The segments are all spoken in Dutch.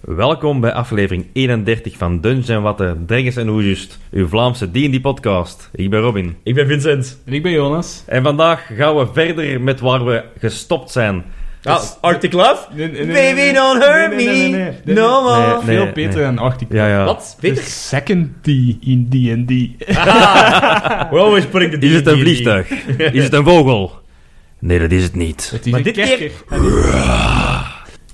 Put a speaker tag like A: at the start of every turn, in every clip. A: Welkom bij aflevering 31 van Dungeon Watten, Drengens en Hoesjust, uw Vlaamse D&D-podcast. Ik ben Robin.
B: Ik ben Vincent.
C: En ik ben Jonas.
A: En vandaag gaan we verder met waar we gestopt zijn.
B: Ah, Arctic Love?
C: Nee, nee, nee, nee,
B: Baby,
C: nee.
B: don't hurt
C: Nee, nee, nee,
B: me.
C: nee, nee.
B: No
A: Nee,
B: more.
A: nee,
C: Veel
A: nee.
C: beter dan Arctic
A: Ja, ja.
B: Wat?
C: De
B: Peter?
C: second D in D&D.
B: We're always putting the
A: Is het een
B: D&D.
A: vliegtuig? Is het een vogel? Nee, dat is het niet.
C: Het is
B: Maar
C: een
B: dit keer-
C: kerker.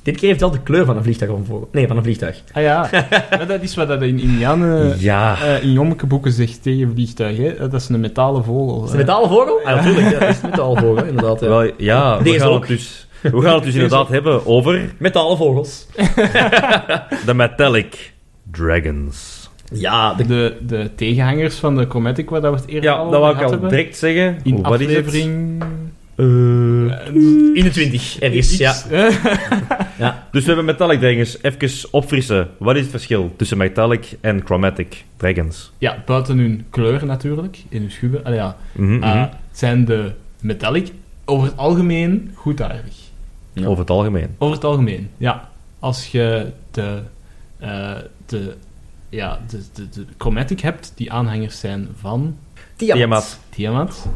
B: Dit keer heeft wel de kleur van een vliegtuig of een vogel. Nee, van een vliegtuig.
C: Ah ja, Maar dat is wat dat in Indianen...
A: Ja.
C: eh, in jommekeboeken zegt tegen vliegtuigen, hè. Eh, dat is een metalen vogel.
B: Is het een metalen vogel? Ah, natuurlijk. Ja, dat is een metalen vogel, inderdaad. Ja.
A: Wel, ja, we
B: Deze
A: gaan,
B: ook.
A: het dus, we gaan het dus inderdaad hebben over
B: Metalen vogels.
A: de Metallic Dragons.
B: Ja, de...
C: Eh, de, de tegenhangers van de Cometic, waar dat we het eerder
A: Ja,
C: al
A: dat
C: over
A: wou ik
C: gehad
A: al
C: hebben.
A: direct zeggen.
C: In
A: Wat is het?
C: aflevering...
A: Eh,
C: Eh,
B: in de twintig. Er
C: iets,
B: is, ja.
C: eh.
A: Dus we hebben Metallic Dragons. Even opfrissen. Wat is het verschil tussen Metallic en Chromatic Dragons?
C: ja, buiten hun kleur natuurlijk, in hun schuben. Allee, ja.
A: Mhm, mhm.
C: Ah, zijn de metallic over het algemeen goedaardig.
B: ja.
A: Over het algemeen.
C: Over het algemeen, ja. Als je de, eh, de, ja, de, de, de chromatic hebt, die aanhangers zijn van
B: Tiamat.
A: Tiamat.
C: Tiamat,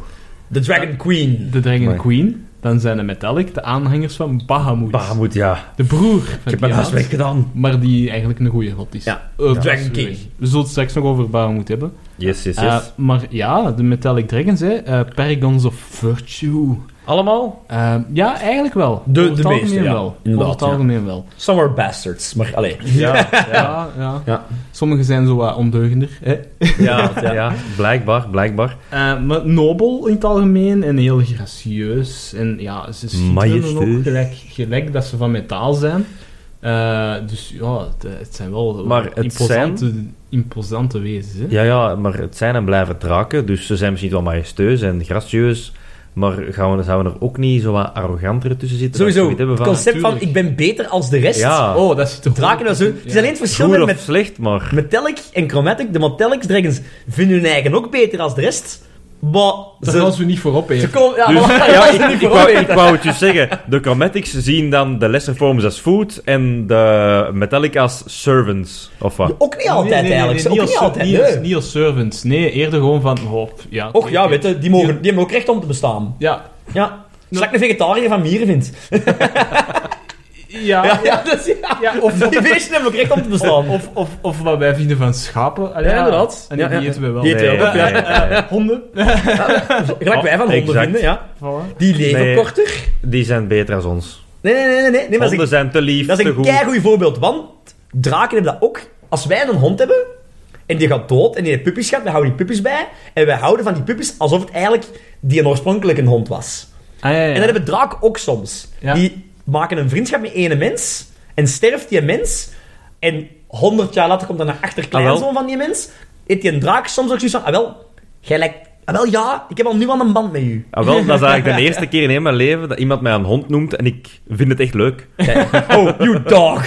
B: De Dragon Queen.
C: de Dragon
A: Amai.
C: Queen, dan zijn de metallic de aanhangers van Bahamut.
A: Bahamut, ja.
C: De broer van
A: Ik heb mijn
C: Tiamat,
A: huiswerk gedaan.
C: maar die eigenlijk een goede god is.
B: Ja,
C: Eh,
B: Dragon
C: dat is
B: King.
C: weg. We zullen het straks nog over Bahamut hebben.
A: Yes, yes, yes.
C: Eh, maar ja, de metallic dragons, hè. eh, Paragons of Virtue.
A: Allemaal?
C: Eh, ja, eigenlijk wel.
B: De-
C: Over het
B: de meeste,
C: algemeen
B: ja.
C: wel. Over
B: Inderdaad,
C: het
B: ja.
C: algemeen wel.
B: Some are bastards, maar allee.
A: Ja,
C: Ja, ja.
B: Ja.
C: Sommigen zijn zo wat ondeugender. Hè?
A: ja, ja, blijkbaar, blijkbaar.
C: Eh, maar nobel in het algemeen en heel gracieus. En ja, ze schitteren
A: Majesteus.
C: ook gelijk, gelijk dat ze van metaal zijn. Eh, dus ja, het, het zijn wel
A: Maar het
C: imposante, imposante wezens. Hè?
A: Ja, ja, maar het zijn en blijven draken, dus ze zijn misschien wel majesteus en gracieus, maar gaan we, zouden we er ook niet zo wat arroganter tussen zitten?
B: Sowieso,
A: Dat we zoiets
B: het
A: hebben
B: concept van
C: natuurlijk.
B: ik ben beter als de rest.
A: Ja.
C: Oh, dat zit er
B: Draken en zo. Het is alleen het
A: van,
B: verschil
A: goed
B: met,
A: of
B: met
A: slecht, maar...
B: Metallic en Chromatic. De Metallic Dragons vinden hun eigen ook beter als de rest. Maar
C: Daar gaan
B: ze...
C: ze niet voorop
B: Ze
C: eten.
B: komen... Ja,
A: Dus,
B: maar-
A: ja, ik, ik, wou, ik wou het je zeggen. De Chromatics zien dan de lesser forms als food en de Metallic als servants, of wat?
B: Ook niet altijd,
C: Nee, nee, nee,
B: eigenlijk. Ze
C: nee,
B: ook niet
C: als-
B: altijd,
C: niet
B: nee.
C: als- niet als servants. Nee, eerder gewoon van... Hop, ja,
B: Och ja,
C: nee,
B: weet je, die, mogen, die hebben ook recht om te bestaan.
C: Ja,
B: Ja. Als ik een vegetariër van mieren vind. Ja,
C: ja, ja,
B: ja, dat is- ja.
C: ja, of,
B: Die beesten hebben ook recht om te bestaan.
C: Of, of, of wat wij vinden van schapen. Allee,
B: Ja, inderdaad.
C: En die
B: Ja, ja.
C: eten we wel.
B: Die- eten we ook, ja.
C: Honden.
B: Gelijk wij van honden
A: Exact.
B: vinden, ja.
C: Voilà.
B: Die leven
A: Nee.
B: korter.
A: Die zijn beter als ons.
B: Nee, nee, nee, nee. nee, nee maar
A: Honden
B: dat is
A: zijn te
B: een,
A: lief,
B: dat is
A: te
B: een
A: goed.
B: keigoed voorbeeld. Want draken hebben dat ook. Als wij een hond hebben, en die gaat dood, en die heeft puppies gehad, dan houden die puppies bij. En wij houden van die puppies alsof het eigenlijk die een oorspronkelijke hond was. En dat hebben draken ook soms.
C: Ja.
B: Die maken een vriendschap met ene mens en sterft die mens. En honderd jaar later komt dan een
A: Ah, wel.
B: achterkleinzoon van die mens. Eet die een draak soms ook zoiets van, ah wel, jij lijkt, ah wel ja, ik heb al nu al een band met u.
A: Ah, wel, dat is eigenlijk de eerste keer in heel mijn leven dat iemand mij een hond noemt en ik vind het echt leuk.
B: Oh, you dog.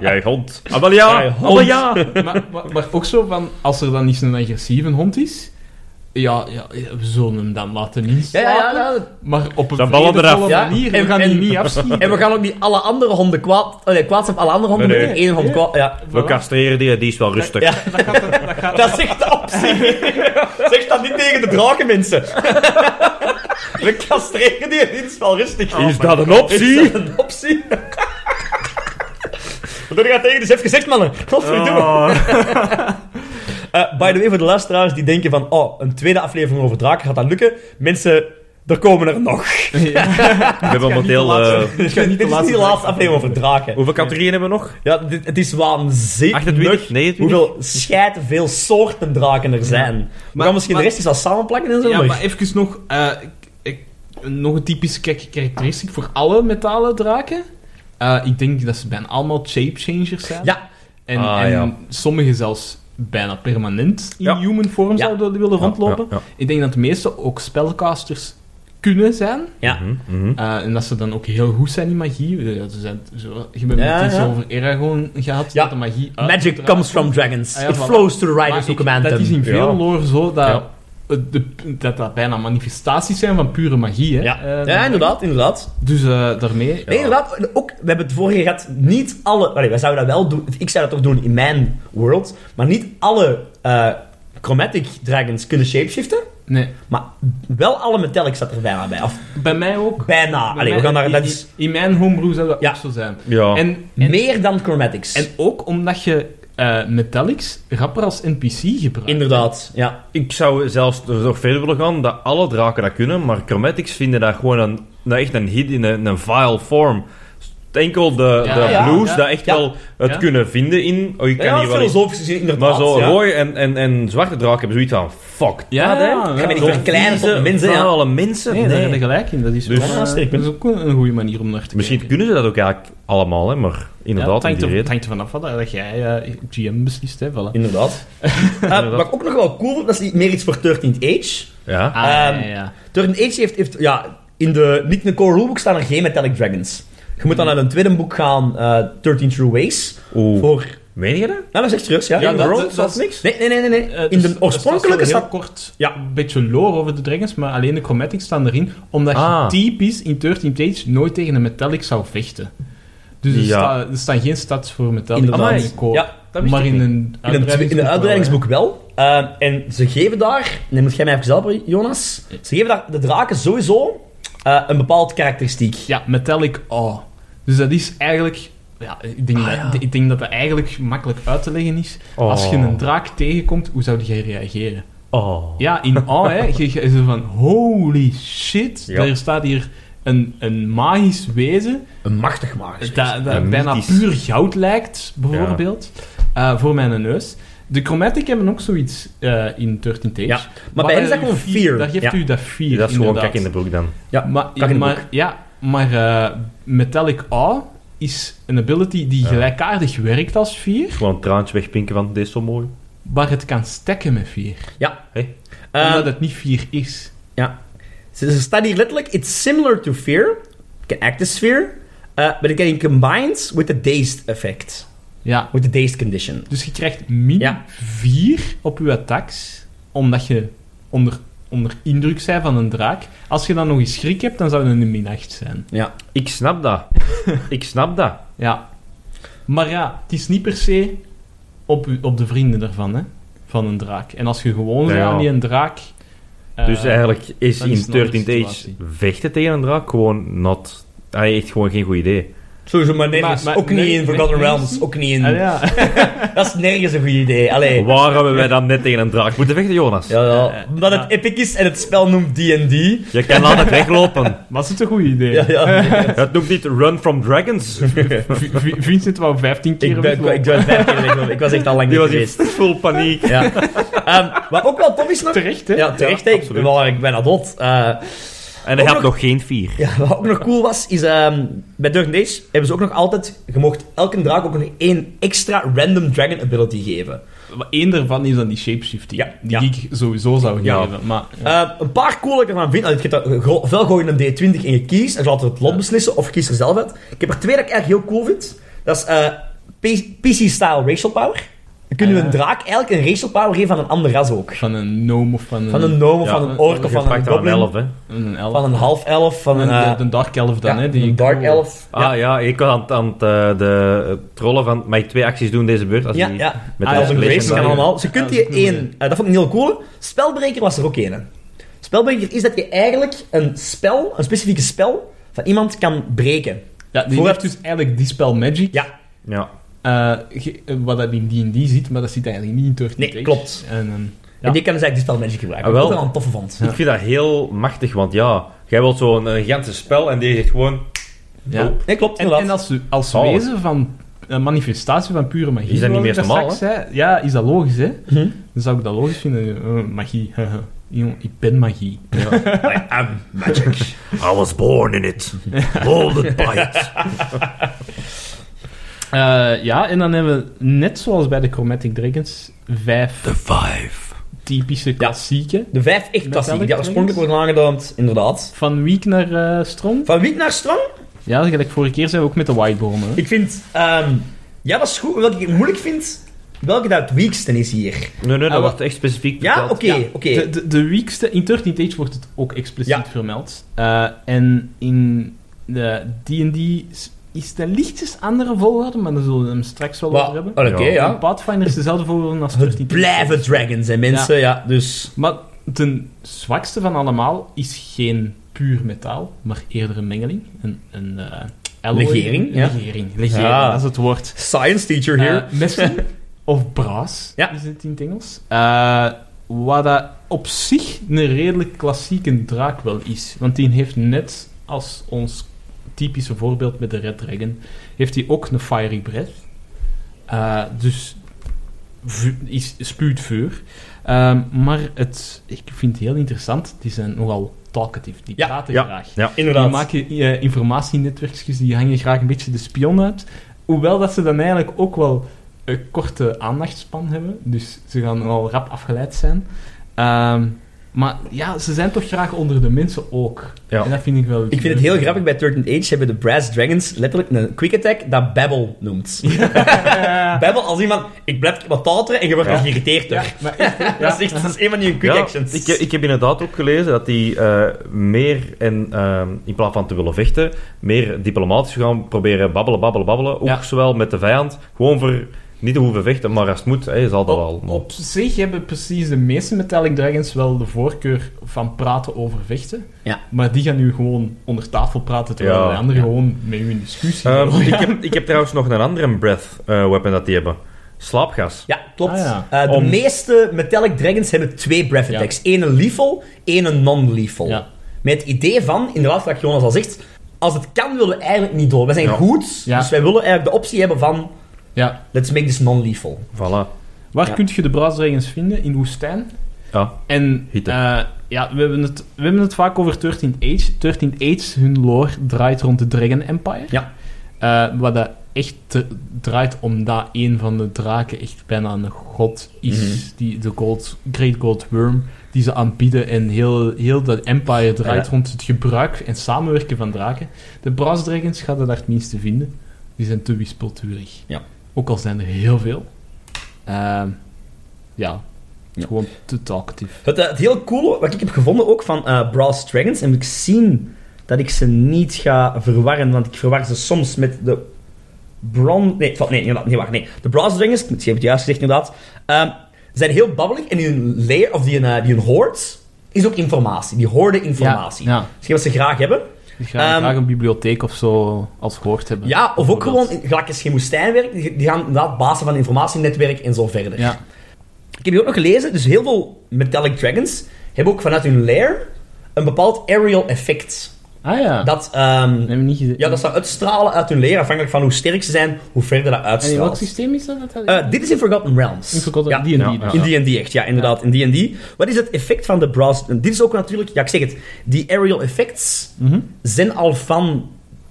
A: Jij hond. Ah, wel ja.
B: Jij
A: Ah,
B: hond.
A: wel ja.
C: maar, maar, maar ook zo van, als er dan niet zo'n agressieve hond is, ja, ja, ja, we zullen hem dan laten
B: Ja,
C: inslapen.
B: ja, ja, ja.
C: Maar op een
A: Dan ballen
C: vredevolle
A: eraf.
B: Ja,
C: manier,
B: en-
C: we gaan
B: en-
C: die niet afschieten.
B: En we gaan ook niet alle andere honden kwaad, oh nee, kwaad zijn op alle andere honden,
A: Nee,
B: nee,
A: nee.
B: één hond
C: Ja.
B: kwaad, ja.
C: Voilà.
A: We castreren die, die is wel rustig.
B: Ja.
C: Dat gaat, er- dat gaat,
B: Dat is echt de optie. zeg dat niet tegen de draken, mensen. We castreren die, dit Oh, is wel rustig.
A: Is dat een optie?
B: Is dat een optie? Wat doe je tegen? Dus heeft gezegd, mannen.
A: Oh.
B: Godverdomme. Eh, by the way, voor de luisteraars die denken van... Oh, een tweede aflevering over draken, gaat dat lukken? Mensen, er komen er nog.
C: Ja.
A: We hebben momenteel... eh,
B: Dit is niet de laatste aflevering over draken.
A: hoeveel categorieën hebben we nog?
B: Ja, dit, het is waanzinnig
A: 28? 29?
B: hoeveel scheid veel soorten draken er zijn. we
C: Maar-
B: gaan misschien
C: maar-
B: de rest eens wat samenplakken en zo,
C: Ja,
B: maar-
C: maar even nog... eh, ik- ik- nog een typische kar- karakteristiek voor alle metalen draken. Eh, ik denk dat ze bijna allemaal shapechangers zijn.
B: Ja,
C: En,
A: Ah,
C: en
A: ja.
C: sommigen zelfs bijna permanent in
A: Ja.
C: human vorm
B: Ja.
C: zouden willen rondlopen.
A: Ja, ja,
C: Ik denk dat de meeste ook spellcasters kunnen zijn.
B: ja.
A: Mhm, mhm.
C: Eh, en dat ze dan ook heel goed zijn in magie. Eh, ze zijn, zo, je hebt
B: Ja,
C: het eens
B: ja.
C: over Eragon gehad.
B: Ja.
C: Dat de magie uit-
B: Magic comes from dragons.
C: Ah, ja,
B: It
C: voilà.
B: flows to the
C: Maar
B: riders who
C: ik-
B: command
C: Dat is
B: them.
C: in veel
A: Ja.
C: lore zo dat
A: Ja.
C: het- de- dat dat bijna manifestaties zijn van pure magie. Hè?
B: Ja,
C: Eh, dan-
B: ja inderdaad, inderdaad.
C: Dus eh, daarmee...
B: Nee, inderdaad. En Ook, we hebben het vorige gehad. Niet alle... Allee, wij zouden dat wel doen. Ik zou dat toch doen in mijn world. Maar niet alle eh, chromatic dragons kunnen shapeshiften.
C: Nee.
B: Maar wel alle metallic staat er bijna bij. Of
C: Bij mij ook.
B: bijna.
C: Bij
B: Allee,
C: mij-
B: we gaan daar...
C: in,
B: Dat is
C: in mijn homebrew zou dat
B: Ja.
C: ook zo zijn.
A: Ja.
C: En, en,
B: meer dan chromatics.
C: en ook omdat je eh, metallics rapper als NPC gebruikt.
B: inderdaad, ja.
A: Ik zou zelfs er nog verder willen gaan dat alle draken dat kunnen, maar Chromatics vinden dat gewoon een, nou echt een hit in een, een vile form. Enkel de,
C: Ja,
A: de
B: ja,
A: blues
C: ja.
A: dat echt
B: Ja.
A: wel het
C: Ja.
A: kunnen vinden in. Oh, je kan
B: Ja,
A: hier wel iets-
B: filosofisch gezien, inderdaad.
A: maar zo
B: ja.
A: rode en, en, en zwarte draken hebben zoiets van: fuck.
C: Ja,
B: Ja, hè?
C: ja,
B: Ga je
C: ja.
B: niet
A: Zo'n
B: verkleinen tot
A: vieze,
B: mensen, ja.
A: vuile mensen.
C: Nee, daar
A: Nee.
C: heb je gelijk in. Dat is,
A: Dus-
C: wel, eh,
B: Ja, sterk
C: dat is ook een een goede manier om naar te
A: Misschien
C: kijken.
A: kunnen ze dat ook eigenlijk allemaal, hè, maar inderdaad,
C: ja,
A: om
C: het hangt
A: die
C: er- het
A: reden.
C: hangt er vanaf wat dat jij eh GM beslist. Hè, voilà.
B: Inderdaad. Eh, wat ik ook nog wel cool vond, dat is meer iets voor 13th Age.
A: Ja.
C: Ah,
B: Ehm,
C: ja, ja.
B: 13th Age heeft... heeft ja, in de niet core rulebook staan er geen metallic dragons. Je moet dan naar een tweede boek gaan, eh 13 True Ways.
A: Oeh.
B: Voor
A: Meen je dat?
B: Nou, dat is echt serieus, ja.
C: Ja,
B: In
C: dat-
B: Rome
C: dat-
B: staat
C: dat-
B: niks. Nee, nee, nee. nee, nee.
C: Eh,
B: in
C: dus-
B: de
C: dus
B: oorspronkelijke
C: dat is wel
B: staat...
C: heel kort
B: Ja.
C: een beetje lore over de dragons, maar alleen de chromatics staan erin, omdat
A: Ah.
C: je typisch in 13 Age nooit tegen een metallic zou vechten. Dus er,
A: Ja.
C: sta- er staan geen stats voor metallic
B: Inderdaad.
C: in de core.
B: Ja,
A: dat wist
C: maar
A: ik
C: in
A: niet.
C: een
B: In een, twe- in een uitbreidingsboek wel. Eh, en ze geven daar... Nee, moet jij mij even helpen, Jonas? Ze geven daar de draken sowieso eh, een bepaald karakteristiek.
C: Ja, metallic awe. Dus dat is eigenlijk... Ja, ik, denk dat, ik denk dat dat eigenlijk makkelijk uit te leggen is.
A: Ah, Oh.
C: Als je een draak tegenkomt, hoe zou jij reageren?
A: Oh.
C: Ja, in awe, hè. Je, je is er van, holy shit.
A: Ja.
C: Er staat hier een, een magisch wezen
B: Een machtig magisch.
C: dat, dat
A: Ja,
C: bijna
A: mythisch.
C: puur goud lijkt, bijvoorbeeld, eh, voor mijn neus. De Chromatic hebben ook zoiets eh, in 13 Tage.
B: Ja, maar bij hen is dat gewoon fear.
C: Daar geeft
B: Ja.
C: u dat fear,
A: dat is gewoon
C: inderdaad.
A: kak in de broek dan.
B: Ja,
C: Maar,
B: kak in de
C: maar, ja, maar eh, Metallic Awe is een ability die gelijkaardig werkt als fear,
A: Gewoon een traantje wegpinken, want dit is zo mooi.
C: maar het kan stekken met fear.
B: Ja.
A: Hey.
B: Eh,
C: omdat het niet fear is.
B: ja. Ze, ze staat hier letterlijk... It's similar to fear. It can act as fear. eh, but it can combines with the dazed effect.
C: Ja.
B: With the dazed condition.
C: Dus je krijgt min
B: Ja.
C: 4 op je attacks, omdat je onder, onder indruk bent van een draak. Als je dan nog eens schrik hebt, dan zou het een min 8 zijn.
B: Ja.
A: Ik snap dat. ik snap dat.
C: Ja. Maar ja, het is niet per se op, u- op de vrienden ervan, hè, van een draak. En als je gewoon
A: Ja,
C: bent
A: ja.
C: aan die een draak... eh,
A: Dus eigenlijk is
C: dat is
A: in
C: een andere
A: 13 Age
C: situatie.
A: vechten tegen een draak gewoon not... Hij echt gewoon geen goed idee.
B: Sowieso, maar nergens.
C: Maar- maar
B: ook niet
C: nergens-
B: in Forgotten
C: nergens
B: Realms.
C: niet?
B: Ook niet in...
C: Ah, ja.
B: Dat is nergens een goed idee. Allee.
A: Waar hebben wij dan net tegen een draak moeten vechten, Jonas?
B: Ja,
C: Eh,
B: ja.
C: eh,
B: Omdat
C: ja.
B: het epic is en het spel noemt D&D.
A: Je kan altijd weglopen.
C: Was het een goed idee?
B: Ja, ja.
A: Het noemt niet Run from Dragons.
C: V- v- Vincent wou 15 keer
B: ik, ben, ik,
C: weglopen.
B: ben- ik ben vijf keer weggelopen. Ik was echt al lang
A: Die
B: niet
A: was in
B: geweest.
A: full paniek.
B: Ja. Ehm, wat ook wel tof is nog...
C: Terecht, hè?
B: Ja,
A: Ja,
B: terecht. hè. ik,
A: absoluut.
B: ben wel, ik ben adult. Eh,
A: En hij
B: Ook
A: had
B: nog-
A: nog geen vier.
B: ja, wat ook nog cool was, is... ehm, bij Durgan Days hebben ze ook nog altijd... Je mocht elke draak ook nog één extra random dragon ability geven.
C: Maar één daarvan is dan die shapeshifting.
B: Ja,
C: die
B: ja.
C: ik sowieso zou
A: Ja.
C: geven. Maar,
B: Eh, een paar cool dat ik ervan vind. Allee, je hebt dat- gro- Ofwel gooi je een D20 en je kiest. En je laat het lot beslissen. Of je kiest er zelf uit. Ik heb er twee dat ik eigenlijk heel cool vind. Dat is eh, P- PC-style racial power. Dan kunnen we
C: Ah.
B: een draak eigenlijk een racial power geven van een ander ras ook.
C: Van een gnome of van een...
B: Van een gnome, of
A: Ja,
B: van een ork,
A: Je
B: of van een
A: pakt aan een
B: goblin.
A: elf, hè.
C: Een elf.
B: Van een half elf, van een...
C: Een-
B: eh,
C: de, de Dark Elf dan,
B: ja,
C: hè? Die
B: een dark elf. Ja,
A: Ah ja, ik was aan, het- aan het, eh, de trollen van... Mag ik twee acties doen deze beurt? Als
B: ja,
A: die-
B: ja.
A: Met
C: Ah,
A: de
C: ja,
B: Als een
C: dat
A: escalation
B: race
C: is
B: kan
C: waar.
A: value.
B: allemaal. Ze kunt
C: Ja, dat
B: je
C: is cool,
B: één... eh, dat vond ik een heel cool. Spelbreker was er ook één. Spelbreker is dat je eigenlijk een spel, een specifieke spel, van iemand kan breken.
C: Ja, die
B: Voor-
C: heeft dus eigenlijk Dispel Magic.
B: Ja,
A: Ja.
C: eh, ge- eh, wat dat in D&D ziet, maar dat zit eigenlijk niet in 13
B: Nee,
C: Age.
B: klopt.
C: En, ehm, ja.
B: En die kan dus eigenlijk die spelmagic gebruiken.
A: Ah, wel.
B: Wat ik wel een toffe vond.
A: Ik vind dat heel machtig, want ja, jij wilt zo'n een gigantisch spel en die zegt gewoon...
C: ja.
A: Oh,
B: Nee, klopt,
C: en,
B: inderdaad.
C: en als, als
A: Zalig.
C: wezen van een manifestatie van pure magie...
A: Is dat niet
C: zoals ik
A: meer
C: daar
A: normaal,
C: straks zei, Ja, is dat logisch, hè?
B: Mhm.
C: Dan zou ik dat logisch vinden. Eh, magie. Jong, ik ben magie.
B: I am magic.
A: I was born in it. Molded by it.
C: Eh, ja, en dan hebben we, net zoals bij de Chromatic Dragons, vijf
A: The Five.
C: typische klassieken.
B: De vijf echt klassiek. Die
C: Metallic
B: oorspronkelijk worden aangedamd, inderdaad.
C: Van Wiek naar eh, Strom.
B: Van Wiek naar Strang?
C: Ja, gelijk vorige keer zijn we ook met de Whitebomen.
B: Ik vind... ehm, ja, dat is goed. Wat ik moeilijk vind... welke dat het weakste is hier.
A: Nee, nee,
C: Ah,
A: dat
C: wa-
A: wordt echt specifiek
B: Ja,
A: verteld.
B: oké,
C: Ja.
B: oké.
C: De, de, de weakste, in 13th Age wordt het ook expliciet
B: Ja.
C: vermeld. Eh, en in de D&D s- is de lichtjes andere volgorde, maar daar zullen we hem straks wel
B: Maar-
C: over hebben.
B: Oké,
A: Ja.
B: oh, ja.
C: In Pathfinder is dezelfde volgorde als 13th
B: Het
C: Age.
B: blijven dragons, hè, mensen. Ja, dus...
C: Maar ten zwakste van allemaal is geen puur metaal, maar eerder een mengeling. Een, een eh, alloy.
B: Legering, ja.
C: Legering, legering,
B: Ja.
C: dat is het woord.
B: Science teacher here.
C: Eh, messen of braas
B: Ja.
C: is het in het Engels. Eh, wat dat op zich een redelijk klassieke draak wel is. Want die heeft net als ons typische voorbeeld met de Red Dragon, heeft hij ook een Fiery Breath. Eh, dus vu- is, spuwt vuur. Ehm, maar het, ik vind het heel interessant, die zijn nogal talkative, die
B: Ja,
C: praten
A: ja.
C: graag.
B: Inderdaad.
C: Die maken eh, informatienetwerkjes, die hangen graag een beetje de spion uit. Hoewel dat ze dan eigenlijk ook wel een korte aandachtspan hebben. Dus ze gaan al rap afgeleid zijn. Ehm, maar ja, ze zijn toch graag onder de mensen ook.
A: Ja.
C: En dat vind ik wel...
B: Ik vind het heel grappig, bij 13th Age hebben de Brass Dragons letterlijk een quick attack dat Babbel noemt.
C: Eh,
B: Babbel als iemand, ik blijf wat talteren en je wordt
A: Ja.
B: nog geïrriteerd door.
C: Ja, maar echt, ja.
B: Dat, is echt, dat is een van die quick
A: Ja,
B: actions.
A: ik, ik heb inderdaad ook gelezen dat die eh, meer, en, ehm, in plaats van te willen vechten, meer diplomatisch gaan proberen babbelen, babbelen, babbelen. Ook
C: Ja.
A: zowel met de vijand, gewoon voor niet te hoeven vechten, maar als het moet, hè, zal dat wel.
C: Op, op zich hebben precies de meeste Metallic Dragons wel de voorkeur van praten over vechten.
B: Ja.
C: Maar die gaan nu gewoon onder tafel praten, terwijl
A: Ja.
C: de anderen gewoon met u in discussie
A: Ehm,
C: gaan.
A: ik, heb, ik heb trouwens nog een andere breath eh, weapon dat die hebben. Slaapgas.
B: Ja, klopt.
C: Ah, ja.
B: Eh, de
A: Om-
B: meeste Metallic Dragons hebben twee Breath
C: Ja.
B: Attacks. Eén een lethal, één een non-lethal.
C: Ja.
B: Met het idee van, inderdaad, wat Jonas al zegt, als het kan willen we eigenlijk niet door. We zijn
A: Ja.
B: goed,
C: Ja.
B: dus wij willen eigenlijk de optie hebben van,
C: Ja,
B: let's make this non-lethal.
A: Voilà.
C: Waar
B: Ja.
C: kun je de braasdragons vinden? In woestijn.
A: Ja.
C: En
A: Hitte.
C: eh, ja, we, hebben het, we hebben het vaak over 13th Age. 13th Age, hun lore, draait rond de Dragon Empire.
B: Ja.
C: Eh, wat dat echt te- draait omdat een van de draken echt bijna een god is.
B: Mhm.
C: Die, de gold, Great Gold Worm, die ze aanbieden. En heel, heel de empire draait
B: Ja.
C: rond het gebruik en samenwerken van draken. De braasdragons gaat dat daar het minste vinden. Die zijn te wispelturig.
B: Ja.
C: Ook al zijn er heel veel. Ehm, ja.
B: Ja.
C: Gewoon te talkative.
B: Het, eh, het heel coole wat ik heb gevonden ook van eh Brass Dragons, en moet ik zien dat ik ze niet ga verwarren, want ik verwar ze soms met de Bron... Nee, van- nee, inderdaad, nee, wacht, nee. De Brass Dragons, ik heb het juist gezegd inderdaad, ehm, zijn heel babbelig en hun layer, of die hun, eh, die hun hoard, is ook informatie. Die hoorden informatie.
C: Ja, ja.
B: Dus wat ze graag hebben.
C: Die gaan
B: Ehm,
C: graag een bibliotheek of zo als woord hebben.
B: Ja, of ook gewoon,
C: bijvoorbeeld.
B: in- gelijk als geen woestijn werkt, die die gaan inderdaad basen van informatienetwerk en zo verder.
C: Ja.
B: Ik heb hier ook nog gelezen, dus heel veel Metallic Dragons hebben ook vanuit hun lair een bepaald aerial effect.
C: Ah ja. Dat
B: Dat, ehm,
C: hebben we niet gezien.
B: ja, dat zou uitstralen uit hun lair, afhankelijk van hoe sterk ze zijn, hoe verder dat
C: en in welk
B: uitstraalt.
C: systeem is dat? dat dat-
B: Eh, dit is in Forgotten Realms.
C: In Forgotten-
B: ja,
C: die en die
A: Ja,
C: dus.
A: ja.
B: In D&D echt, ja, inderdaad. In D&D. Wat is het effect van de brass... en Dit is ook natuurlijk... Ja, ik zeg het. Die aerial effects
C: Mhm.
B: zijn al van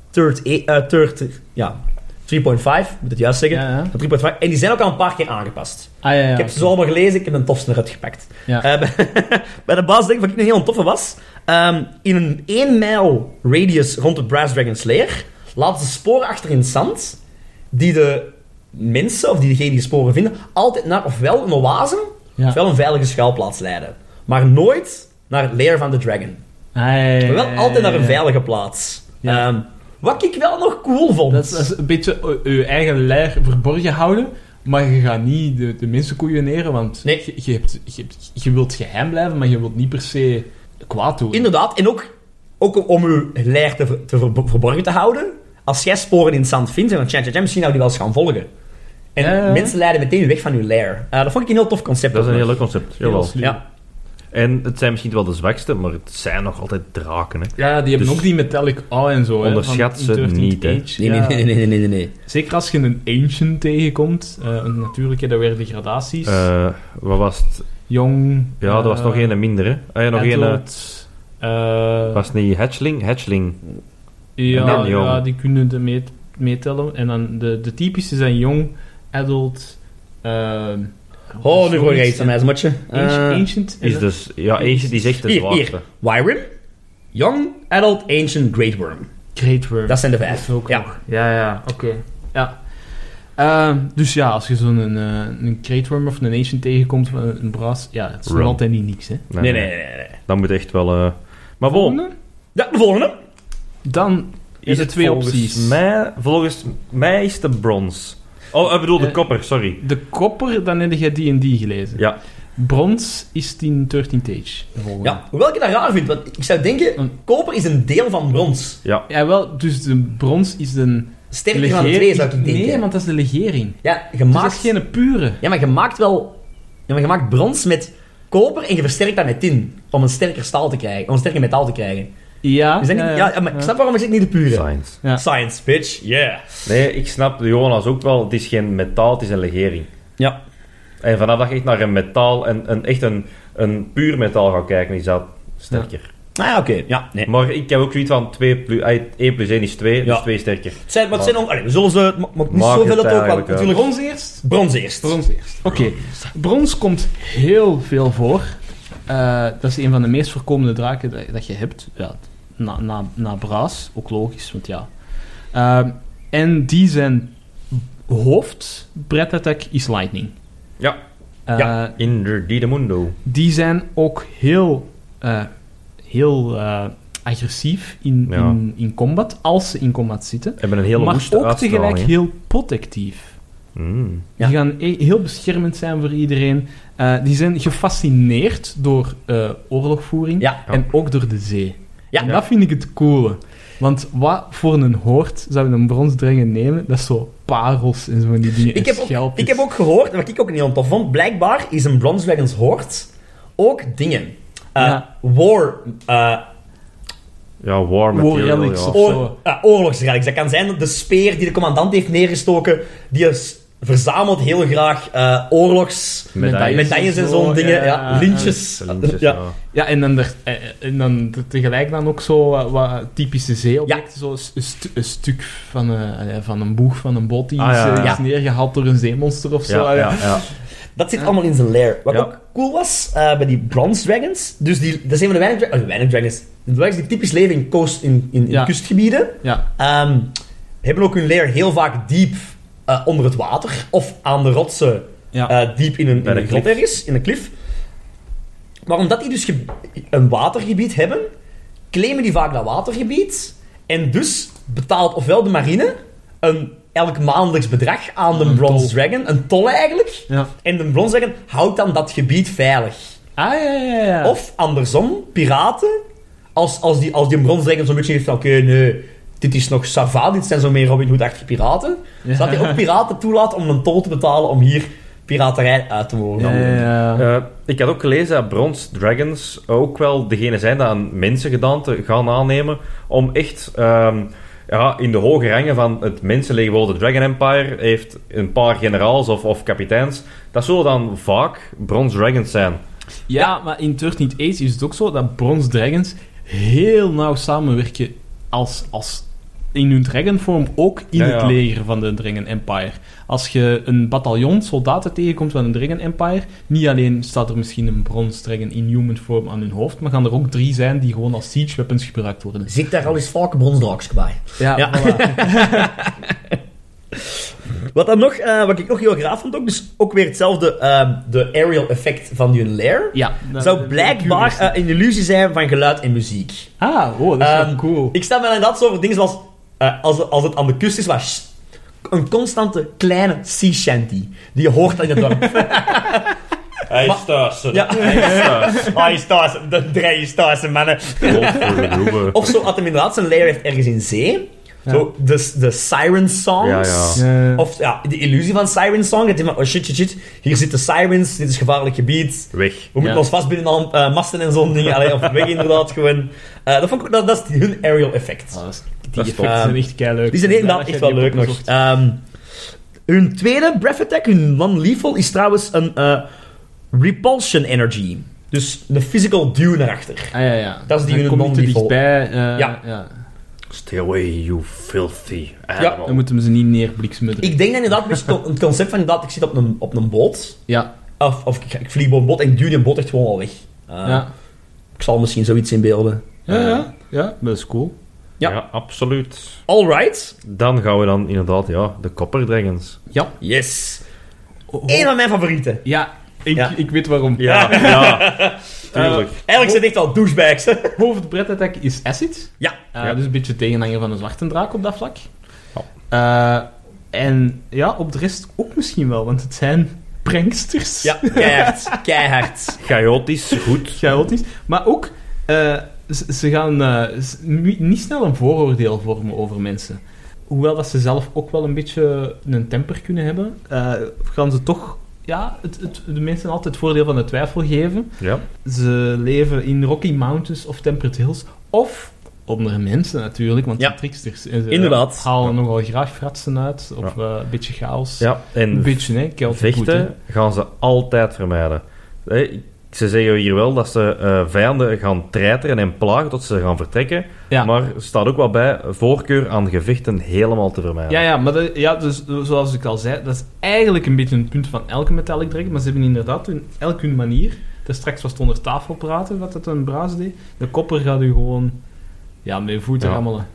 B: third... e- eh, third ja, 3.5, moet het juist zeggen.
C: Ja, ja.
B: Van 3.5. En die zijn ook al een paar keer aangepast.
C: Ah ja, ja.
B: Ik heb ze zo allemaal gelezen, ik heb een tofste eruit gepakt.
C: Ja.
B: Eh, bij- bij de baas denk ik wat ik een heel toffe was. ehm, in een 1 mijl radius rond de Brass Dragon's Lair laten ze sporen achter in het zand die de mensen, of die degene die sporen vinden, altijd naar ofwel een oase,
C: Ja.
B: ofwel een veilige schuilplaats leiden. Maar nooit naar het Lair van de Dragon.
C: Ah, ja, ja, ja,
B: Maar wel
C: ja,
B: altijd naar
C: ja,
B: een
C: ja.
B: veilige plaats.
C: Ja.
B: Ehm, wat ik wel nog cool vond.
C: Dat is, dat is een beetje eh, je eigen leer verborgen houden. Maar je gaat niet de, de mensen koeieneren, want
B: Nee.
C: je, je, hebt, je, hebt- je wilt geheim blijven, maar je wilt niet per se kwaad doen.
B: Inderdaad, en ook, ook om uw leer te, ver- te ver- verborgen te houden. Als jij sporen in het zand vindt, en dan tja, tja, tja, misschien nou die wel eens gaan volgen. En
C: Ja, ja, ja.
B: mensen leiden meteen weg van uw leer. Eh, dat vond ik een heel tof concept.
A: Dat is een heel
B: ook nog.
A: leuk concept.
C: Heel
A: Jawel.
C: slim.
B: Ja.
A: En het zijn misschien wel de zwakste, maar het zijn nog altijd draken. Hè.
C: Ja, die hebben
A: Dus-
C: ook die metallic A en zo. hè,
A: Onderschat
C: van
A: ze
C: 13th
A: niet, hè.
C: Age.
B: Nee, nee,
C: Ja.
B: nee, nee, nee, nee, nee, nee.
C: Zeker als je een ancient tegenkomt. eh, want natuurlijk, hè, dat werden de gradaties.
A: Eh, wat was het?
C: Jong. eh,
A: Ja, er was nog één minder. Hè. Ah, ja, nog één. eh,
C: adult, eh,
A: Was het niet hatchling? Hatchling. en
C: ja,
A: dan jong.
C: ja, die kunnen er mee- meetellen. En dan de, de typische zijn jong, adult, ehm,
B: Oh, nu voor
C: zoiets.
B: reeds aan mij, zmatje.
C: Ancient- ancient. en
A: Is
C: dan-
A: dus, ja, eentje die zegt de
B: Hier, hier.
A: zwaarste.
B: Wyrim, Young, Adult, Ancient, Great Worm.
C: Great Worm.
B: Dat zijn de vijf.
C: ook
B: Ja.
C: nog. Ja, ja, oké. Ja. Eh, dus ja, als je zo'n een, eh, een Crate Worm of een Ancient tegenkomt, eh, een Braas, ja, het is nog
A: Run. Oh.
C: altijd niet niks, hè.
B: Nee, nee, nee. nee, nee.
A: Dat moet echt wel... eh, Maar bon,
C: Volgende?
B: Ja, de volgende.
C: Dan
A: is
C: is er
A: het
C: twee
A: volgens
C: opties.
A: Mij, volgens mij is de brons. Oh, ik bedoel de
C: Eh.
A: kopper, sorry.
C: De kopper, dan heb je die en die gelezen.
A: Ja.
C: Brons is 1013 Tage, de volgende.
B: Ja, hoewel ik het raar vind, want ik zou denken,
C: Een-
B: koper is een deel van brons.
A: Ja.
C: Ja, wel, dus de brons is de
B: Sterker van de twee, zou ik denken.
C: Nee, want dat is de legering.
B: Ja,
C: Dus dat
B: gemaakt...
C: is geen pure.
B: Ja, maar je maakt wel... Ja, maar je maakt brons met koper en je versterkt dat met tin. Om een sterker staal te krijgen. Om een sterker metaal te krijgen.
C: Ja.
B: Is dat niet... Ja, maar ik
C: eh.
B: snap waarom ik zeg niet de pure.
A: Science.
C: Ja.
B: Science, bitch. Yeah.
A: Nee, ik snap Jonas ook wel. Het is geen metaal, het is een legering.
B: Ja.
A: En vanaf dat je echt naar een metaal, en een, echt een, een puur metaal gaat kijken, is dat sterker.
B: Nou ja, oké. Ja, nee.
A: Maar ik heb ook zoiets van 2 plus, ey, 1 plus 1 is 2, dus
B: Ja.
A: 2 is sterker.
B: Het zijn, maar het
A: Maar-
B: zijn ook... Allee, we zullen ze... het ma- Maakt niet
A: Maakt
B: zoveel
A: het
B: uit ook, want
A: eigenlijk
B: natuurlijk...
C: Brons eerst?
B: Brons eerst.
C: Brons eerst. Oké. Brons komt heel veel voor. Eh, dat is een van de meest voorkomende draken dat, dat je hebt. Ja, na, na, na Braas, ook logisch, want ja. Ehm, en die zijn hoofd, breath attack, is lightning.
A: Ja.
C: Eh,
B: Ja.
A: Inderdaad, de mundo.
C: Die zijn ook heel, eh, heel eh, agressief in,
A: Ja.
C: in, in combat, als ze in combat zitten.
A: Hebben een hele
C: maar
A: woeste
C: ook
A: uitstraling,
C: tegelijk
A: hè.
C: heel protectief.
A: Mm.
B: Ja.
C: Die gaan e- heel beschermend zijn voor iedereen. Eh, die zijn gefascineerd door eh, oorlogvoering
B: Ja.
C: en ook door de zee.
B: Ja.
C: En dat vind ik het coole. Want wat voor een hoort zou een bronsdrengen nemen? Dat is zo parels en zo van die dingen.
B: Ik
C: en
B: heb, ook,
C: schelpjes.
B: ik heb ook gehoord, wat ik ook niet tof vond, blijkbaar is een Bronze Dragons hoort ook dingen. Eh,
C: Ja.
B: War... eh
A: Ja, war
C: War
A: material,
C: relics
A: ja.
C: of-
B: oor,
C: zo.
B: eh, oorlogsrelics. Dat kan zijn dat de speer die de commandant heeft neergestoken, die is- verzamelt heel graag eh oorlogs...
A: Medailles.
B: Medailles en zo'n
C: Zo,
B: dingen, ja,
C: ja.
B: lintjes.
A: Lintjes,
B: ja.
A: ja.
C: Ja, en dan, er, eh, en dan er tegelijk dan ook zo eh, wat typische zeeobjecten. Zo een s- een, st- een stuk van, eh, eh, van een boeg van een boot die
A: Ah,
C: is,
A: ja,
C: eh,
A: ja.
C: is neergehaald door een zeemonster of zo.
A: Ja,
C: Eh,
A: ja, ja.
B: Dat zit allemaal in zijn lair. Wat
A: Ja.
B: ook cool was eh, bij die Bronze Dragons, dus die, dat is een van de weinig, dra- oh, weinig dragons, de dragons die typisch leven in, coast, in, in, in
C: Ja.
B: kustgebieden,
C: ja.
B: Ehm, hebben ook hun leer heel vaak diep eh, onder het water of aan de rotsen
C: Ja.
B: eh, diep in een,
A: Bij
B: in
A: de
B: een grot
A: klif.
B: ergens, in een klif. Maar omdat die dus ge- een watergebied hebben, claimen die vaak dat watergebied. En dus betaalt ofwel de marine een elk maandelijks bedrag aan de
C: Een
B: Bronze
C: tol.
B: Dragon, een tol eigenlijk.
C: ja.
B: En de Bronze Dragon houdt dan dat gebied veilig.
C: Ah, ja, ja, ja.
B: Of andersom, piraten, als, als die, als die een bronsdragon zo'n beetje heeft van oké, nee, dit is nog sava, dit zijn zo meer Robin Hood-achtige piraten,
C: Ja.
B: dat hij ook piraten toelaat om een tol te betalen om hier piraterij uit te mogen.
C: Ja,
B: handelen.
C: ja, ja.
A: Eh, ik had ook gelezen dat Bronze Dragons ook wel degene zijn dat aan mensengedaante gaan aannemen om echt ehm, ja, in de hoge rangen van het mensenleger, bijvoorbeeld de Dragon Empire, heeft een paar generaals of, of kapiteins. Dat zullen dan vaak Bronze Dragons zijn.
C: Ja, maar in 13 Age is het ook zo dat Bronze Dragons heel nauw samenwerken als, als in hun dragonvorm ook in
A: Ja, ja.
C: het leger van de Dragon Empire. Als je een bataljon soldaten tegenkomt van de Dragon Empire, niet alleen staat er misschien een Bronze Dragon in human vorm aan hun hoofd, maar gaan er ook drie zijn die gewoon als siege weapons gebruikt worden.
B: Zit daar al eens vaak bronsdraaks bij.
C: Ja,
B: Ja.
C: voilà.
B: Wat dan nog, eh, wat ik nog heel graag vond ook, dus ook weer hetzelfde, ehm, de aerial effect van hun lair,
C: ja
B: zou blijkbaar eh, een illusie zijn van geluid en muziek.
C: Ah, oh, dat is wel
B: Ehm,
C: cool.
B: Ik stel me inderdaad zo voor dingen zoals... eh, als, als het aan de kust is, waar... sh- Een constante kleine sea shanty. Die je hoort in het dorp.
A: Hij
B: is
A: thuis.
B: ja.
A: Hij is thuis.
C: Ah,
B: Hij is thuis. De drie is thuis, mannen. Of zo, had hem inderdaad zijn lair heeft ergens in zee. Zo, de, de siren songs.
A: Ja, ja.
C: Ja.
B: Of ja, de illusie van siren song. Dat je van, oh shit, shit, shit. Hier zitten sirens. Dit is gevaarlijk gebied.
A: Weg.
B: We moeten
C: Ja.
B: ons vastbinden aan eh, masten en zo'n dingen. Allee, of weg inderdaad, gewoon. Eh, dat, vond ik, dat, dat is hun aerial effect.
C: Ah, dat is- die
A: Dat is
C: effecten
B: top.
C: zijn echt kei leuk.
B: Die zijn inderdaad echt wel leuk nog. Ehm, hun tweede breath attack, hun non-lethal, is trouwens een eh, repulsion energy. Dus een physical duw naar achter.
C: Ah, ja, ja.
B: Dat is die
C: Dan
B: hun
C: kom je te
B: non-default.
C: dichtbij. eh,
B: Ja.
C: ja.
A: Stay away, you filthy animal.
C: Dan moeten we ze niet neerbliksemen.
B: Ik denk dat inderdaad best het concept van inderdaad, ik zit op een, op een boot.
C: Ja,
B: Of, of ik, ga- ik vlieg op een boot en ik duw die boot echt gewoon al weg. Eh,
C: ja.
B: Ik zal misschien zoiets inbeelden.
C: Ja, ja. ja, dat is cool.
B: Ja.
A: absoluut.
B: Alright.
A: Dan gaan we dan inderdaad, ja, de Copper Dragons.
C: Ja.
B: Yes. Eén van mijn favorieten.
C: Eh, Ja, ik,
B: Ja.
C: ik weet waarom.
A: Ja, ja. Tuurlijk.
B: Eigenlijk zijn het echt al douchebags. hè.
C: Eh, Hoofdbrettattack is acid.
B: Ja.
C: Eh,
A: Ja.
C: Dus een beetje tegenhanger van de zwarte draak op dat vlak. Eh, en ja, op de rest ook misschien wel, want het zijn pranksters.
B: Ja, keihard. Keihard.
C: Eh,
A: Chaotisch, goed.
C: Chaotisch. Maar ook, eh, ze, ze gaan eh, s- ni- niet snel een vooroordeel vormen over mensen. Hoewel dat ze zelf ook wel een beetje een temper kunnen hebben, eh, gaan ze toch ja, het, het, de mensen altijd het voordeel van de twijfel geven.
A: Ja.
C: Ze leven in Rocky Mountains of Temperate Hills. Of onder mensen natuurlijk, want
B: Ja.
C: de tricksters en ze
B: Inderdaad.
C: halen nogal graag fratsen uit. Of eh, een beetje chaos.
A: ja. En
C: Een beetje, hè? Celtic
A: vechten
C: goed,
A: gaan ze altijd vermijden. Hè, Ze zeggen hier wel dat ze eh, vijanden gaan treiteren en plagen tot ze gaan vertrekken.
C: hè. ja.
A: Maar er staat ook wel bij, voorkeur aan gevechten helemaal te vermijden.
C: Ja, ja, maar dat- ja, dus, eh, zoals ik al zei, dat is eigenlijk een beetje een punt van elke Metallic Dragon, maar ze hebben inderdaad hun, elk hun manier. Daar straks was het onder tafel praten, wat dat een braas deed. De kopper gaat u gewoon ja, met je voeten
A: Ja.
C: rammelen,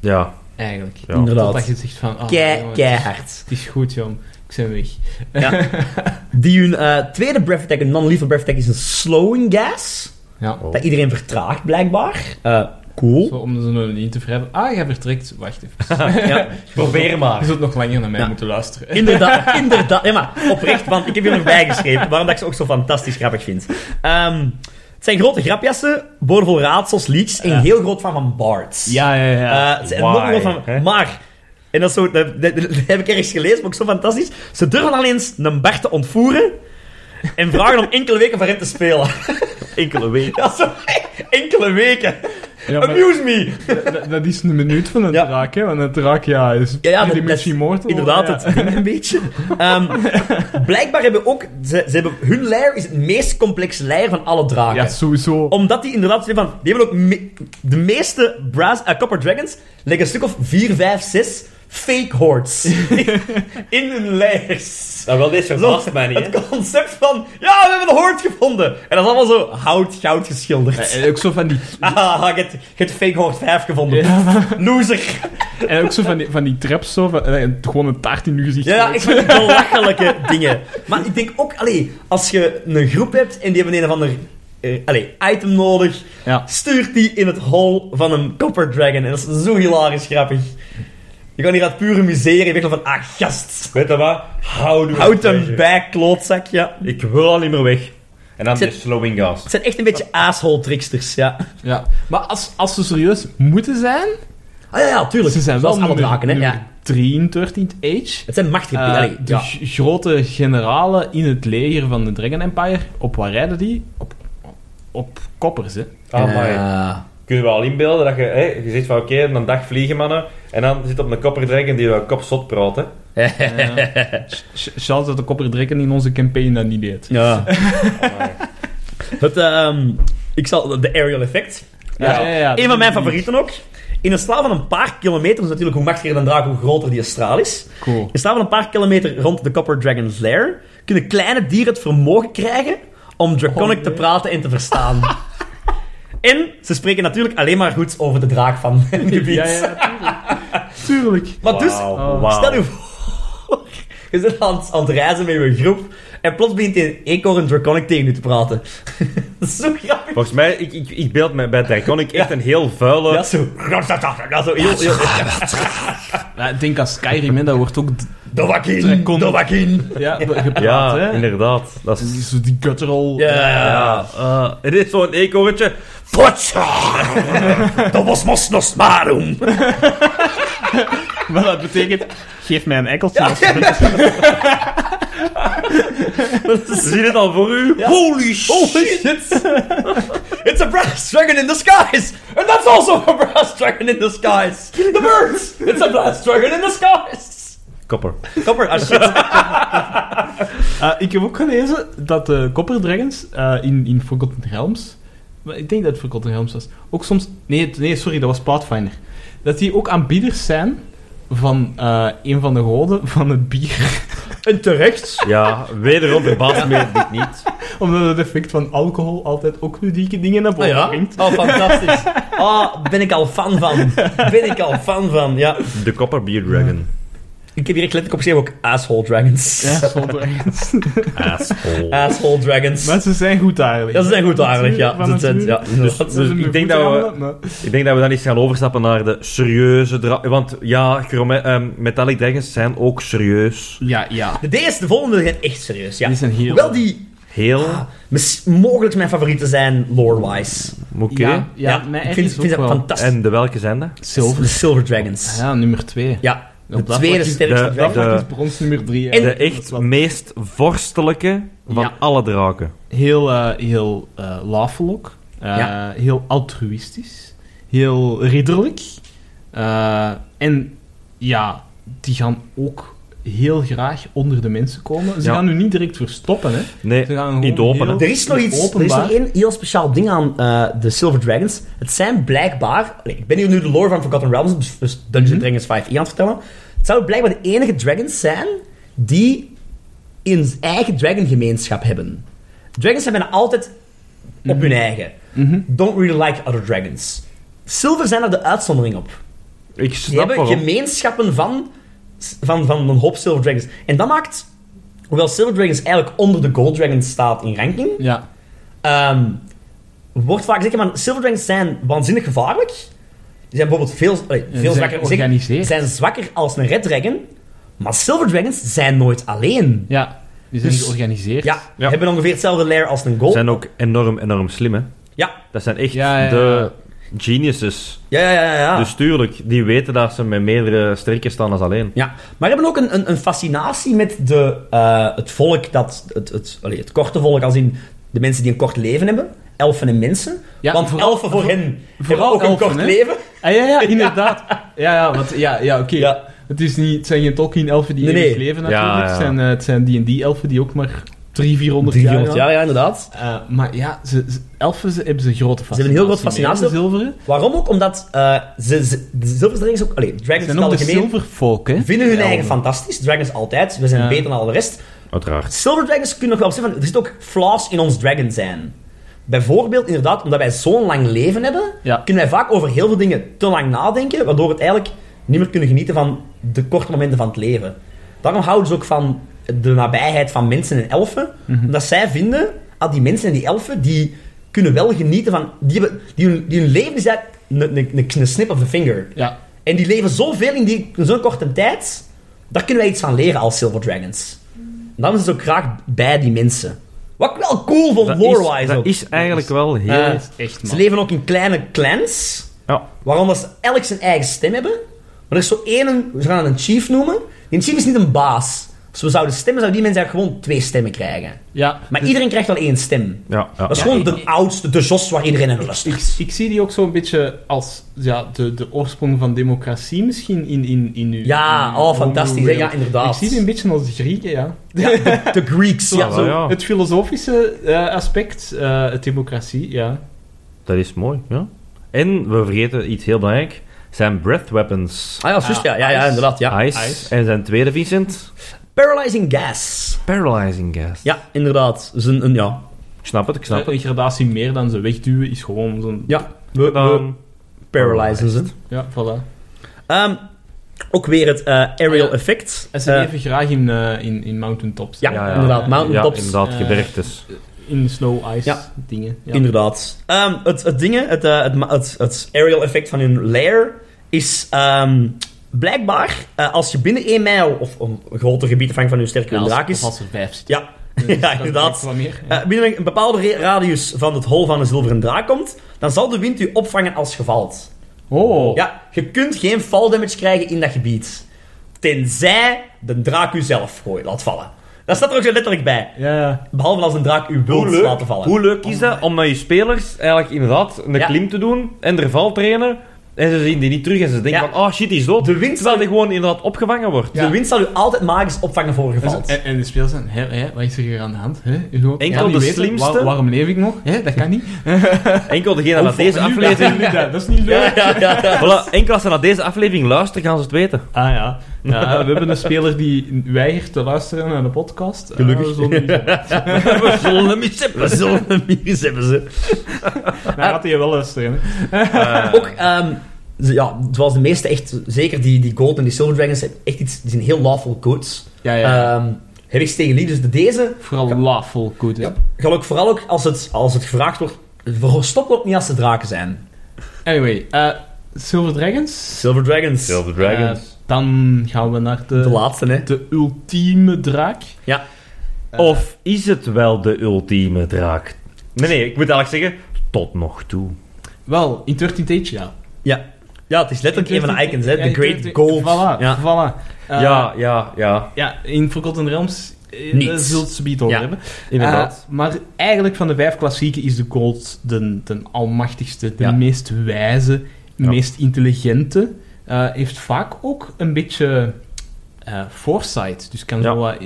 A: Ja,
C: eigenlijk.
A: ja.
B: Inderdaad.
C: Totdat je zegt van, ah,
B: Kei,
C: jongen, het, is,
B: keihard.
C: het is goed, jong. Ik ben weg.
B: Ja. Die hun eh, tweede breath attack, een non-lethal breath attack, is een slowing gas.
C: Ja.
A: Oh.
B: Dat iedereen vertraagt, blijkbaar. Eh, cool.
C: Zo, om ze nog niet te wrijven. Ah, jij vertrekt. Wacht even.
B: Ja, probeer
C: Je
B: maar.
C: zult nog langer naar mij
B: Ja.
C: moeten luisteren.
B: Inderdaad, inderdaad. Ja, maar oprecht, want ik heb hier nog bijgeschreven waarom dat ik ze ook zo fantastisch grappig vind. Ehm, het zijn grote grapjassen, boordevol raadsels, leaks en
C: Ja.
B: heel groot fan van Bards.
C: Ja, ja, ja.
B: Eh, het zijn
A: Why,
B: nog wel van,
A: hè?
B: maar, en dat, is zo, dat, dat- dat heb ik ergens gelezen, maar ook zo fantastisch. Ze durven alleen eens een Bart te ontvoeren en vragen om enkele weken voor hem te spelen.
A: enkele weken.
B: Ja, zo, enkele weken.
C: Ja, maar-
B: Amuse me.
C: dat, dat is een minuut van een
B: Ja.
C: draak, hè? Want een draak, ja, is
B: Ja, ja, dat-
C: dimensie
B: dat-
C: moord.
B: Inderdaad,
C: ja.
B: het ding een beetje. Ehm, blijkbaar hebben ook... Ze, ze hebben, hun lair is het meest complexe lair van alle draken.
C: Ja, sowieso.
B: Omdat die inderdaad... zeggen Van, die hebben ook me- de meeste brass, eh, Copper Dragons liggen een stuk of 4, 5, 6 fake hordes in hun lairs.
A: Nou, wel, deze
B: Zo, Het concept van... Ja, we hebben een hoort gevonden. En dat is allemaal zo hout-goud geschilderd.
C: Eh, En ook zo van die,
B: Ah, je hebt- je hebt fake hoort 5 gevonden. Loser.
C: en ook zo van die, van die traps, zo, van, eh, gewoon een taart in je gezicht.
B: Ja, ja, ik vind het belachelijke dingen. Maar ik denk ook, allee, als je een groep hebt en die hebben een of ander eh, allee, item nodig,
C: Ja.
B: stuurt die in het hol van een Copper Dragon. En dat is zo hilarisch grappig. Je kan hier uit pure miserie weg van, ah, gast.
A: Weet je wat? Houd hem
B: Houd hem bij, klootzak, ja.
A: Ik wil al niet meer weg. En dan
B: Zit-
A: de slowing gas.
B: Het zijn echt een beetje asshole tricksters, ja.
C: Ja. Maar als, als ze serieus moeten zijn,
B: Ah ja, ja, tuurlijk.
C: ze zijn wel
B: Zoals alle
C: nummer,
B: draken, hè.
C: nummer
B: Ja.
C: drie in 13th Age.
B: Het zijn machtige...
C: Eh,
B: allee,
C: de
B: ja.
C: g- grote generalen in het leger van de Dragon Empire. Op waar rijden die? Op, op koppers, hè.
A: Amai.
B: Eh,
A: Kunnen we al inbeelden dat je, hè, je zegt van oké, een dag vliegen mannen. En dan zit op een kopper dragon die wel kop zot praat. Hè.
C: Eh, ch- ch- Chance dat de kopper Dragon in onze campaign dat niet deed.
B: ja.
A: Amai.
B: Het, ehm, ik zal... De aerial effect. eh,
A: Ja.
B: Een van mijn favorieten ook. In een straal van een paar kilometer, is natuurlijk hoe machtiger een draak, hoe groter die straal is.
C: Cool.
B: In een straal van een paar kilometer rond de Copper Dragon's Lair kunnen kleine dieren het vermogen krijgen om Draconic
C: Oh, nee.
B: te praten en te verstaan. en ze spreken natuurlijk alleen maar goed over de draak van hun gebied.
C: Ja, ja, tuurlijk. tuurlijk.
B: Maar dus,
A: Wauw,
C: Oh.
A: wauw.
B: stel je voor, je zit aan, het- aan het reizen met je groep en plots begint een eekhoorn Draconic tegen je te praten. Dat is zo grappig.
A: Volgens mij, ik, ik, ik beeld mij bij Draconic echt een heel vuile...
B: Ja, zo. Ja, zo heel, heel,
C: Ja, ik denk aan Skyrim, hè, dat wordt ook d-
B: Dovakin,
C: Draconic.
B: Dovakin.
C: ja, gepraat.
A: Ja,
C: hè.
A: inderdaad. Dat
C: Het
A: is...
C: is zo die guttural...
B: Ja.
A: Ja, eh, het is zo'n eekhoortje.
B: Potja! Dat was mos nos marum.
C: Wat dat betekent, geef mij een enkeltje.
B: Ja.
A: Zie je het al voor u?
B: Holy shit! It's a brass dragon in the skies! And that's also a brass dragon in the skies! The birds! It's a brass dragon in the skies!
A: Kopper.
B: Kapper, als shit.
C: Eh, ik heb ook gelezen dat de Copper Dragons eh, in, in Forgotten Realms... maar Ik denk dat het Forgotten Realms was. Ook soms... Nee, het- nee sorry, dat was Pathfinder. Dat die ook aanbieders zijn van eh, een van de goden van het bier.
B: En terecht.
A: Ja, wederom verbaast me dit niet.
C: Omdat het effect van alcohol altijd ook ludieke dingen naar
B: Oh,
C: boven
B: ja.
C: brengt.
B: oh, fantastisch. Oh, ben ik al fan van. Ben ik al fan van, ja.
A: De Copper Beer Dragon.
B: Ik heb hier echt letterlijk opgeschreven ook asshole dragons.
C: Ja, zonder echt.
A: Asshole.
B: Asshole dragons.
C: Maar ze zijn goed eigenlijk.
B: Dat is echt goed aardig, ja.
C: Van
B: Dat zijn-
C: nature.
B: ja.
A: Dus,
C: Dat zijn
A: dus
C: mijn
A: ik, denk
C: voeten
A: dat we,
C: gaan, maar-
A: ik denk dat we dan eens gaan overstappen naar de serieuze... dra- Want ja, chrome- ehm, Metallic Dragons zijn ook serieus.
C: Ja, ja.
B: De D's, de volgende zijn echt serieus, ja.
C: Die zijn heel...
B: Wel die
A: Heel...
B: mis- mogelijk mijn favorieten zijn lore-wise.
A: Oké.
C: Ja, ja, mijn
B: ik
C: echt
B: vind,
C: is
B: vind
C: ook
B: dat
C: wel...
B: fantastisch.
A: En de welke zijn dat?
B: De Silver Dragons. Ah Ja,
C: Ja, nummer 2.
B: de
C: Op dat
B: tweede
C: vlak is-
B: sterkste
A: de-
B: dragon.
A: de-
C: Dat is brons nummer 3.
B: En-
A: De echt meest vorstelijke van
C: Ja.
A: alle draken.
C: heel, eh, heel eh lafelijk, eh,
B: Ja.
C: heel altruïstisch, heel ridderlijk. Eh, en ja, die gaan ook heel graag onder de mensen komen. Ze
A: Ja.
C: gaan nu niet direct verstoppen, hè.
A: Nee,
C: Ze gaan
A: niet
C: gewoon
A: open, hè.
C: heel
B: Er is nog iets, er is nog
C: openbaar.
B: één heel speciaal ding aan eh, de Silver Dragons. Het zijn blijkbaar, Allee, ik ben hier nu de lore van Forgotten Realms, dus- dus Dungeons
C: Mhm.
B: Dragons 5 aan het vertellen. Het zouden blijkbaar de enige dragons zijn die een eigen dragongemeenschap hebben. Dragons zijn bijna altijd op hun eigen.
C: Mhm.
B: Don't really like other dragons. Silver zijn er de uitzondering op.
A: Ik
B: Die
A: snap
B: hebben
A: waarom.
B: gemeenschappen van, van, van een hoop Silver Dragons. En dat maakt, hoewel Silver Dragons eigenlijk onder de Gold Dragons staat in ranking,
C: Ja,
B: Ehm, wordt vaak gezegd, maar Silver Dragons zijn waanzinnig gevaarlijk. Die zijn bijvoorbeeld veel, eh, veel
C: zijn
B: zwakker.
C: georganiseerd.
B: zijn zwakker als een Red Dragon. Maar Silver Dragons zijn nooit alleen.
C: ja. Die zijn
B: Dus-
C: georganiseerd.
B: Ja,
A: Ja.
B: hebben ongeveer hetzelfde lair als een Gold.
A: zijn ook enorm, enorm slim, hè.
B: Ja.
A: Dat zijn echt
C: Ja, ja, ja.
A: de geniuses.
B: Ja, ja, ja, ja, ja.
A: Dus tuurlijk, die weten dat ze met meerdere sterker staan dan alleen.
B: ja. Maar hebben ook een, een, een fascinatie met de, eh, het volk, dat, het, het, allee, het korte volk, als in de mensen die een kort leven hebben. Elfen en mensen.
C: Ja,
B: Want
C: vooral-
B: elfen voor
C: voor-
B: hen hebben
C: vooral
B: ook een
C: elfen,
B: kort
C: hè?
B: leven.
C: Ah, ja, ja, inderdaad. ja, ja, want, ja, ja oké.
B: Ja.
C: Het, is niet, het zijn geen Tolkien-elfen die
B: Nee,
C: in
B: nee.
C: eeuwig
A: Ja,
C: leven, natuurlijk.
A: ja.
C: Het zijn eh, Het zijn D&D-elfen die ook maar 300, 400 jaar
B: 300 jaar, ja, inderdaad.
C: Eh, maar ja, ze, ze- elfen ze, hebben ze een grote fascinatie.
B: hebben een heel grote
C: mee,
B: fascinatie.
C: hè, de zilveren.
B: Waarom ook? Omdat eh, ze, ze, de zilveren dragons ook... Allee,
C: Ze
B: dragons in
C: zijn
B: het
C: ook de
B: algemeen
C: zilvervolk, hè?
B: vinden hun
C: Ja,
B: eigen
C: hoor.
B: fantastisch. Dragons altijd. We zijn
C: Ja.
B: beter dan al de rest.
A: Uiteraard.
B: Silver dragons kunnen nog wel zeggen van... Er zitten ook flaws in ons dragon zijn. Bijvoorbeeld, inderdaad, omdat wij zo'n lang leven hebben...
C: Ja.
B: kunnen wij vaak over heel veel dingen te lang nadenken... waardoor we het eigenlijk niet meer kunnen genieten van de korte momenten van het leven. Daarom houden ze ook van de nabijheid van mensen en elfen. Omdat zij vinden... Ah, die mensen en die elfen, die kunnen wel genieten van... Die, hebben, die, hun, die hun leven is eigenlijk een, een, een- een snip of the finger.
C: Ja.
B: En die leven zoveel in, die- in zo'n korte tijd. Daar kunnen wij iets van leren als Silver Dragons. En daarom is het ook graag bij die mensen. Wat ik wel cool vond,
A: Dat is,
B: lore-wise ook.
A: dat is eigenlijk wel heel...
B: Eh,
C: Dat is echt,
B: ze
C: man.
B: leven ook in kleine clans.
A: ja.
B: Waarom dat ze elk zijn eigen stem hebben. Maar er is zo één, we gaan hem een chief noemen. Die chief is niet een baas. Als we zouden stemmen, zouden die mensen eigenlijk gewoon twee stemmen krijgen.
C: Ja.
B: Maar
C: Dus
B: iedereen krijgt wel één stem.
A: Ja, ja.
B: Dat is
A: Ja.
B: gewoon
C: ik-
B: de
C: ik-
B: oudste, de Jos waar iedereen in lust
C: Ik, ik zie die ook zo'n beetje als ja, de, de oorsprong van democratie misschien in, in, in uw...
B: Ja,
C: in uw
B: oh, fantastisch, hè?
C: homo-wereld.
B: Ja, inderdaad.
C: Ik zie die een beetje als de Grieken, ja.
B: De Greeks,
C: Zo,
B: ja.
A: wel,
C: zo
A: ja.
C: Het filosofische eh, aspect, eh, het democratie, ja.
A: Dat is mooi, ja. En, we vergeten iets heel belangrijk, zijn breath weapons.
B: Ah ja, zus, ja, ja, ja, inderdaad, ja.
A: ice.
C: ice.
A: En zijn tweede, Vincent?
B: Paralyzing gas.
A: Paralyzing gas.
B: Ja, inderdaad. Dus een, een- ja.
A: Ik snap het, ik snap het.
C: Eh, Een gradatie meer dan ze wegduwen is gewoon zo'n...
B: Ja, we,
A: Dan,
B: paralyzen ze.
C: Ja, voilà.
B: Ehm, ook weer het eh, aerial
C: Ja. E
B: effect.
C: En ze
B: Eh,
C: leven graag in, eh, in, in mountaintops.
B: Ja,
A: ja, ja.
B: inderdaad.
A: ja,
B: Mountaintops.
A: inderdaad,
C: Eh,
A: gebergtes.
C: In snow ice
B: Ja.
C: dingen. Ja.
B: Inderdaad. Ehm, het, het ding, het, eh, het, ma- het, het aerial effect van hun lair is ehm, blijkbaar, eh, als je binnen 1 mijl, of een groter gebied afhankelijk van hoe sterk
C: Ja,
B: hun
C: als-
B: draak
C: of
B: is,
C: Als er vijf zitten.
B: ja,
C: Dus
B: ja,
C: dat
B: inderdaad.
C: werkt wel meer. Ja.
B: eh, binnen een bepaalde re- radius van het hol van een zilveren draak komt, dan zal de wind u opvangen als je valt.
C: oh.
B: Eh. Ja, je kunt geen fall damage krijgen in dat gebied. Tenzij de draak u zelf gooit, laat vallen. Dat staat er ook zo letterlijk bij.
C: Ja.
B: Behalve als een draak u wilt laten vallen.
A: hoe leuk is dat om met je spelers eigenlijk inderdaad een
B: Ja.
A: klim te doen en er val trainen en ze zien die niet terug en ze denken
B: Ja.
A: van, oh shit, die is dood.
B: De wind-
A: Terwijl die gewoon inderdaad opgevangen wordt.
B: De
C: Ja.
B: wind zal u altijd magisch opvangen voor je valt.
C: Dus- En, en de spelers zijn, hè, hè, wat is er hier aan de hand? Hè? Je ook-
A: Enkel
C: kan niet
A: de
C: weten,
A: slimste.
C: waar- waarom leef ik nog? Hè? Dat kan niet.
A: Enkel degene dat
C: Of-
A: deze
C: nu-
A: aflevering...
C: Dat is niet leuk.
B: Ja, ja, ja.
A: Voilà, enkel als ze naar deze aflevering luisteren, gaan ze het weten.
C: Ah ja. Ja, we hebben een speler die weigert te luisteren naar de podcast. Ah,
A: Gelukkig.
C: we zullen die-
A: We zullen hem iets hebben. We zullen hem hier eens hebben, ze.
C: Daar gaat hij wel luisteren. hè.
A: Eh,
B: Ook, ehm, ze- ja, zoals de meeste echt, zeker die, die Gold en die Silver Dragons, hebben echt iets, die zijn heel lawful codes.
C: Ja, ja.
B: Ehm heb ik tegen lief, dus de deze
C: Vooral lawful goed, hè.
B: Ja. ga ik vooral ook, als het, als het gevraagd wordt, stop ook niet als ze draken zijn.
C: Anyway, eh, Silver Dragons.
B: Silver Dragons,
A: Silver
C: Eh,
A: Dragons.
C: dan gaan we naar de,
B: de laatste, hè.
C: de ultieme draak.
B: Ja.
C: Eh,
A: of is het wel de ultieme draak? Nee, nee, ik moet eigenlijk zeggen, tot nog toe.
C: Wel, in 13th Age, ja.
B: Ja. Ja, het is letterlijk een van de icons, hè.
C: Ja, in
B: The Great
C: 13th
B: Gold.
C: Voilà,
B: Ja.
C: voilà. Eh,
A: ja, ja, ja,
C: ja, in Forgotten Realms eh,
B: Niets.
C: daar zult ze het over
B: Ja.
C: hebben.
A: inderdaad.
C: Eh, maar eigenlijk van de vijf klassieken is de gold de, de almachtigste, de
B: Ja.
C: meest wijze,
A: Ja.
C: meest intelligente. Eh, heeft vaak ook een beetje eh, foresight. Dus kan
A: Ja.
C: zo wat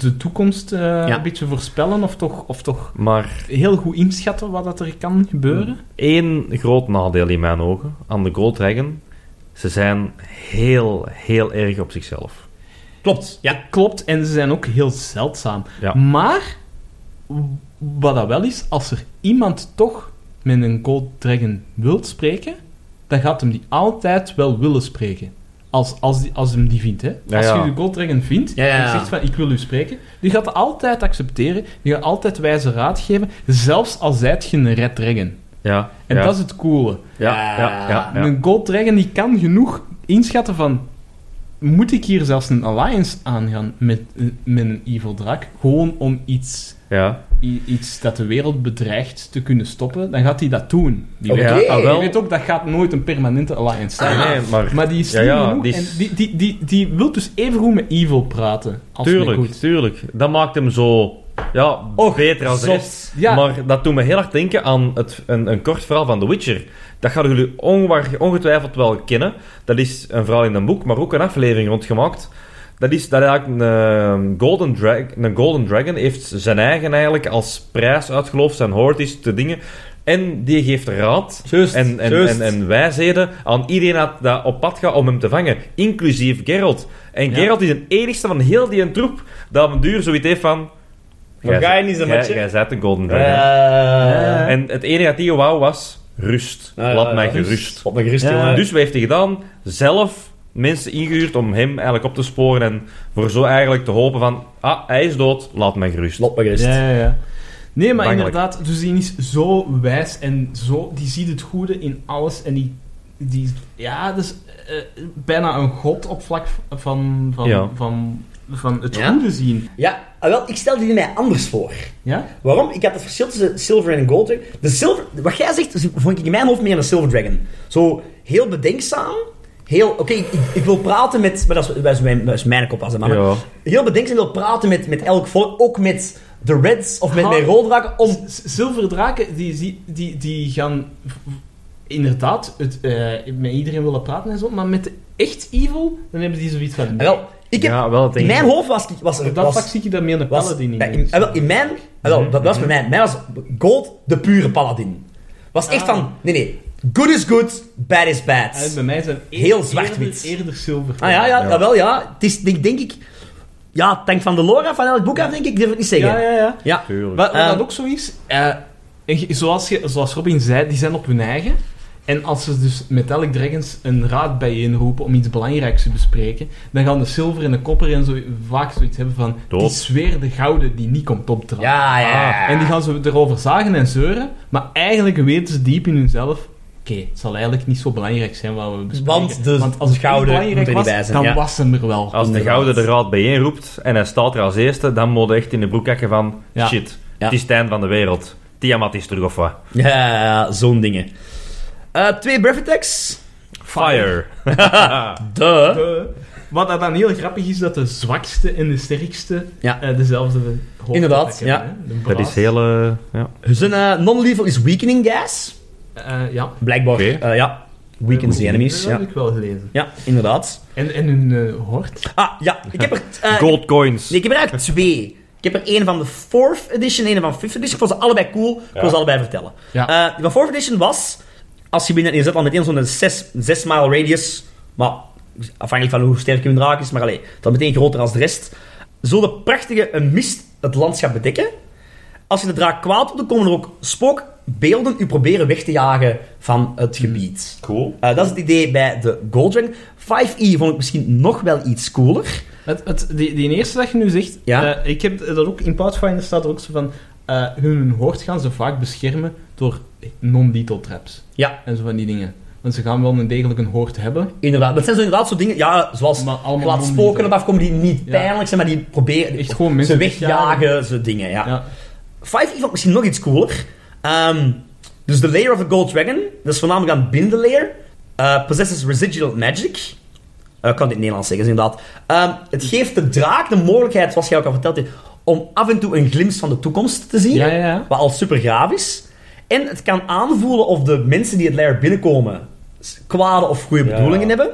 C: de toekomst eh, een beetje voorspellen of toch, of toch
A: Maar
C: heel goed inschatten wat dat er kan gebeuren.
A: één groot nadeel in mijn ogen aan de Gold Dragon. Ze zijn heel, heel erg op zichzelf.
B: Klopt, ja.
C: Klopt, en ze zijn ook heel zeldzaam.
A: Ja.
C: Maar, w- wat dat wel is, als er iemand toch met een Gold Dragon wilt spreken, dan gaat hem die altijd wel willen spreken. Als, als, die, als hem die vindt, hè.
A: Ja,
C: als
A: ja.
C: je de Gold Dragon vindt,
B: Ja, ja,
C: en
B: ja.
C: zegt van, ik wil u spreken, die gaat altijd accepteren, die gaat altijd wijze raad geven, zelfs al zijt je een Red Dragon.
A: Ja,
C: En
A: ja,
C: dat is het coole.
A: ja, ja, ja, ja.
C: Ah, Een Gold Dragon die kan genoeg inschatten van... Moet ik hier zelfs een alliance aangaan met, met een evil draak? Gewoon om iets,
A: ja.
C: i- iets dat de wereld bedreigt te kunnen stoppen. Dan gaat hij dat doen. Die
B: Oké.
C: weet,
A: Ja, ah,
C: die
A: wel. Ah,
C: weet ook, dat gaat nooit een permanente alliance zijn.
A: Nee, maar...
C: Maar die is slim
A: Ja, ja,
C: genoeg
A: die
C: en
A: is-
C: die, die, die, die wil dus evengoed met evil praten. Als met
A: Tuurlijk,
C: goed.
A: tuurlijk. Dat maakt hem zo ja, beter als de
C: zot.
A: rest.
C: Ja.
A: Maar dat doet me heel erg denken aan het, een, een kort verhaal van The Witcher. Dat gaan jullie onwaar- ongetwijfeld wel kennen. Dat is een verhaal in een boek, maar ook een aflevering rondgemaakt. Dat is dat eigenlijk een, eh, Golden Dragon, een Golden Dragon heeft zijn eigen eigenlijk als prijs uitgeloofd. Zijn hoort is de dingen. En die geeft raad
B: Juist,
A: en, en,
B: juist.
A: en, en wijsheden aan iedereen dat, dat op pad gaat om hem te vangen, inclusief Geralt. En
C: Ja.
A: Geralt is de enigste van heel die troep dat op een duur zoiets heeft van...
B: Maar
A: "Jij
B: ga je
A: zet-
B: niet zo
A: jij-
B: met je?"
A: Jij bent een Golden Dragon.
B: Eh,
A: En het enige dat hij wou was rust.
B: eh,
A: Laat mij
B: rust.
A: gerust.
B: Laat mij gerust,
C: Ja.
B: jongen.
A: Dus wat heeft hij gedaan? Zelf mensen ingehuurd om hem eigenlijk op te sporen en voor zo eigenlijk te hopen van... Ah, hij is dood, laat mij gerust.
B: Laat mij gerust.
C: Ja, ja, ja. Nee, maar
A: Bangelijk.
C: inderdaad, dus die is zo wijs en zo, die ziet het goede in alles en die, die ja, dus eh, bijna een god op vlak van, van,
A: Ja.
C: van, van het
B: Ja.
C: goede zien.
B: Ja, ah, wel, ik stel die mij anders voor.
C: Ja?
B: Waarom? Ik had het verschil tussen Silver en Gold. Dragon. De Silver, wat jij zegt, is- vond ik in mijn hoofd meer een Silver Dragon. Zo heel bedenkzaam. Heel, oké, ik, ik wil praten met. Maar dat is, dat is mijn, dat is mijn kop als een man.
A: Ja.
B: Heel bedenkzaam wil praten met, met elk volk. Ook met de Reds of met
C: Ah.
B: mijn roldraken. Om.
C: Z- Zilveren draken, die, die, die, die gaan v- v- inderdaad het, eh, met iedereen willen praten en zo, maar met de echt evil, dan hebben die zoiets van...
B: Ah, wel, ik heb,
A: Ja, wel het
B: in
A: enige.
B: mijn hoofd was. ik- was,
C: Op
B: er-
C: dat
B: was,
C: vlak zie je dat meer Mhm, een
B: was-
C: paladin in.
B: ja, in, ah, wel, in mijn. ah, wel, dat was bij mij. Mij was Gold de pure paladin. Was echt
C: Ah.
B: van. Nee, nee. Good is good, bad is bad.
C: Ja, Eh, bij mij zijn eer-
B: Heel zwart-wit.
C: Eerder, eerder zilver.
B: Ah ja, ja,
A: Ja.
B: jawel, ja. Het is, denk, denk ik... Ja, het hangt van de lore af, van elk boek af, denk ik. Durf ik niet zeggen.
C: ja, ja, ja.
B: Ja.
A: Tuurlijk.
C: Wat, wat
B: Ehm,
C: dat ook zo is, eh, en je- zoals, je, zoals Robin zei, die zijn op hun eigen. En als ze dus Metallic Dragons een raad bijeenroepen om iets belangrijks te bespreken, dan gaan de zilver en de kopper en zo vaak zoiets hebben van
A: Dood.
C: die sfeer de gouden die niet komt opdragen.
B: Ja, ja, ja.
C: ah, En die gaan ze erover zagen en zeuren, maar eigenlijk weten ze diep in hunzelf... Oké, het zal eigenlijk niet zo belangrijk zijn wat we bespreken.
B: Want de
C: als het
B: gouden
C: niet belangrijk
B: moet er niet
C: was,
B: bij zijn,
C: dan
B: ja.
C: was hem er
A: Als
C: wel.
A: de
B: Inderdaad.
A: gouden de raad bijeenroept en hij staat er als eerste, dan moet je echt in de broek hakken van...
C: Ja.
A: Shit,
B: Ja.
A: het is het einde van de wereld. Tiamat is terug of wat?
B: Ja, ja, ja, zo'n dingen. Eh, twee breath attacks.
A: Fire.
B: Duh.
C: Eh, wat dat dan heel grappig is, dat de zwakste en de sterkste
B: Ja.
C: eh, dezelfde hoofd
B: Inderdaad, ja.
A: Dat is heel... eh, ja.
B: Zijn eh, non-lethal is weakening gas.
C: ja.
B: Blijkbaar.
A: Oké.
B: Eh, ja. Weakens the enemies.
C: Dat
B: Ja.
C: heb ik wel gelezen.
B: ja, inderdaad.
C: En, en hun eh, hort.
B: Ah, ja. Ik heb er... eh,
A: Gold coins.
B: Nee, ik heb er eigenlijk twee. Ik heb er één van de 4th edition en één van 5th edition. Ik vond ze allebei cool. Ik wil
A: Ja.
B: ze allebei vertellen.
C: Ja.
B: Eh, die van 4th edition was... Als je binnen... Je zet al meteen zo'n 6 mile radius. Maar afhankelijk van hoe sterk hun draak is, maar allee, dan meteen groter als de rest, zo de prachtige een mist het landschap bedekken. Als je de draak kwaad doet, dan komen er ook spookbeelden u proberen weg te jagen van het gebied.
A: Cool.
B: Eh, dat is het idee bij de Gold Dragon. 5e vond ik misschien nog wel iets cooler.
C: Het, het, die, die eerste dat je nu zegt,
B: Ja.
C: eh, ik heb dat ook in Pathfinder staat er ook zo van. eh, hun hoort gaan ze vaak beschermen door non-detail traps.
B: Ja.
C: En zo van die dingen. Want ze gaan wel een degelijk een hoort hebben.
B: Inderdaad. Dat zijn zo inderdaad zo dingen, ja, zoals
C: Maar allemaal
B: glad
C: non-detail.
B: spoken op afkomen die niet
C: Ja.
B: pijnlijk zijn, maar die proberen...
C: Echt gewoon
B: ze
C: mensen
B: wegjagen, zo dingen, ja.
C: Ja.
B: 5e vond ik misschien nog iets cooler. Ehm, dus de Layer of the Gold Dragon, dat is voornamelijk aan binnen de layer, eh, possesses residual magic. Eh, ik kan dit in het Nederlands zeggen, is inderdaad. Ehm, het geeft de draak de mogelijkheid, zoals jij ook al verteld hebt, om af en toe een glimp van de toekomst te zien.
C: Ja, ja, ja.
B: Wat al super gaaf is. En het kan aanvoelen of de mensen die het lair binnenkomen s- kwade of goede
A: Ja.
B: bedoelingen hebben.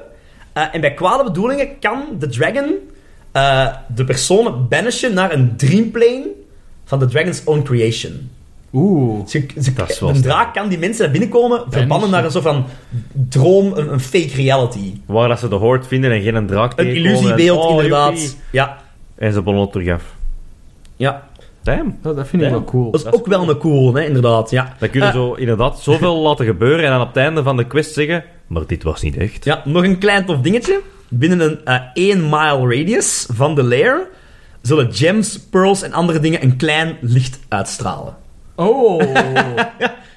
B: Eh, en bij kwade bedoelingen kan de dragon eh, de personen banishen naar een dreamplane van de dragon's own creation.
C: Oeh.
B: Ze, ze,
A: Dat is wel
B: een
A: sterk.
B: draak kan die mensen die binnenkomen verbannen
C: Banishen.
B: naar een soort van droom, een, een fake reality.
A: Waar dat ze de hoort vinden en geen een draak
B: Een
A: tegenkomen en-
B: illusiebeeld,
A: Oh,
B: inderdaad.
A: joepie.
B: Ja,
A: En ze bonnen het terug af.
B: ja.
A: Damn.
C: Dat, dat vind ik
A: Ja.
C: wel cool.
B: Dat is
A: Dat is
B: ook wel een cool, hè, inderdaad. Ja.
A: Dan kunnen
B: Eh.
A: zo inderdaad zoveel laten gebeuren en dan op het einde van de quest zeggen... Maar dit was niet echt.
B: Ja, nog een klein tof dingetje. Binnen een eh 1 mile radius van de lair zullen gems, pearls en andere dingen een klein licht uitstralen.
C: Oh.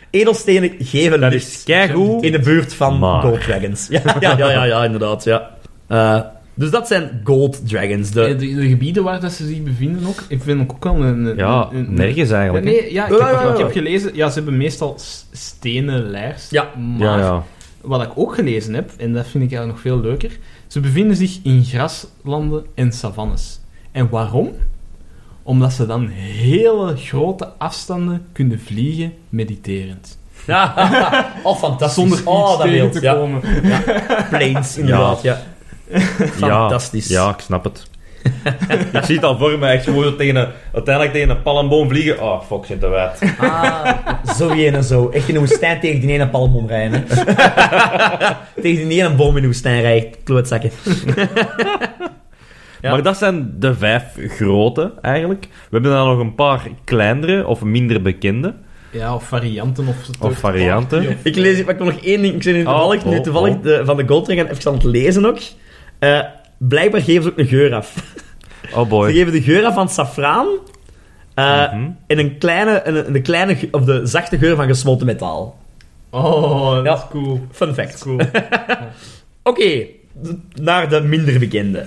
B: Edelstenen geven
A: Dat
B: licht
A: is keigoed.
B: in de buurt van
A: Maar.
B: Gold Dragons. Ja, ja, ja, ja, ja, inderdaad. Ja. Eh, dus dat zijn Gold Dragons. De,
A: Eh,
C: Ja, Eh, de, de gebieden waar dat ze zich bevinden ook. Ik vind ook wel een... een-
A: Ja,
C: een- een-
A: nergens eigenlijk. hè.
C: Nee, ja, ik,
B: Ja, ja,
C: heb,
B: ja.
C: ik heb gelezen... Ja, ze hebben meestal s- stenen lijst.
B: Ja.
C: Maar
A: Ja, ja.
C: wat ik ook gelezen heb, en dat vind ik eigenlijk nog veel leuker, ze bevinden zich in graslanden en savannes. En waarom? Omdat ze dan hele grote afstanden kunnen vliegen mediterend.
B: Ja, oh, fantastisch.
C: Zonder iets
B: oh, dat
C: tegen
B: beeld.
C: te
B: Ja.
C: komen.
B: Planes, inderdaad. Ja. Fantastisch.
A: Ja, ja, ik snap het. ik zie het al voor me. Echt gewoon zo tegen een, uiteindelijk tegen een palmboom vliegen. Oh, fuck, zit er wijd.
B: Ah, zo die en zo. Echt in de woestijn tegen die ene palmboom rijden. hè. tegen die ene boom in de woestijn rijden. Klootzakken. Ja.
A: Maar dat zijn de vijf grote, eigenlijk. We hebben dan nog een paar kleinere of minder bekende.
C: Ja, of varianten of...
A: Of varianten.
C: Ja.
B: Ik lees, maar ik wil nog één ding. Ik ben nu toevallig,
A: Oh, oh,
B: nu toevallig
A: oh.
B: de- van de Goldring aan even aan het lezen ook. Eh, blijkbaar geven ze ook een geur af.
A: Oh
B: Ze
A: boy.
B: geven de geur af van saffraan. eh,
A: Mhm.
B: En een kleine, een, een kleine, ge- of de zachte geur van gesmolten metaal.
C: Oh, dat
B: Ja.
C: is cool.
B: Fun
C: Dat is
B: fact.
C: cool.
B: Oké, d- naar de minder bekende.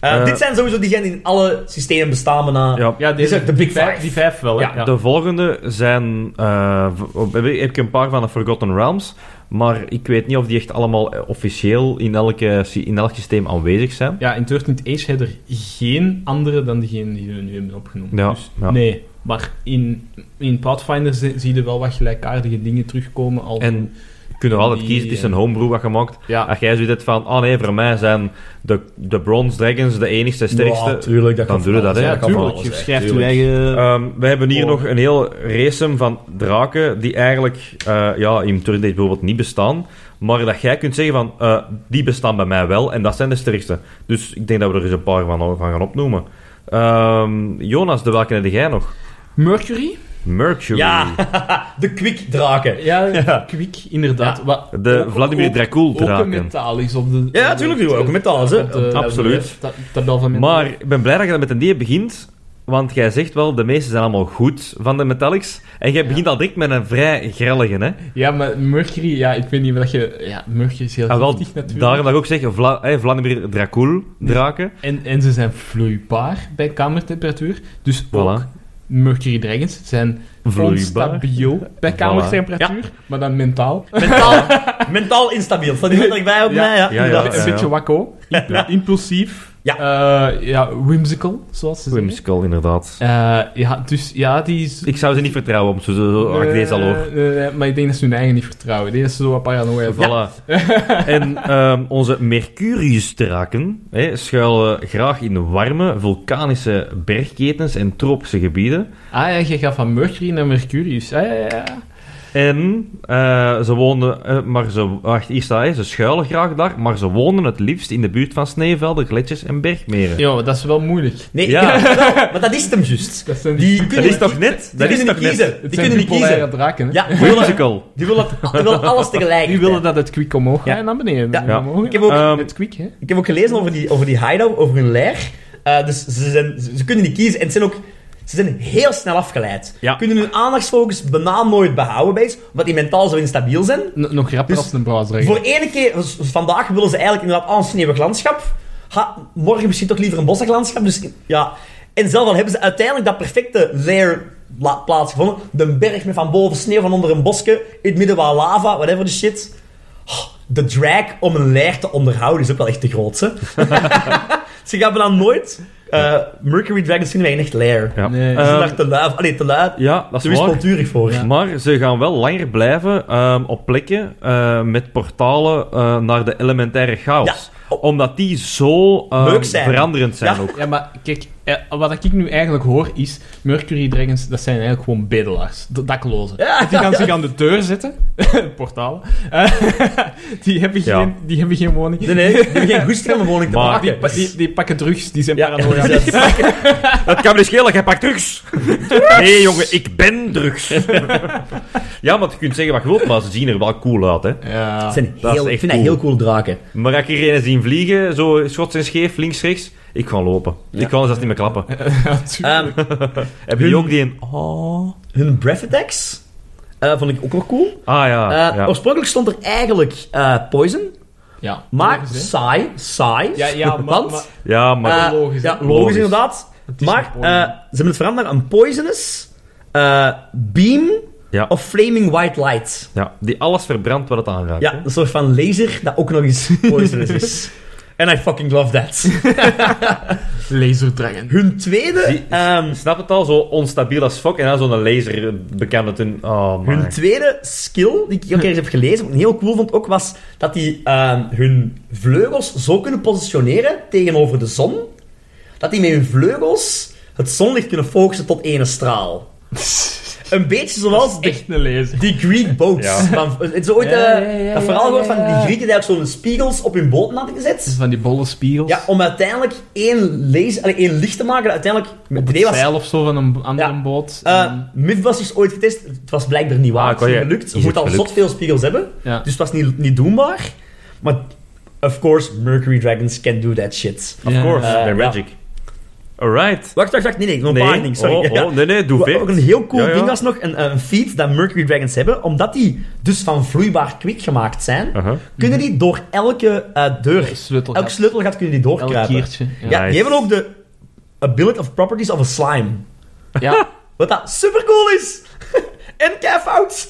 B: Eh,
A: Eh,
B: dit zijn sowieso diegenen die in alle systemen bestaan. Maar na...
A: Ja.
C: Ja,
B: Die
C: deze,
B: zijn de
C: de
B: big
C: big
B: five.
C: vijf, die vijf wel, hè.
B: Ja,
A: De volgende zijn... eh, v- heb ik- heb ik een paar van de Forgotten Realms. Maar ik weet niet of die echt allemaal eh, officieel in, elke, sy- in elk systeem aanwezig zijn.
C: Ja, in 13th Age had er geen andere dan degene die we nu hebben opgenomen.
A: Ja,
C: Dus
A: ja.
C: nee. Maar in, in Pathfinder zi- zie je wel wat gelijkaardige dingen terugkomen. Als
A: En je kunt nog altijd
C: Die,
A: kiezen. Het is
C: eh,
A: een homebrew wat gemaakt.
C: ja,
A: Als jij zoiets hebt van, oh nee, voor mij zijn de, de Bronze Dragons de enigste sterkste.
B: Ja, tuurlijk, dat
A: Dan
B: kan
A: doe je
B: van
A: dat, hè.
B: alles
C: ja,
A: dat kan
B: van
C: tuurlijk.
B: alles
C: Je
B: zijn,
C: schrijft je
B: tuurlijk.
C: eigen...
A: Ehm, we hebben hier
C: Oh.
A: nog een heel racem van draken die eigenlijk eh, ja, in Turned bijvoorbeeld niet bestaan. Maar dat jij kunt zeggen van, eh, die bestaan bij mij wel en dat zijn de sterkste. Dus ik denk dat we er eens een paar van, van gaan opnoemen. Ehm, Jonas, de welke heb jij nog?
C: Mercury?
A: Mercury.
B: Ja, de kwikdraken.
C: Ja, Kwik, inderdaad.
B: Ja.
C: Wat
A: De
C: ook-
A: Vladimir
C: ook-
A: Dracul
C: Ook een
A: draken.
C: metaal is op de...
B: Ja, tuurlijk, die ook een metaal is, hè.
C: op de-
A: Absoluut.
C: ta- Tabel van metaal.
A: Maar ik ben blij dat je met een die begint. Want jij zegt wel, de meeste zijn allemaal goed van de Metallics. En jij begint al direct met een vrij grellige, hè?
C: Ja, maar Mercury, ja, ik weet niet wat je... Ja, Mercury is heel
A: En Ah, wel,
C: giftig natuurlijk.
A: daarom dat ik ook zeg, Vla, eh, Vladimir Dracul, draken.
C: En, en ze zijn vloeibaar bij kamertemperatuur. Dus ook
A: Voilà.
C: Mercury Dragons zijn
A: Vloeibaar.
C: onstabiel bij
A: Voilà.
C: kamertemperatuur, maar dan mentaal.
B: Mentaal, mentaal instabiel. Staat die letterlijk bij op
C: Ja.
B: mij? Ja,
A: Ja,
B: inderdaad.
C: een beetje wakko, imp- impulsief,
B: Ja.
C: eh, ja, whimsical, zoals ze zeggen.
A: Whimsical, inderdaad.
C: Eh, ja, dus ja, die is...
A: Ik zou ze niet vertrouwen, om zo, zo, zo als Oh, ah, ik deze al hoor.
C: Eh, nee, maar ik denk dat ze hun eigen niet vertrouwen. Ik denk dat ze zo wat paranoia van.
A: Voilà. en ehm, onze Mercurius-draken hè, schuilen graag in warme, vulkanische bergketens en tropische gebieden.
C: Ah ja, je gaat van Mercury naar Mercurius. Ah, ja, ja, ja.
A: En eh, ze woonden, eh, maar ze, wacht, hier staat, hè, ze schuilen graag daar, maar ze wonen het liefst in de buurt van sneeuwvelden, gletsjers en bergmeren.
C: Ja, dat is wel moeilijk.
B: Nee,
A: Ja.
B: ja. wel, maar dat is het hem juist.
C: Dat zijn die,
B: Die
A: Dat
B: kunnen,
A: is toch net?
B: die
A: Dat is
B: kunnen
A: toch
B: niet
A: net?
B: kiezen.
C: het
B: Die
C: zijn
B: kunnen niet
C: bipolaire
B: kiezen.
C: draken, hè?
B: Ja, die willen,
A: Musical.
B: die willen, die willen alles tegelijk.
C: Die willen dat het kwik omhoog gaat en naar beneden.
B: Ja.
C: En naar omhoog.
B: Ik heb ook-
A: Ehm,
C: het kwik, hè?
B: Ik heb ook gelezen over die, over die hideout, over hun leer. Eh, dus ze, zijn, ze, ze kunnen niet kiezen. En ze zijn ook ze zijn heel snel afgeleid.
A: Ja.
B: Kunnen hun aandachtsfocus bijna nooit behouden bij iets, omdat die mentaal zo instabiel zijn.
C: N- nog rapper
B: Dus
C: als een browser.
B: Voor ene keer, dus vandaag willen ze eigenlijk inderdaad al een sneeuwig landschap. Ha, morgen misschien toch liever een bossig landschap. Dus ja. En zelf al hebben ze uiteindelijk dat perfecte lair la- plaatsgevonden. De berg met van boven sneeuw, van onder een bosje, in het midden waar lava, whatever the shit. Oh, De drag om een lair te onderhouden is ook wel echt de grootste. ze gaan dan nooit eh, Mercury Dragons vinden wij een echt lair.
A: Ja.
C: Nee.
A: Ehm,
B: Ze zijn daar te lui. Allee, te lui.
A: ja, dat
B: Ze
A: is
B: is
A: waar.
B: cultuurig voor.
C: Ja.
A: Maar ze gaan wel langer blijven ehm, op plekken ehm, met portalen eh, naar de elementaire chaos. Omdat die zo ehm,
B: Oh. Leuk zijn.
A: veranderend zijn
B: Ja.
A: ook.
C: Ja, maar kijk, eh, wat ik nu eigenlijk hoor is... Mercury Dragons, dat zijn eigenlijk gewoon bedelaars. D- daklozen.
B: Ja,
C: die gaan
B: ja.
C: zich aan de deur zetten. Portalen. Eh, die, hebben
A: Ja.
C: geen, die hebben geen woning.
B: Nee, nee, die hebben geen goesting om een woning te
A: Maar-
B: maken.
C: Die, pa- die, die pakken drugs, die zijn
B: Ja,
C: paranoia.
B: ja, dat is-
A: Het kan me niet schelen, jij pakt drugs. Nee, jongen, ik ben drugs. ja, want je kunt zeggen wat je wilt, maar ze zien er wel cool uit, hè.
C: Ja.
B: Dat zijn
A: Ah, Dat is
B: heel, ik
A: echt
B: vind dat
A: cool.
B: heel cool draken.
A: Maar als ik er een zien vliegen, zo schots en scheef, links, rechts, ik ga lopen. Ik kan zelfs niet meer
B: Eh,
A: klappen.
C: Ja, tuurlijk.
B: Ehm,
A: Heb je ook die een...
B: hun breath attacks eh, vond ik ook wel cool.
A: Ah, ja.
B: Eh,
A: ja.
B: Oorspronkelijk stond er eigenlijk eh, poison,
C: ja.
B: maar
C: Logisch, hè?
B: saai, saai.
C: Ja, ja, maar-
B: want,
C: maar-
A: ja, maar...
B: eh,
C: logisch, hè?
B: ja, logisch,
A: Logisch.
B: inderdaad.
C: Het is
B: Maar
C: een
B: eh,
C: poison.
B: ze hebben het veranderd naar een poisonous, eh, beam
A: ja.
B: of flaming white light.
A: ja, die alles verbrandt wat het aanraakt.
B: Ja,
A: hè.
B: een soort van laser dat ook nog eens poisonous is. And I fucking love that.
C: Laser Dragon.
B: Hun tweede,
A: Die-
B: ehm,
A: Ik snap het al, zo onstabiel als fuck. En dan zo'n laser eh, bekende toen. Oh, man.
B: Hun tweede skill, die
C: Hm.
B: ik ook ergens heb gelezen, wat ik heel cool vond ook, was dat die ehm, hun vleugels zo kunnen positioneren tegenover de zon, dat die met hun vleugels het zonlicht kunnen focussen tot ene straal. Een beetje zoals de,
C: Echt een laser.
B: die Greek boats.
A: Ja.
B: Van, het is ooit eh,
C: Ja, ja, ja,
B: dat
C: ja,
B: verhaal gehoord
C: ja,
B: van
C: ja.
B: die Grieken die ook zo'n spiegels op hun boten hadden gezet.
C: Van die bolle spiegels.
B: Ja, om uiteindelijk één, laser, allee, één licht te maken dat uiteindelijk...
C: op
B: Het
C: het
B: idee was,
C: zeil of zo van een andere
B: Ja.
C: boot.
B: eh
C: En-
B: Mythbusters is ooit getest. Het was blijkbaar niet waar.
A: Ehm. Ah,
B: het
A: kon
B: is niet
A: je-
B: gelukt.
A: is
B: Je moet
A: het
B: al
A: gelukt?
B: zot veel spiegels hebben.
C: ja.
B: Dus het was niet, niet doenbaar. Maar, of course, Mercury Dragons can do that shit.
A: Of
C: Ja.
A: course,
B: Eh,
A: they're
B: ja.
A: magic. Alright.
B: Wacht, wacht, wacht. Nee, nee, nog een paar
A: Nee.
B: dingen. Sorry.
A: Oh,
B: Ja.
A: oh, nee, nee, doe
B: Wat
A: ver.
B: ook een heel cool
A: Ja, ja.
B: ding was nog, een, een feat dat Mercury Dragons hebben, omdat die dus van vloeibaar kwik gemaakt zijn,
A: Uh-huh.
B: kunnen die door elke eh, deur,
C: sleutel.
B: elk sleutelgat kunnen die
C: Elk
B: doorkruipen.
C: kiertje. Ja.
B: Ja,
A: Nice.
B: die hebben ook de ability of properties of a slime.
C: Ja.
B: Wat dat super cool is! en kei fout!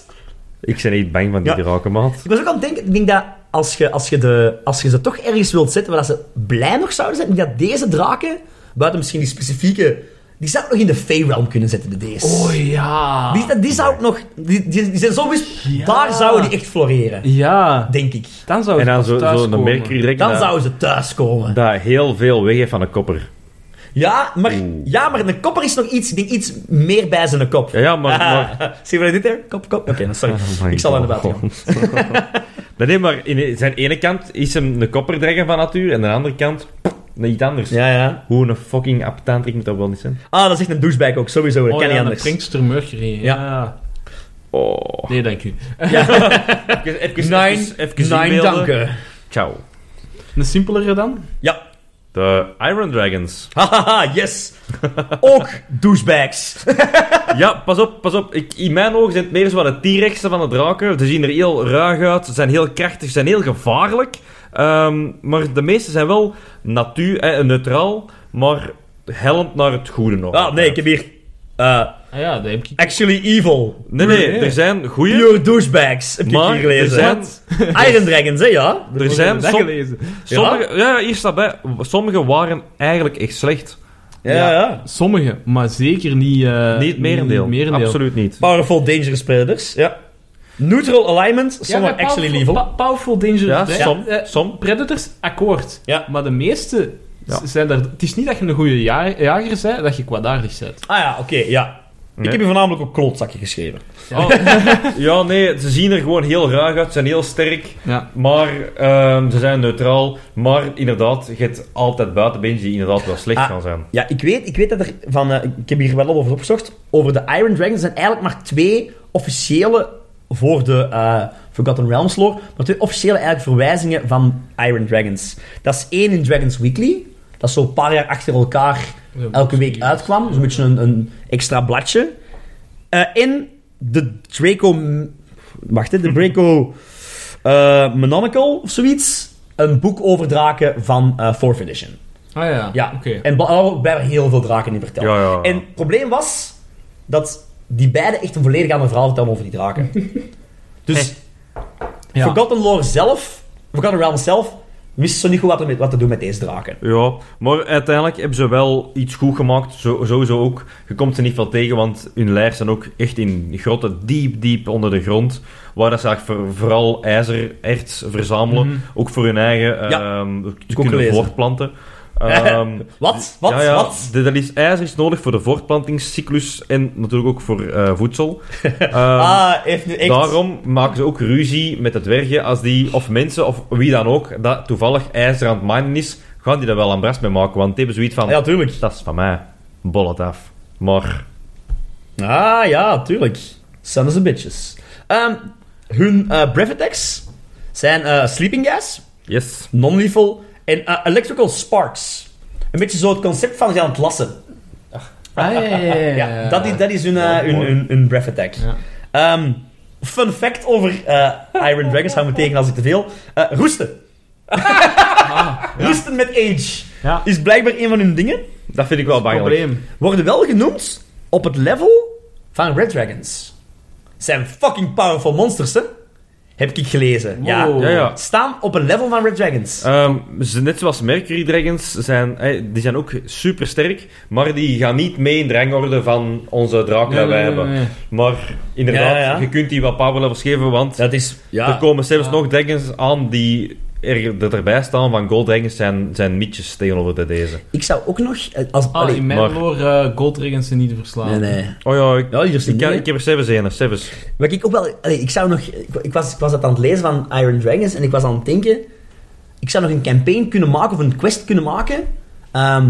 A: Ik ben niet bang van die
B: Ja.
A: draken, maat.
B: Ik was ook aan het denken, ik denk dat als je, als je, de, als je ze toch ergens wilt zetten waar dat ze blij nog zouden zijn, ik denk dat deze draken, buiten misschien die specifieke, die zou ik nog in de Feyrealm kunnen zetten, de deze.
C: Oh ja.
B: Die, die zou ik nog, die, die, die zijn zo wis-
C: Ja.
B: daar zouden die echt floreren,
C: Ja.
B: denk ik.
C: Dan zou
A: En
C: het
A: dan
C: pas
A: zo'n zo
C: thuis
A: zo'n
C: komen.
A: mercury direct
B: Dan
A: dat-
B: zouden ze thuiskomen.
A: dat heel veel weg heeft van een kopper.
B: Ja maar,
A: Oeh.
B: ja, maar een kopper is nog iets, ik denk iets meer bij zijn kop.
A: Ja, ja maar... maar...
B: Zie je wat ik dit er? Kop, kop. Oké, dan sorry.
A: Oh my
B: ik zal aan de buiten
A: God.
B: gaan.
A: Nee, nee, maar in zijn ene kant is hem een kopperdrager van natuur, en aan de andere kant nee, iets anders.
B: Ja, ja.
A: Hoe een fucking aptantrik moet dat wel niet zijn?
B: Ah, dat is echt een douchebag ook, sowieso. Dat
C: Oh
B: kan
C: ja,
B: niet
C: de
B: anders.
C: Prankster Mercury. Ja.
A: Oh.
C: Nee, dank u.
A: Even, even, even, even
B: Nein,
A: inbeelden.
B: danke.
A: Ciao.
C: Een simpelere dan?
B: Ja,
A: De Iron Dragons.
B: Hahaha, yes. Ook douchebags.
A: Ja, pas op, pas op. Ik, in mijn ogen zijn het meer zo wat de T-Rexen van de draken. Ze zien er heel ruig uit, ze zijn heel krachtig, ze zijn heel gevaarlijk. Ehm, maar de meeste zijn wel natuur, eh, neutraal, maar helmend naar het goede nog.
B: Ah, nee, ik heb hier... eh,
C: Ah ja, dat heb ik.
B: actually evil.
A: Nee, nee,
C: Nee.
A: er zijn goede.
B: Pure douchebags, heb ik
A: Maar
B: hier
A: er
B: gelezen.
A: zijn,
B: Iron Dragons, hè, ja?
A: er zijn
C: dat
A: som-
C: gelezen.
A: sommige... Ja, hier staat bij. Sommige waren eigenlijk echt slecht.
B: Ja,
C: Ja.
B: ja.
C: Sommige, maar zeker niet... eh,
A: niet het merendeel.
C: niet het
A: Absoluut niet.
B: Powerful Dangerous Predators, ja. Neutral Alignment,
C: Ja,
B: some are
C: maar
B: actually
C: powerful-
B: evil.
C: pa- powerful Dangerous
A: Ja,
C: Dragon.
A: som,
C: Eh,
A: som.
C: Predators, akkoord.
B: Ja.
C: Maar de meeste
A: Ja.
C: z- zijn daar... Het is niet dat je een goede ja- jager bent, dat je kwaadaardig bent.
B: Ah ja, oké, ja. Ik
A: Nee.
B: heb hier voornamelijk op klootzakje geschreven.
A: Oh. ja, nee, ze zien er gewoon heel ruig uit, ze zijn heel sterk.
C: Ja.
A: Maar ehm, ze zijn neutraal. Maar inderdaad, je hebt altijd buitenbeentjes die inderdaad wel slecht
B: Ah.
A: gaan zijn.
B: Ja, ik weet, ik weet dat er van... eh, ik heb hier wel over opgezocht. Over de Iron Dragons zijn eigenlijk maar twee officiële voor de eh, Forgotten Realms lore, maar twee officiële eigenlijk verwijzingen van Iron Dragons. Dat is één in Dragons Weekly. Dat is zo'n paar jaar achter elkaar elke week uitkwam. Zo'n beetje een, een extra bladje. Eh en de Draco... M- Wacht, hè, de Draco eh Mononicle of zoiets. Een boek over draken van eh 4th edition.
C: Ah ja,
B: Ja,
C: oké.
B: en bij waren heel veel draken in verteld.
A: Ja, ja, ja.
B: En het probleem was dat die beiden echt een volledig ander verhaal vertellen over die draken. dus
C: Ja.
B: Forgotten Lore zelf, Forgotten Realms zelf, wist zo niet goed wat, er met, wat te doen met deze draken.
A: Ja, maar uiteindelijk hebben ze wel iets goed gemaakt. Zo, sowieso ook. Je komt ze niet veel tegen, want hun lijf zijn ook echt in grotten, diep, diep onder de grond. Waar dat ze eigenlijk voor- vooral ijzer, erts verzamelen.
C: Mhm.
A: Ook voor hun eigen ehm
B: Ja,
A: te
B: ook
A: kunnen
B: gelezen.
A: voortplanten. Ehm,
B: Wat? Wat?
A: ja, ja,
B: Wat?
A: de- Dat is, ijzer is nodig voor de voortplantingscyclus en natuurlijk ook voor eh, voedsel. Ehm,
B: ah, heeft nu echt...
A: Daarom maken ze ook ruzie met de dwergen als die, of mensen, of wie dan ook, dat toevallig ijzer aan het minen is, gaan die daar wel een bras mee maken, want die hebben zoiets van,
B: Ja, tuurlijk.
A: dat is van mij, bol het af. Maar,
B: Ah, ja, tuurlijk. Sons of bitches. Ehm, hun eh breath attacks zijn eh, sleeping gas,
A: yes.
B: non-lethal en eh, electrical sparks. Een beetje zo het concept van ze aan het lassen.
C: Ah, ja, ja, ja, ja,
B: Ja, dat is, dat is hun, eh,
A: Ja,
B: hun,
A: mooi.
B: hun, hun breath attack.
C: Ja.
B: Ehm, fun fact over eh, Iron Dragons, hou me tegen als ik te veel. Eh, roesten.
C: Ah, ja.
B: Roesten met age.
C: Ja.
B: Is blijkbaar een van hun dingen.
A: Dat vind ik wel bang.
C: Probleem.
B: Worden wel genoemd op het level van Red Dragons. Zijn fucking powerful monsters, hè? Heb ik gelezen.
C: Wow.
A: Ja, ja.
B: Ja. Staan op een level van Red Dragons.
A: Ehm, ze, net zoals Mercury Dragons zijn, eh, die zijn ook super sterk, maar die gaan niet mee in de rangorde van onze draken
C: Nee,
A: die wij
C: nee, nee,
A: hebben.
C: nee.
A: Maar inderdaad,
B: Ja, ja.
A: je kunt die wat power levels geven, want
B: dat is...
A: Er komen zelfs
C: Ja.
A: nog dragons aan die er, dat erbij staan van gold dragons zijn, zijn mietjes tegenover de deze.
B: Ik zou ook nog... eh, Als,
C: Ah,
B: allee,
C: in mijn
A: maar-
C: lore eh, Gold Dragons zijn niet te verslaan.
B: nee, nee.
A: Oh ja, ik,
B: Ja, hier is
A: ik,
B: niet,
A: kan-
B: hè?
A: ik heb er sevens in, of sevens.
B: Wat ik ook wel... allee, ik zou nog... Ik, ik was, ik was dat aan het lezen van Iron Dragons en ik was aan het denken... Ik zou nog een campaign kunnen maken of een quest kunnen maken. Ehm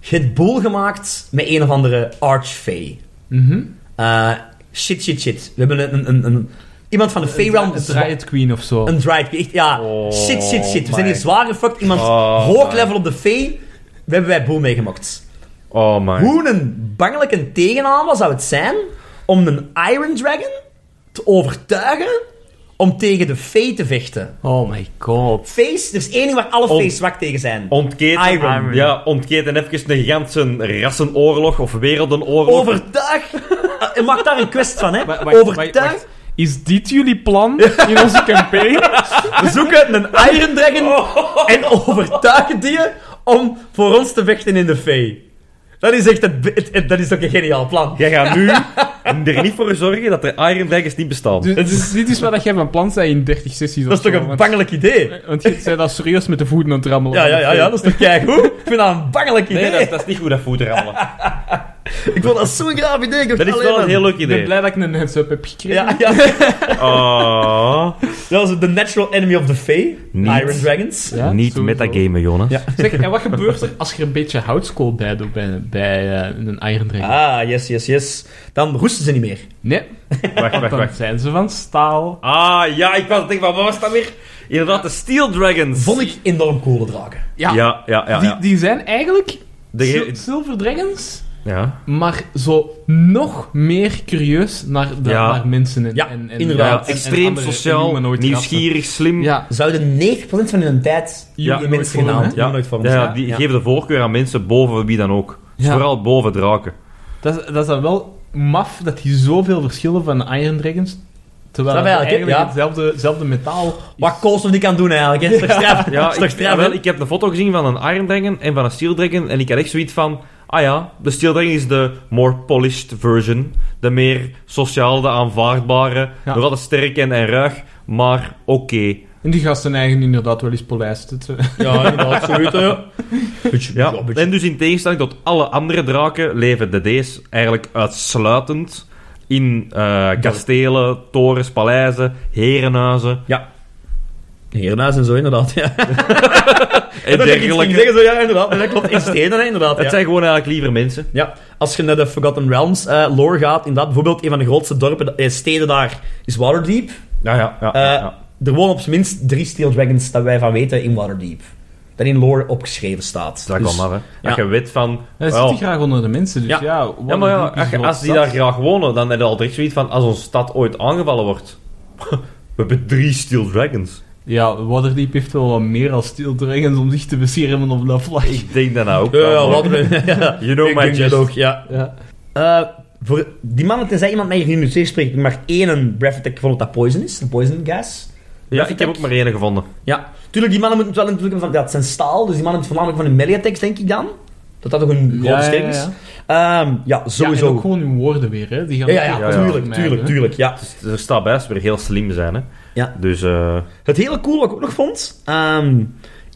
B: je hebt boel gemaakt met een of andere archfey.
C: Mhm.
B: Eh, shit, shit, shit. We hebben een... een, een iemand van de Fey Realm...
C: Een Riot Queen of zo.
B: Een dried Echt, ja.
A: Oh
B: shit, shit, shit. We zijn
A: my.
B: hier zwaar gefuckt. Iemand
A: Oh
B: hoog
A: my.
B: level op de Fey. We hebben wij boel meegemaakt.
A: Oh my.
B: Hoe een bangelijke tegenaanval zou het zijn om een Iron Dragon te overtuigen om tegen de Fae te vechten?
C: Oh my god.
B: Face, er is één ding waar alle
A: Om-
B: Fae zwak tegen zijn.
A: Ontketen,
B: Iron.
A: Ja, ontketen even een gigantische rassenoorlog of wereldenoorlog.
B: Overtuig! Eh, Je mag daar een quest van, hè?
C: Wa- wacht, wacht,
B: Overtuig!
C: wacht. Is dit jullie plan in onze campaign?
B: We zoeken een Iron Dragon en overtuigen die je om voor ons te vechten in de Fae. Dat is echt het, be- het- het- dat is ook een geniaal plan.
A: Jij gaat nu er niet voor zorgen dat er Iron Dragons niet bestaan.
C: Dus, dus dit is wat jij van plan zei in 30 sessies
B: Dat
C: of
B: is toch
C: zo,
B: een
C: want-
B: bangelijk idee?
C: Want je zei dat serieus met de voeten aan het rammelen.
B: Ja, ja, ja, ja, dat is toch keigoed? Ik vind dat een bangelijk idee.
A: nee, dat, dat is niet goed, dat voet rammelen.
B: Ik vond dat zo'n graaf idee. Ik dacht,
A: Dat is
B: allee,
A: wel een
B: man.
A: heel leuk
C: Ik ben
A: idee.
C: blij dat ik een heads-up heb gekregen.
B: Ja, ja.
A: Oh,
B: dat was de natural enemy of the Fae.
A: Niet.
B: Iron Dragons.
C: Ja,
A: niet
C: sowieso.
A: metagamen, Jonas.
B: Ja.
C: Zeg, en wat gebeurt er als je er een beetje houtskool bij doet bij, bij eh, een Iron Dragon?
B: Ah, yes, yes, yes. Dan roesten ze niet meer.
C: Nee,
A: Wacht, wacht,
C: dan
A: wacht.
C: zijn ze van staal.
A: Ah, ja, ik was denk van, wat was dat weer? Inderdaad, de Steel Dragons.
B: Vond ik enorm coole draken.
C: Ja,
A: Ja, ja, ja.
C: die,
A: ja.
C: die zijn eigenlijk
A: De ge-
C: sil- Silver Dragons,
A: ja.
C: maar zo nog meer curieus naar, de,
A: Ja.
C: naar mensen en,
B: Ja,
C: en, en
B: inderdaad.
C: en-
A: Ja,
C: en
A: extreem
C: andere
A: sociaal,
C: humanoid
A: nieuwsgierig, slim.
C: rassen.
A: Ja,
C: Ja,
B: Zouden 90% van hun tijd
C: Ja,
B: die
C: nooit
B: mensen
C: vormen,
B: gedaan.
C: hè?
A: Ja.
B: nooit vormen.
A: ja, die
B: Ja.
A: geven de voorkeur aan mensen boven wie dan ook. Dus
C: Ja.
A: Vooral boven draken.
C: dat, is- dat is dan wel maf dat die zoveel verschillen van de Iron Dragons, terwijl
B: Dat
C: het
B: wel, hè?
C: eigenlijk
B: Ja.
C: hetzelfde, hetzelfde metaal
B: Wat Koolstof niet kan doen eigenlijk. Hè? Dat is toch straf?
A: Ja,
B: Dat is toch
A: ik,
B: straf,
A: wel,
B: hè?
A: ik heb een foto gezien van een Iron Dragon en van een Steel Dragon. En ik had echt zoiets van... Ah ja, de Steel Dragon is de more polished version. De meer sociaal, de aanvaardbare.
C: Ja.
A: Nog altijd sterk en, en ruig, maar oké.
C: En die gasten eigen inderdaad wel eens polijst. Het, eh.
B: Ja, inderdaad, zoiets, hè. Beetje-
A: Ja,
B: ja, beetje-
A: en dus in tegenstelling tot alle andere draken leven de D's eigenlijk uitsluitend in eh, kastelen, torens, paleizen, herenhuizen
B: Hiernaast en zo, inderdaad, ja.
A: en
B: dat ik iets ging
A: dergelijke.
B: zeggen, zo, ja, inderdaad. Dat klopt, in stenen, hè, inderdaad.
A: Het
B: Ja.
A: zijn gewoon eigenlijk liever mensen.
B: Ja, als je naar de Forgotten Realms eh, lore gaat, inderdaad, bijvoorbeeld een van de grootste dorpen, eh, steden daar is Waterdeep.
A: Ja, ja, ja.
B: Eh,
A: ja, ja.
B: Er wonen op zijn minst drie Steel Dragons dat wij van weten in Waterdeep. Dat in lore opgeschreven staat.
A: Dat is
B: Dus-
A: wel maar, hè.
B: ja.
A: Dat je weet van...
C: Hij
A: wel,
C: zit graag onder de mensen, dus
B: Ja.
C: ja.
A: ja, maar ja,
C: Waterdeep is
A: als, je-
C: een
A: als die
C: grote
A: daar
C: stad.
A: graag wonen, dan heb je al direct zoiets van... Als onze stad ooit aangevallen wordt... We hebben drie Steel Dragons.
C: Ja, Waterdeep heeft wel wat meer als Steel Dragons om zich te beschermen op dat vlak.
A: Ik denk dat nou ook.
B: Ja, ja,
A: wel, hoor.
B: Waterdeep. ja.
A: You know
B: Ik
A: my
B: denk dat
A: jest.
B: ook, ja.
C: Ja.
B: Eh, voor die mannen, tenzij iemand mij hier nu tegenspreekt, maar één breath attack vond dat dat poison is, een poison gas.
A: Ja, ik heb ook maar één gevonden.
B: Ja, tuurlijk, die mannen moeten het wel natuurlijk van, ja, het zijn staal, dus die mannen moeten voornamelijk van hun melee attacks, denk ik dan. Dat dat toch een grote
C: Ja, ja,
B: sterk is.
C: ja.
B: Ehm, ja,
C: Ja, en ook
B: sowieso.
C: gewoon hun woorden weer, hè. Die gaan
B: Ja, ja, ja,
A: Ja, ja.
B: tuurlijk,
C: Ja,
B: tuurlijk,
C: hè.
B: tuurlijk, ja.
A: Dus Er staat bij dat ze weer heel slim zijn, hè.
B: Ja.
A: Dus, eh,
B: Het hele cool wat ik ook nog vond, ehm,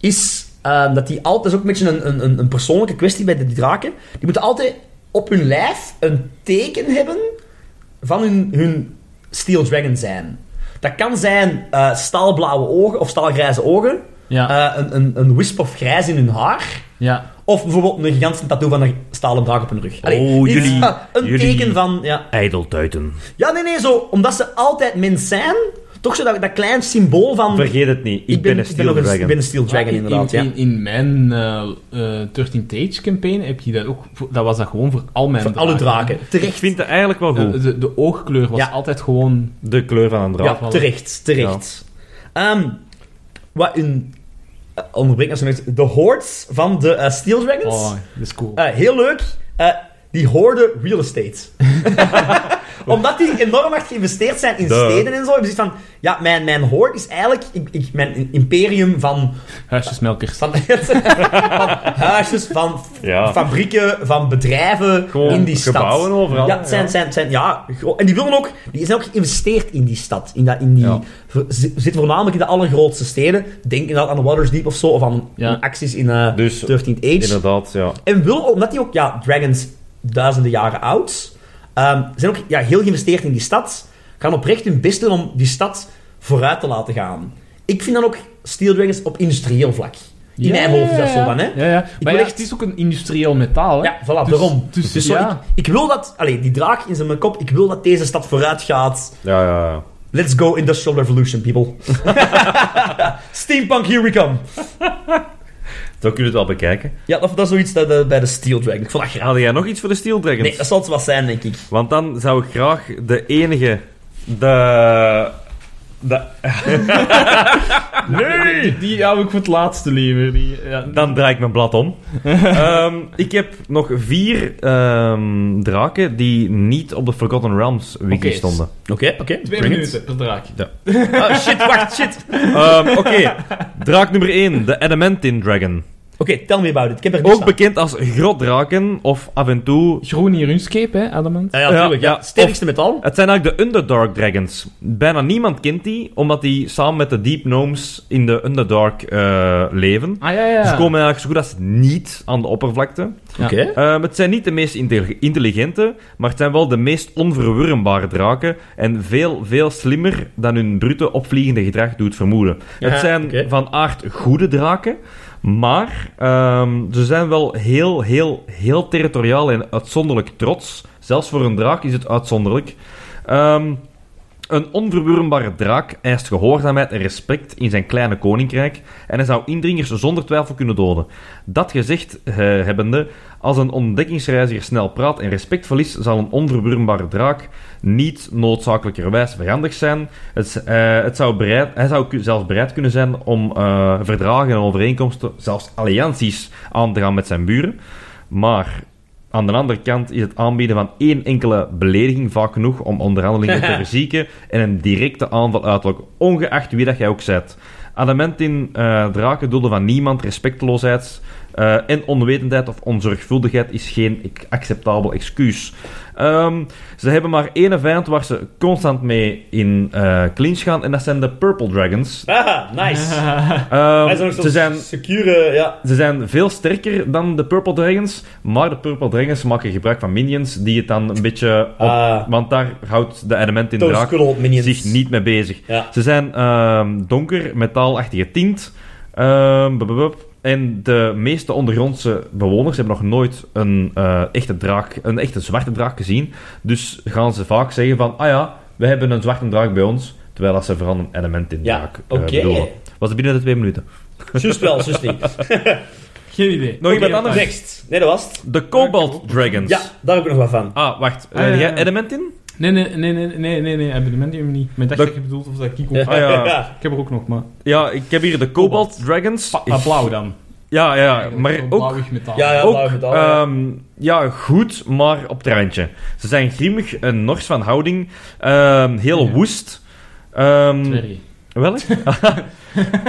B: is ehm, dat die altijd, dat is ook een beetje een- een, een, een persoonlijke kwestie bij de die draken, die moeten altijd op hun lijf een teken hebben van hun, hun Steel Dragon zijn. Dat kan zijn eh, staalblauwe ogen of staalgrijze ogen,
C: Ja,
B: eh, een, een, een wisp of grijs in hun haar,
C: ja.
B: of bijvoorbeeld een gigantische tattoo van een stalen draak op hun rug. Allee,
A: Oh,
B: iets,
A: jullie-
B: ah, een
A: jullie-
B: teken van... Ja.
A: ijdeltuiten.
B: ja, nee, nee, zo, omdat ze altijd mens zijn, toch zo dat, dat klein symbool van...
A: Vergeet het niet, ik, ben, een
B: ik
A: Steel
B: nog
A: Dragon.
B: Ik ben een Steel Dragon,
C: in,
B: inderdaad.
C: in,
B: ja.
C: in, in mijn eh, eh, 13 Tage campaign heb je dat ook... voor- Dat was dat gewoon voor al mijn
B: Voor alle draken.
A: Ik
B: Terecht.
A: vind het eigenlijk wel
C: De,
A: goed.
C: de, de oogkleur was
B: Ja.
C: altijd gewoon...
A: De kleur van een draak.
B: Ja,
C: wel.
B: terecht. Terecht. Ehm, wat een... eh, onderbreek me alsjeblieft. De hordes van de eh, Steel Dragons.
C: Oh, dat is cool.
B: Eh, heel leuk. Eh, die hoorden real estate. Omdat die enorm hard geïnvesteerd zijn in
A: Duh.
B: steden en zo. Hebben ze zoiets van... Ja, mijn, mijn hoord is eigenlijk ik, ik, mijn imperium van...
C: Huisjesmelkers.
B: Van, van huisjes, van
A: Ja.
B: fabrieken, van bedrijven
A: Gewoon
B: in die stad.
A: gebouwen overal,
B: Ja, het zijn,
A: ja.
B: zijn, zijn, ja. gro- En die willen ook, die zijn ook geïnvesteerd in die stad. In dat, in die,
A: Ja.
B: v- zi- Zitten voornamelijk in de allergrootste steden. Denk inderdaad aan de Watersdeep of zo, of aan
C: Ja.
B: aan acties in eh
A: Dus,
B: 13th Age.
A: Inderdaad, ja.
B: En wil, omdat die ook, ja, dragons duizenden jaren oud, ehm, zijn ook ja, heel geïnvesteerd in die stad, gaan oprecht hun best doen om die stad vooruit te laten gaan. Ik vind dan ook Steel Dragons op industrieel vlak. In
C: Ja,
B: mijn hoofd is dat
C: ja,
B: zo
C: ja.
B: van, hè?
C: Ja, ja. Maar
B: wil
C: ja,
B: echt-
C: het is ook een industrieel metaal, hè.
B: Ja, voilà,
C: Dus-
B: daarom. Dus,
C: dus-
B: zo,
C: ja.
B: ik, ik wil dat... Allee, die draak in zijn kop. Ik wil dat deze stad vooruit gaat.
A: Ja, ja, ja.
B: Let's go industrial revolution, people. Steampunk, here we come.
A: Dan kun je het wel bekijken.
B: Ja, dat, dat is zoiets dat, eh, bij de Steel Dragon. Ik vond dat graag.
A: Had jij nog iets voor de Steel Dragons?
B: Nee, dat zal het wel zijn, denk ik.
A: Want dan zou ik graag de enige... De... de
C: Nee! Die hou ik voor het laatste liever. Die, ja.
A: dan draai ik mijn blad om. Ehm, ik heb nog vier ehm, draken die niet op de Forgotten Realms wiki
C: Oké.
A: stonden.
B: Oké, oké.
C: Twee
B: bring it.
C: minuten per draak.
B: Ah, shit, wacht, shit. Oké,
A: Ehm, Oké, draak nummer 1, de Adamantine Dragon.
B: tell me about it. Ik heb er niks
A: Ook bekend als grotdraken of af en toe
C: Groen in RuneScape, hè, Adamant?
B: aan. Ah, ja, tuurlijk. Ja,
A: Ja, ja.
B: Sterkste metaal.
A: Het zijn eigenlijk de Underdark Dragons. Bijna niemand kent die, omdat die samen met de Deep Gnomes in de Underdark eh, leven.
C: Ah, ja, ja.
B: Dus
A: Ze komen eigenlijk zo goed als niet aan de oppervlakte.
C: Ja.
A: Ehm, het zijn niet de meest intelli- intelligente, maar het zijn wel de meest onverwurmbare draken. En veel, veel slimmer dan hun brute opvliegende gedrag doet vermoeden.
B: Ja,
A: het zijn
B: oké.
A: van aard goede draken, maar ehm, ze zijn wel heel, heel, heel territoriaal en uitzonderlijk trots. Zelfs voor een draak is het uitzonderlijk. Ehm, een onverwurmbare draak eist gehoorzaamheid en respect in zijn kleine koninkrijk en hij zou indringers zonder twijfel kunnen doden. Dat gezegd eh, hebbende, als een ontdekkingsreiziger snel praat en respect verliest, zal een onverwurmbare draak niet noodzakelijkerwijs vijandig zijn. Het, s- eh, het zou bereid, hij zou ku- zelfs bereid kunnen zijn om eh, verdragen en overeenkomsten, zelfs allianties, aan te gaan met zijn buren. Maar aan de andere kant is het aanbieden van één enkele belediging vaak genoeg om onderhandelingen te verzieken en een directe aanval uit te lokken, ongeacht wie dat jij ook bent. Adamant in eh draken doelde van niemand respecteloosheid, Eh, en onwetendheid of onzorgvuldigheid is geen ik- acceptabel excuus. Ehm, ze hebben maar één vijand waar ze constant mee in eh clinch gaan, en dat zijn de Purple Dragons.
B: Ah, nice.
A: Ehm,
B: Wij zijn ook zo'n
A: ze zijn
B: secure... Ja.
A: ze zijn veel sterker dan de Purple Dragons, maar de Purple Dragons maken gebruik van minions die het dan een beetje op...
B: Ah.
A: want daar houdt de element in
B: Toast
A: draak
B: Cuddle Minions.
A: zich niet mee bezig.
B: Ja.
A: Ze zijn ehm, donker, metaalachtige tint. Ehm, bup, bup, bup. en de meeste ondergrondse bewoners hebben nog nooit een, eh, echte draak, een echte zwarte draak gezien. Dus gaan ze vaak zeggen van, ah ja, we hebben een zwarte draak bij ons. Terwijl dat ze vooral een element in
B: Ja,
A: draak eh,
B: oké.
A: bedoelen. Was het binnen de twee minuten.
B: Just wel, just niet. Nog
C: Geen idee.
A: Nog iemand anders?
B: Next. Nee, dat was het.
A: De Cobalt Dragons.
B: Ja, daar heb ik nog wat van.
A: Ah, wacht.
C: Ah, ja,
A: Eh,
C: ja.
A: jij element in?
C: Nee, nee, nee, nee, nee, nee, nee, abonnementje niet. Maar ik dacht
A: Dat-
C: dat je bedoelt of dat ik ook...
A: Ah, ja.
B: Ja.
C: Ik heb er ook nog, maar...
A: Ja, ik heb hier de Cobalt, Dragons.
C: Pa- ah, blauw dan.
A: Ja, ja,
C: Eigenlijk
A: maar
C: zo'n
A: ook,
C: Blauwig metaal.
B: Ja, ja. blauw
A: ook
B: metaal, ja.
A: ehm, ja, goed, maar op het randje. Ze zijn grimmig en nors van houding. ehm, heel
C: Ja.
A: woest. Ehm
C: Dwergen.
A: welk?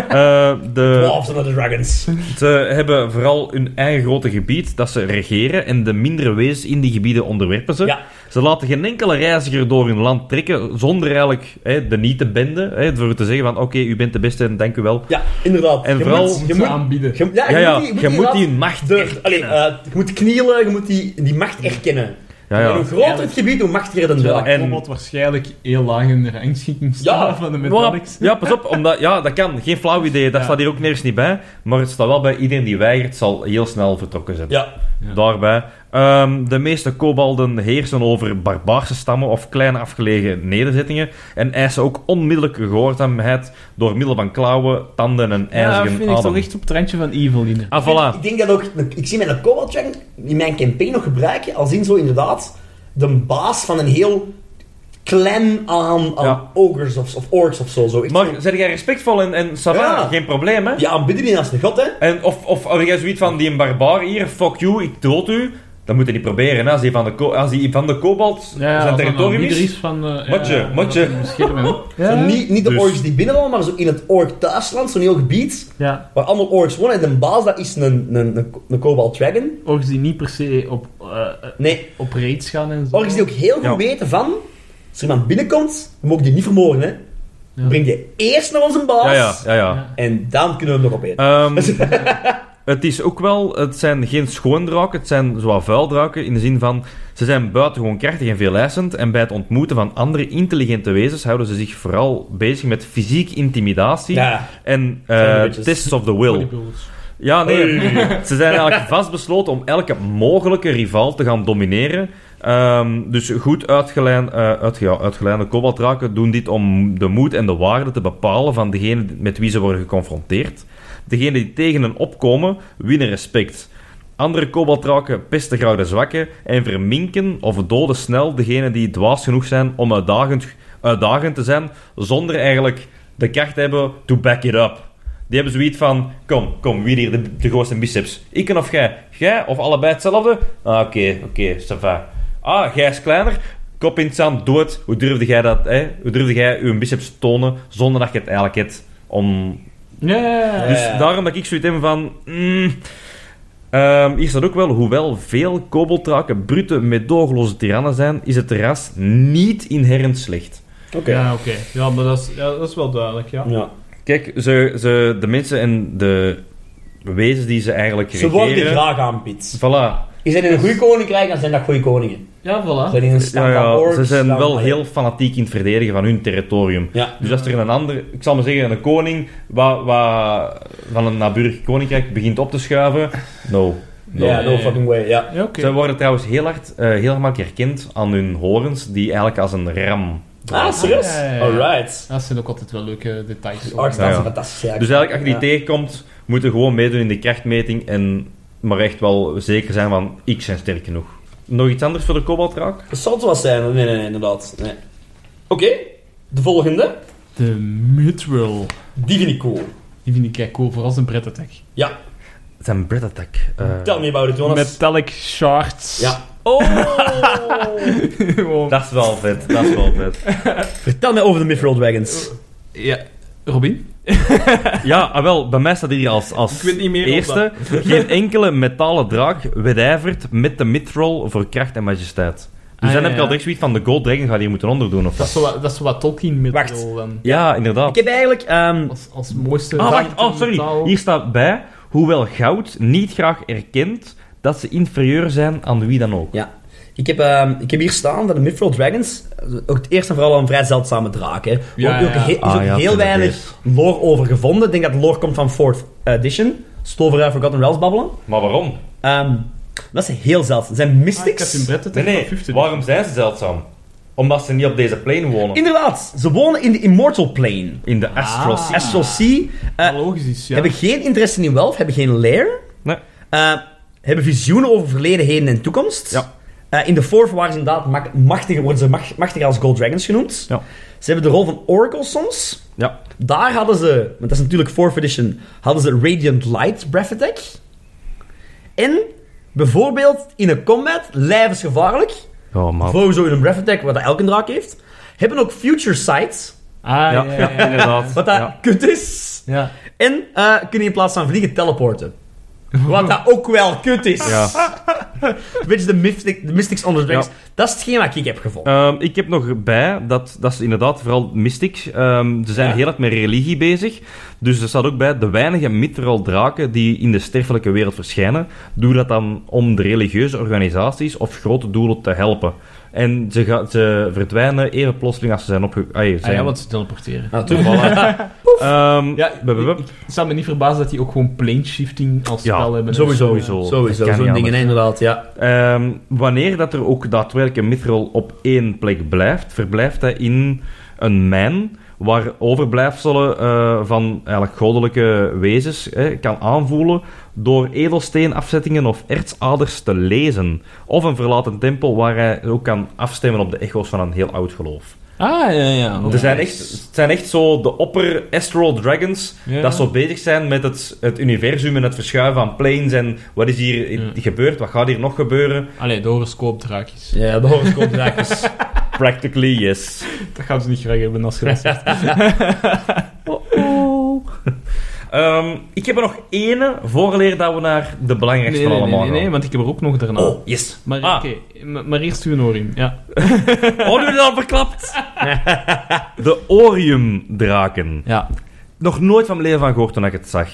A: Eh, de,
B: Dwarfs and the Dragons.
A: ze hebben vooral hun eigen grote gebied dat ze regeren en de mindere wezens in die gebieden onderwerpen ze.
B: Ja.
A: Ze laten geen enkele reiziger door hun land trekken zonder eigenlijk hè, de niet te benden. Hè, voor te zeggen van oké, u bent de beste en dank u wel.
B: Ja, inderdaad.
A: En
B: Je
A: vooral-
B: moet-
C: Moet
B: je
C: ze
B: moet...
C: aanbieden.
B: Je, ja,
A: Ja, ja,
B: je moet die,
A: je moet die
B: inderdaad
A: macht
B: de, allee,
A: erkennen.
B: eh, je moet knielen, je moet die, die macht erkennen.
A: Ja,
B: En
A: ja.
B: hoe groter het gebied, hoe machtiger het
C: Terwijl
B: wel.
A: En-
C: en... waarschijnlijk heel laag in de rangschikking staat
B: Ja.
C: van de
A: Maar,
C: metallics.
A: ja, pas op, omdat, ja, dat kan. Geen flauw idee, dat
C: Ja.
A: staat hier ook nergens niet bij. Maar het staat wel bij iedereen die weigert, zal heel snel vertrokken zijn.
B: Ja,
C: Ja.
A: Daarbij. Ehm, de meeste kobalden heersen over barbaarse stammen of kleine afgelegen nederzettingen en eisen ook onmiddellijk gehoorzaamheid door middel van klauwen, tanden en
C: Ja,
A: ijzeren
C: vind ik
A: adem.
C: toch echt op het randje van evil, inderdaad.
A: Ah, voilà.
B: Ik denk dat ook... Ik zie mijn Cobalt Dragon in mijn campaign nog gebruiken als in zo inderdaad de baas van een heel clan aan, aan
A: Ja.
B: ogres of, of orks of zo. zo. Ik
A: Maar
B: zou-
A: zijn jij respectvol en, en ça va,
B: Ja.
A: geen probleem, hè?
B: Die aanbidden die als een god, hè.
A: En of, of als jij zoiets van, die een barbaar hier, fuck you, ik dood u, dan moet je niet proberen, hè. Als die van de, ko- als die van de kobalt zijn
C: als dat nou
A: territorium
C: ieder
A: is...
C: is van... eh,
A: Matje,
C: ja,
A: matje.
C: dat Schieten mij op.
B: Zo niet, niet de
A: Dus-
B: orks die binnenvallen, maar zo in het ork thuisland, zo'n heel gebied
C: Ja,
B: waar allemaal orks wonen. En de baas, dat is een, een, een, een Cobalt Dragon.
C: orks die niet per se op, eh,
B: Nee,
C: op raids gaan en zo.
B: orks die ook heel goed
A: Ja.
B: weten van... Als er iemand binnenkomt, we mogen die niet vermoorden, hè.
C: Ja.
B: Breng die eerst naar onze baas.
A: Ja, ja, ja, ja.
C: Ja.
B: En dan kunnen we hem nog opeten.
A: Ehm, het is ook wel, het zijn geen schoondraken, het zijn zowel vuildraken in de zin van ze zijn buitengewoon krachtig en veeleisend en bij het ontmoeten van andere intelligente wezens houden ze zich vooral bezig met fysiek intimidatie
B: Ja.
A: en
B: Zijn
A: eh,
B: de bitches.
A: tests of the will.
C: Bodybuilders.
A: Ja, nee. Ze zijn eigenlijk vastbesloten om elke mogelijke rival te gaan domineren. Ehm, dus goed uitgeleid, eh uitge- ja, uitgeleide kobaltraken doen dit om de moed en de waarde te bepalen van degene met wie ze worden geconfronteerd. Degene die tegen hen opkomen, winnen respect. Andere kobaltraken pesten gauw de zwakken en verminken of doden snel degene die dwaas genoeg zijn om uitdagend, uitdagend te zijn, zonder eigenlijk de kracht te hebben to back it up. Die hebben zoiets van, kom, kom, wie hier de, de grootste biceps? Ik of jij? Jij of allebei hetzelfde? Ah, oké, oké, ça va. Ah, jij is kleiner? Kop in het zand, doe het. Hoe durfde jij dat, hè? Hoe durfde jij je biceps te tonen zonder dat je het eigenlijk hebt om
C: Ja, ja, ja.
B: Ja.
A: dus daarom dat ik zoiets heb van... mm, ehm, hier staat ook wel, hoewel veel koboltraken brute, medogeloze tirannen zijn, is het ras niet inherent slecht.
B: Oké.
C: Ja, oké. Ja, maar dat is, ja, dat is wel duidelijk, ja.
B: Ja.
A: Kijk, ze, ze, de mensen en de wezens die ze eigenlijk
B: Ze
A: regeren...
B: worden graag aanbid.
A: Voilà.
B: Je zijn in een goede koninkrijk, dan zijn dat goede koningen.
C: Ah. Ja,
B: Ze
C: voilà.
B: zijn in een stad
A: Ja,
B: aan
A: ja,
B: orks,
A: ze zijn
B: dan-
A: wel heel fanatiek in het verdedigen van hun territorium.
B: Ja.
A: Dus als er een ander, ik zal maar zeggen, een koning wa, wa, van een naburig koninkrijk begint op te schuiven, no.
B: Ja,
A: no.
B: no fucking way, ja.
C: Ja, oké.
A: Ze worden trouwens heel hard, eh, heel gemakkelijk herkend aan hun horens, die eigenlijk als een ram.
B: Ah, serieus?
C: Ja, ja, ja.
B: Alright.
C: Dat zijn ook altijd wel leuke details.
B: Die orks, dat is
A: Ja, ja.
B: fantastisch.
A: Dus eigenlijk, als je die tegenkomt, moet je gewoon meedoen in de krachtmeting en maar echt wel zeker zijn van, ik zijn sterk genoeg. Nog iets anders voor de kobaltraak?
B: Het zal het wel zijn, nee, nee, nee, inderdaad. Nee. Oké, de volgende.
C: De midroll.
B: Die vind ik cool.
C: Die vind ik echt cool, vooral zijn bread attack.
B: Ja,
A: Het zijn breath attack. eh.
B: tell me about it, Jonas.
C: Metallic shards.
B: Ja.
C: Gewoon.
A: Dat is wel vet, dat is wel vet.
B: Vertel mij over de Mithril Dragons.
C: Ja. Robin?
A: Ja, ah, wel, bij mij staat hier als, als
C: Ik weet niet meer of
A: eerste geen enkele metalen draak wedijvert met de mithril voor kracht en majesteit. Dus
C: Ah,
A: dan
C: ja,
A: heb ik
C: ja.
A: al direct zoiets van, de Gold Dragon gaat hier moeten onderdoen, of
C: Dat is zo
A: wat?
C: wat, dat is zo wat Tolkien met
B: Wacht.
C: dan.
A: Ja, inderdaad.
B: Ik heb eigenlijk... ehm,
C: Als, als mooiste...
A: Ah, wacht.
C: draak-
A: Oh, sorry.
C: metaal.
A: Hier staat bij, hoewel goud niet graag erkent dat ze inferieur zijn aan wie dan ook.
B: Ja. Ik heb, ehm, ik heb hier staan van de Mithril Dragons. eh, Ook het eerste en vooral een vrij zeldzame draak. Hè. Er
C: Ja,
B: ook,
C: ja, ja.
B: he- is ook
A: Ah, ja,
B: heel
A: tuurlijk,
B: weinig lore over gevonden. Ik denk dat de lore komt van 4th edition. Stover uit Forgotten Realms babbelen.
A: Maar waarom?
B: Ehm, dat is heel zeldzaam. Zijn
C: Ah, ik had
B: mystics.
C: in Brett het
A: Nee,
C: echt
A: nee.
C: op 50.
A: Waarom zijn ze zeldzaam? Omdat ze niet op deze plane wonen. In,
B: Inderdaad, ze wonen in de Immortal Plane.
A: de Astral
C: Ah.
A: Sea.
B: Astral Sea. eh,
C: Wat Logisch is, ja.
B: Hebben geen interesse in wealth, hebben geen lair.
A: Nee.
B: Eh, hebben visioenen over verleden, heden en toekomst.
A: Ja.
B: Eh, in de Fourth waren ze inderdaad mak- machtiger, worden ze mach- machtiger als Gold Dragons genoemd.
A: Ja.
B: Ze hebben de rol van Oracle soms.
A: Ja.
B: Daar hadden ze, want dat is natuurlijk 4th edition, hadden ze Radiant Light Breath Attack. En bijvoorbeeld in een combat, lijf is gevaarlijk.
A: Oh, man.
B: Voor zo in een Breath Attack, wat elke draak heeft. Hebben ook Future Sight,
C: Ah, ja,
A: Ja,
C: ja, ja, ja.
A: inderdaad.
B: wat dat
A: Ja.
B: kut is.
C: Ja.
B: En eh, kunnen in plaats van vliegen teleporten. Wat dat ook wel kut is.
A: Ja.
B: Weet je, de, mystic, de Mystics onder Dragons.
A: Ja.
B: Dat is hetgeen wat ik heb gevonden.
A: Ehm, ik heb nog bij dat, dat ze inderdaad vooral mystics. ehm, ze zijn
B: Ja.
A: heel erg met religie bezig. Dus er staat ook bij de weinige mithril draken die in de sterfelijke wereld verschijnen. Doe dat dan om de religieuze organisaties of grote doelen te helpen. En ze, ga, ze verdwijnen even plotseling als ze zijn opge... ai,
C: Ah,
A: zijn...
C: ja, want ze teleporteren.
A: Voilà. Ehm,
C: Ja,
A: bup, bup, bup.
C: Het zou me niet verbazen dat die ook gewoon plane shifting als
A: Ja,
C: spel hebben.
A: sowieso.
C: Dus,
A: dat
C: eh,
A: kan
B: Sowieso,
A: niet
B: zo'n dingen,
A: anders.
B: inderdaad, ja.
A: Ehm, wanneer dat er ook daadwerkelijk een mithril op één plek blijft, verblijft hij in een mijn waar overblijfselen eh, van eigenlijk goddelijke wezens eh, kan aanvoelen door edelsteenafzettingen of ertsaders te lezen. Of een verlaten tempel waar hij ook kan afstemmen op de echo's van een heel oud geloof.
C: Ah, ja, ja.
A: Er zijn echt, het zijn echt zo de opper Astral Dragons
C: Ja.
A: dat zo bezig zijn met het, het universum en het verschuiven van planes en wat is hier
C: Ja.
A: gebeurd, wat gaat hier nog gebeuren.
C: Allee, de horoscoopdraakjes.
B: Ja, de horoscoop draakjes.
A: Practically yes.
C: Dat gaan ze niet graag hebben als je dat zegt. Oh.
A: Ehm, ik heb er nog ene voorleer dat we naar de belangrijkste
C: nee,
A: van
C: nee,
A: allemaal
C: nee, nee,
A: gaan.
C: want ik heb er ook nog daarna.
A: Oh, yes.
C: Maar,
A: Ah.
C: oké, m- maar eerst uw Norim. Ja.
A: Oh, nu heb je dat al verklapt. de Oriumdraken.
C: ja.
A: Nog nooit van mijn leven van gehoord toen ik het zag.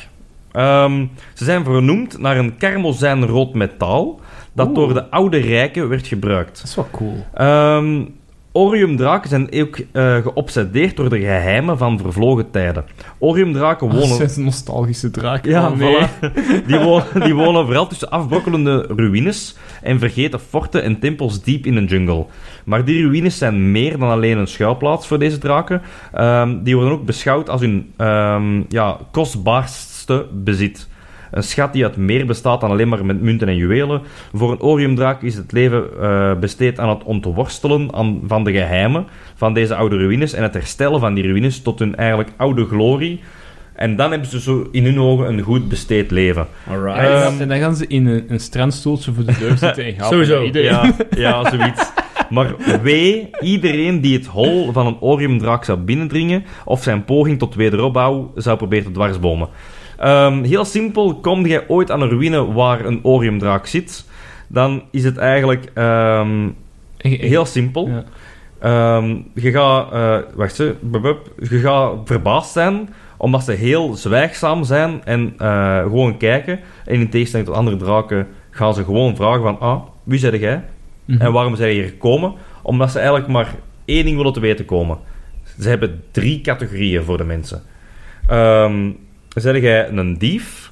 A: Ehm, ze zijn vernoemd naar een karmozijn rood metaal dat
C: Oeh.
A: door de oude rijken werd gebruikt.
C: Dat is wel cool.
A: Ehm Oriumdraken zijn ook eh, geobsedeerd door de geheimen van vervlogen tijden. Oriumdraken
C: Dat
A: wonen...
C: zijn nostalgische draken.
A: Ja,
C: Oh, nee.
A: voilà. Die wonen, die wonen vooral tussen afbrokkelende ruïnes en vergeten forten en tempels diep in een jungle. Maar die ruïnes zijn meer dan alleen een schuilplaats voor deze draken. Ehm, die worden ook beschouwd als hun ehm, ja, kostbaarste bezit. Een schat die uit meer bestaat dan alleen maar met munten en juwelen. Voor een oriumdraak is het leven eh, besteed aan het ontworstelen aan- van de geheimen van deze oude ruïnes en het herstellen van die ruïnes tot hun eigenlijk oude glorie. En dan hebben ze zo in hun ogen een goed besteed leven.
B: Alright.
C: En dan-
A: Ehm.
C: en dan gaan ze in een, een strandstoeltje voor de deur zitten en gaan.
B: Sowieso.
C: naar iedereen.
A: Ja, ja, zoiets. Maar wee iedereen die het hol van een oriumdraak zou binnendringen of zijn poging tot wederopbouw zou proberen te dwarsbomen. Ehm, heel simpel, kom jij ooit aan een ruïne waar een oriumdraak zit, dan is het eigenlijk ehm,
C: En- en-
A: heel simpel.
C: Ja.
A: Ehm, je gaat, eh, wacht ze, bup, bup. je gaat verbaasd zijn omdat ze heel zwijgzaam zijn en eh, gewoon kijken. En in tegenstelling tot andere draken gaan ze gewoon vragen van, ah, wie zijn jij?
C: Mhm.
A: En waarom zijn ze hier gekomen? Omdat ze eigenlijk maar één ding willen te weten komen. Ze hebben drie categorieën voor de mensen. Ehm zeg jij een dief,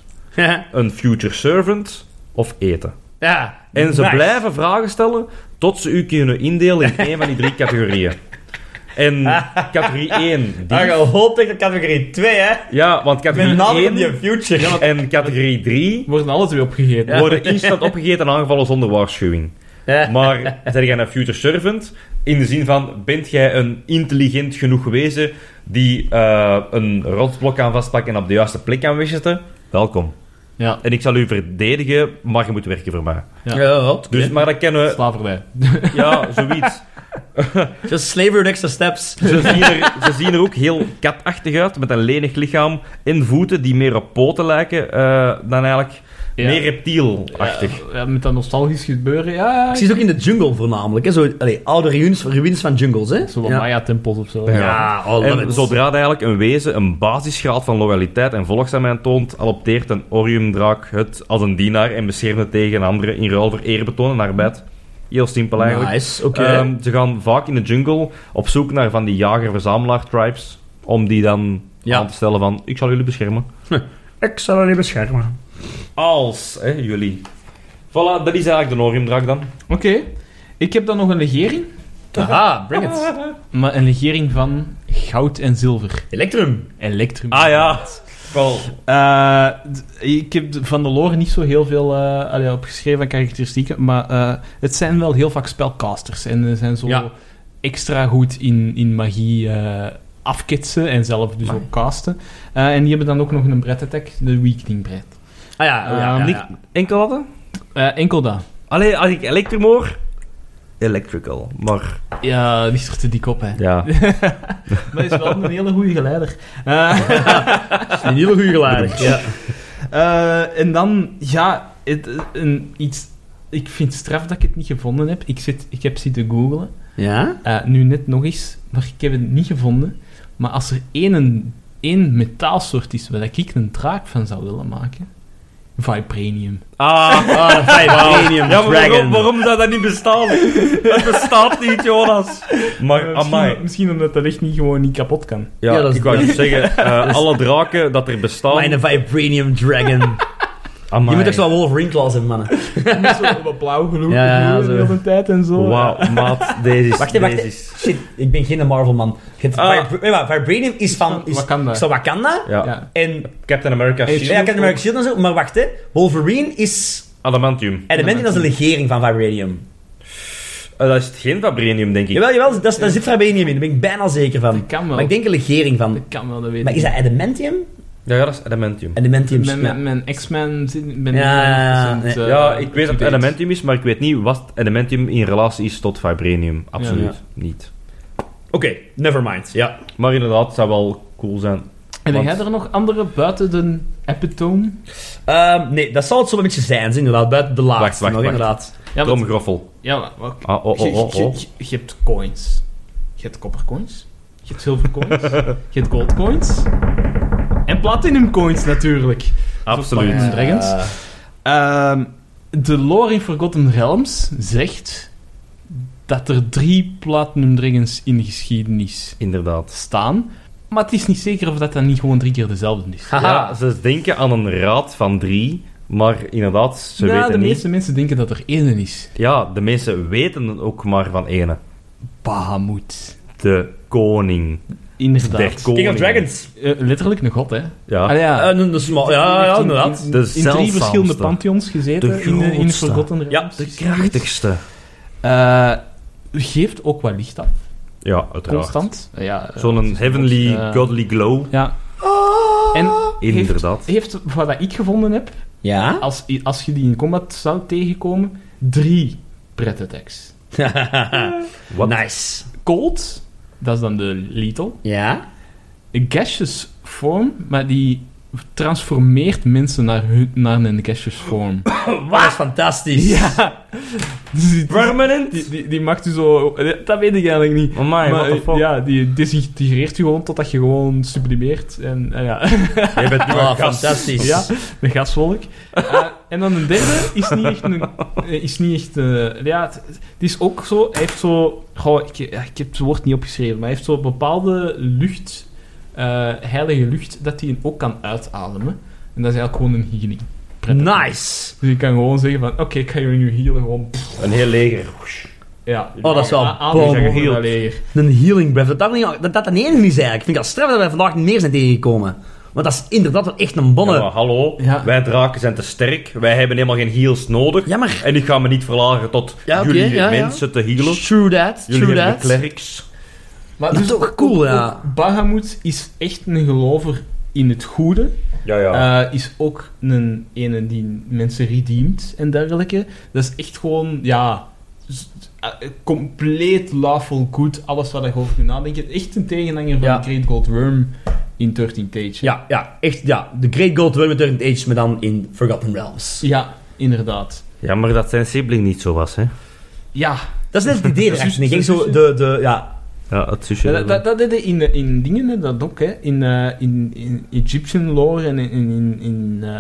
A: een future servant of eten?
B: ja.
A: En ze
B: nice.
A: blijven vragen stellen tot ze u kunnen indelen in één van die drie categorieën. En categorie 1,
B: Dan
A: dief.
B: gehoopt ik op categorie 2, hè.
A: Ja, want
B: Ah, Met
A: categorie
B: name die
A: 1
B: future.
A: en categorie 3
C: Worden alle twee opgegeten.
A: worden instant opgegeten en aangevallen zonder waarschuwing.
B: Ja.
A: Maar zijn jij een future servant? In de zin van, bent jij een intelligent genoeg wezen die eh, een rotsblok kan vastpakken en op de juiste plek kan wegzetten? Welkom.
C: Ja.
A: En ik zal u verdedigen, Dus, maar je moet werken voor mij.
C: Ja.
B: Ja, wel.
A: Dus, maar dat kennen we
C: Slavernij.
A: Ja, zoiets.
B: Just slavery next to steps.
A: Ze zien, er, ze zien er ook heel katachtig uit, met een lenig lichaam en voeten die meer op poten lijken eh, dan eigenlijk
C: Ja.
A: meer reptielachtig.
C: Ja, met dat nostalgisch gebeuren, ja.
B: Ik zie het ook in de jungle voornamelijk. Hè. Zo, allee, oude ruïnes, ruïnes van jungles. Hè.
C: Zo wat
B: ja.
C: Maya-tempels of zo.
A: Ja.
B: ja, oh, love
A: En
B: it.
A: zodra het eigenlijk een wezen een basisgraad van loyaliteit en volgzaamheid toont, adopteert een Oriumdraak het als een dienaar en beschermt het tegen een andere in ruil voor eerbetoon en arbeid. Heel simpel eigenlijk.
B: Nice, oké.
A: Ehm, ze gaan vaak in de jungle op zoek naar van die jager-verzamelaar-tribes, om die dan
B: Ja.
A: aan te stellen van, ik zal jullie beschermen.
B: ik zal er niet beschermen.
A: Als, hè, jullie. Voilà, dat is eigenlijk de Oriumdraak dan.
C: Oké. Ik heb dan nog een legering.
B: Aha, bring it.
C: Maar een legering van goud en zilver.
B: Electrum.
C: Electrum.
A: Ah ja, wel.
C: Eh, d- ik heb d- van de lore niet zo heel veel eh, allee, opgeschreven aan karakteristieken, maar eh, het zijn wel heel vaak spelcasters. En ze zijn zo
B: Ja.
C: extra goed in, in magie eh, afketsen en zelf dus
A: Amai.
C: ook casten. Eh, en die hebben dan ook nog een bread attack, de weakening bread.
B: Ah ja, ja, ja,
C: Ehm,
B: ja.
A: niet- Enkel hadden?
C: Eh, enkel dat.
A: Allee, als ik Electrimor... Electrical, maar...
C: Ja, die is er te dik op, hè.
A: Ja.
C: Maar is wel een hele goede geleider. Eh,
B: Dat is Een hele goede geluid. ja.
C: Eh, en dan, ja, het, een, iets, ik vind het straf dat ik het niet gevonden heb. Ik, zit, ik heb zitten googlen,
B: Ja?
C: Eh, nu net nog eens, maar ik heb het niet gevonden. Maar als er één, een- één metaalsoort is waar ik een draak van zou willen maken, vibranium.
A: Ah,
B: Ah, Vibranium
A: ja, maar waarom,
B: Dragon.
A: waarom zou dat niet bestaan? Het bestaat niet, Jonas. Maar, Ah,
C: Eh,
A: amai.
C: misschien, misschien omdat dat echt niet gewoon niet kapot kan.
A: Ja,
B: Ja, dat is-
A: ik wou
B: dat
A: niet zeggen, eh, alle draken dat er bestaan...
B: Mijn Vibranium Dragon.
A: amai.
B: Je moet ook zo'n Wolverine claws hebben, mannen.
C: Het is zo wat blauw genoeg
B: Ja, ja,
C: de
B: zo.
C: hele tijd en zo.
A: Wauw, maat, deze is...
B: Wacht even, wacht
A: deze
B: even.
A: is-
B: Shit, ik ben geen Marvel-man. Je hebt
A: Ah.
B: Vibra- nee, maar Vibranium is van... Is,
C: Wakanda.
B: Is van Wakanda.
A: Ja.
C: Ja.
B: En...
A: Captain America
C: Hey,
A: Shield.
B: Ja, ik heb de Shield en zo, maar wacht, hè. Wolverine is...
A: Adamantium.
B: Adamantium, dat is een legering van Vibranium.
A: Eh, dat is geen Vibranium, denk ik.
B: Jawel, jawel, dat, is- daar zit Vibranium in. Daar ben ik bijna zeker van.
C: Dat kan wel.
B: Maar ik denk een legering van.
C: Dat kan wel, dat weet
B: Maar
C: ik
B: is dat
C: niet.
B: Adamantium?
A: Ja, ja, dat is Adamantium.
B: Adamantium.
C: Mijn,
B: ja.
C: mijn, mijn X-Men... zin- ben
B: Ja, ja, ja.
C: niet 100%, eh,
A: ja, ik weet dat het
C: up-to-date.
A: Adamantium is, maar ik weet niet wat Adamantium in relatie is tot Vibranium. Absoluut
B: Ja.
A: niet.
B: Oké, nevermind. Ja.
A: Maar inderdaad, het zou wel cool zijn.
C: En
A: Want-
C: jij er nog andere buiten de epitome?
B: Ehm, nee, dat zal het zo'n beetje zijn, zeg, inderdaad. Buiten de laatste.
A: Wacht, wacht,
B: nog,
A: wacht.
B: inderdaad.
C: Ja, want-
A: Tromgroffel.
C: ja maar wat-
A: Ah, oh,
C: je,
A: oh, oh,
C: je-
A: oh.
C: je- je hebt coins. Je hebt coppercoins. Je hebt zilvercoins. je hebt goldcoins. En platinumcoins natuurlijk.
A: Absoluut.
C: Zo, Dungeons pak- Dragons.
B: Eh,
C: Ehm, de lore in Forgotten Realms zegt dat er drie platinum dragons in de geschiedenis
A: Inderdaad.
C: staan. Maar het is niet zeker of dat dan niet gewoon drie keer dezelfde is.
B: Haha.
A: Ja, ze denken aan een raad van drie, maar inderdaad, ze
C: Nou,
A: weten
C: de
A: niet.
C: meeste mensen denken dat er één is.
A: Ja, de mensen weten het ook maar van ene.
C: Bahamut.
A: De koning. Der
C: Inderdaad.
A: koning.
B: King of Dragons.
C: Eh, letterlijk een god, hè?
A: Ja.
C: Ah, ja.
B: Eh, een- een smal- ja, ja,
C: In-
B: inderdaad.
C: In,
A: De
C: in drie
A: zeldzaamste.
C: verschillende pantheons gezeten
A: De
C: in, de- in
A: grootste.
C: Forgotten
B: Ja,
C: Realms.
A: De krachtigste.
C: Eh, geeft ook wat licht af,
A: Ja, uiteraard.
C: constant. Ja, eh,
A: Zo'n
C: het is
A: heavenly,
C: eh,
A: godly glow.
C: Ja. En heeft,
A: Inderdaad.
C: heeft, wat dat ik gevonden heb,
B: Ja?
C: als, als je die in combat zou tegenkomen, drie pret attacks.
A: Wat?
B: Nice.
C: Cold, dat is dan de lethal.
B: Ja?
C: Een gaseous vorm, maar die transformeert mensen naar, hun, naar een gaseous vorm.
B: Wat? Dat is fantastisch.
C: ja. Dus die-
A: Permanent?
C: Die, die, die maakt u zo... Dat weet ik eigenlijk niet.
A: Amai, what
C: maar,
A: the fuck?
C: ja, die desintegreert u gewoon totdat je gewoon sublimeert. En eh, ja,
A: Jij bent nu
B: Ah,
A: een gast.
B: fantastisch.
C: ja de gaswolk. Eh, en dan de derde is niet echt een... eh, Is niet echt, eh, ja, het, het is ook zo... Hij heeft zo... Goh, ik, ja, ik heb het woord niet opgeschreven, maar hij heeft zo bepaalde lucht... eh, heilige lucht, dat hij ook kan uitademen. En dat is eigenlijk gewoon een healing.
B: Nice.
C: Dus je kan gewoon zeggen van... Oké, ik ga jullie nu healen, gewoon...
A: Een heel leger.
C: Ja.
B: Oh, dat is wel
C: Aan- aan-
B: bom.
C: aan- aan- leger.
B: Een healing breath. Dat dat, niet, dat, dat de enige is eigenlijk. Ik vind dat straf dat wij vandaag meer zijn tegengekomen. Want dat is inderdaad wel echt een bonne.
A: Ja, maar hallo,
C: Ja.
A: wij draken zijn te sterk. Wij hebben helemaal geen heals nodig.
B: Jammer.
A: En ik ga me niet verlagen tot
B: Ja, oké,
A: jullie
B: ja, ja.
A: mensen te healen.
B: True that.
A: Jullie
B: true
A: hebben
B: that.
A: de clerics.
C: Maar
B: Dat
C: dus
B: is ook cool, ja.
C: ook Bahamut is echt een gelover in het goede.
A: Ja, ja.
C: Eh, is ook een ene die mensen redeemt en dergelijke. Dat is echt gewoon, ja... z- eh, compleet lawful good, alles wat je over kunt nadenken. Echt een tegenhanger van
B: Ja.
C: de Great Gold Worm in 13 Cage.
B: Ja, ja, echt, ja. The Great Gold Worm Turned Age, maar dan in Forgotten Realms.
C: Ja, inderdaad.
A: Jammer dat zijn sibling niet zo was, hè.
C: Ja,
B: Dat is net het idee
C: Dat is
B: erachter. Ik denk
C: juist-
B: zo, de, de, ja.
A: Ja, het zusje.
C: dat, dat, dat deden in, in dingen hè, dat ook, hè. In, eh, in, in Egyptian lore en in, in, in eh,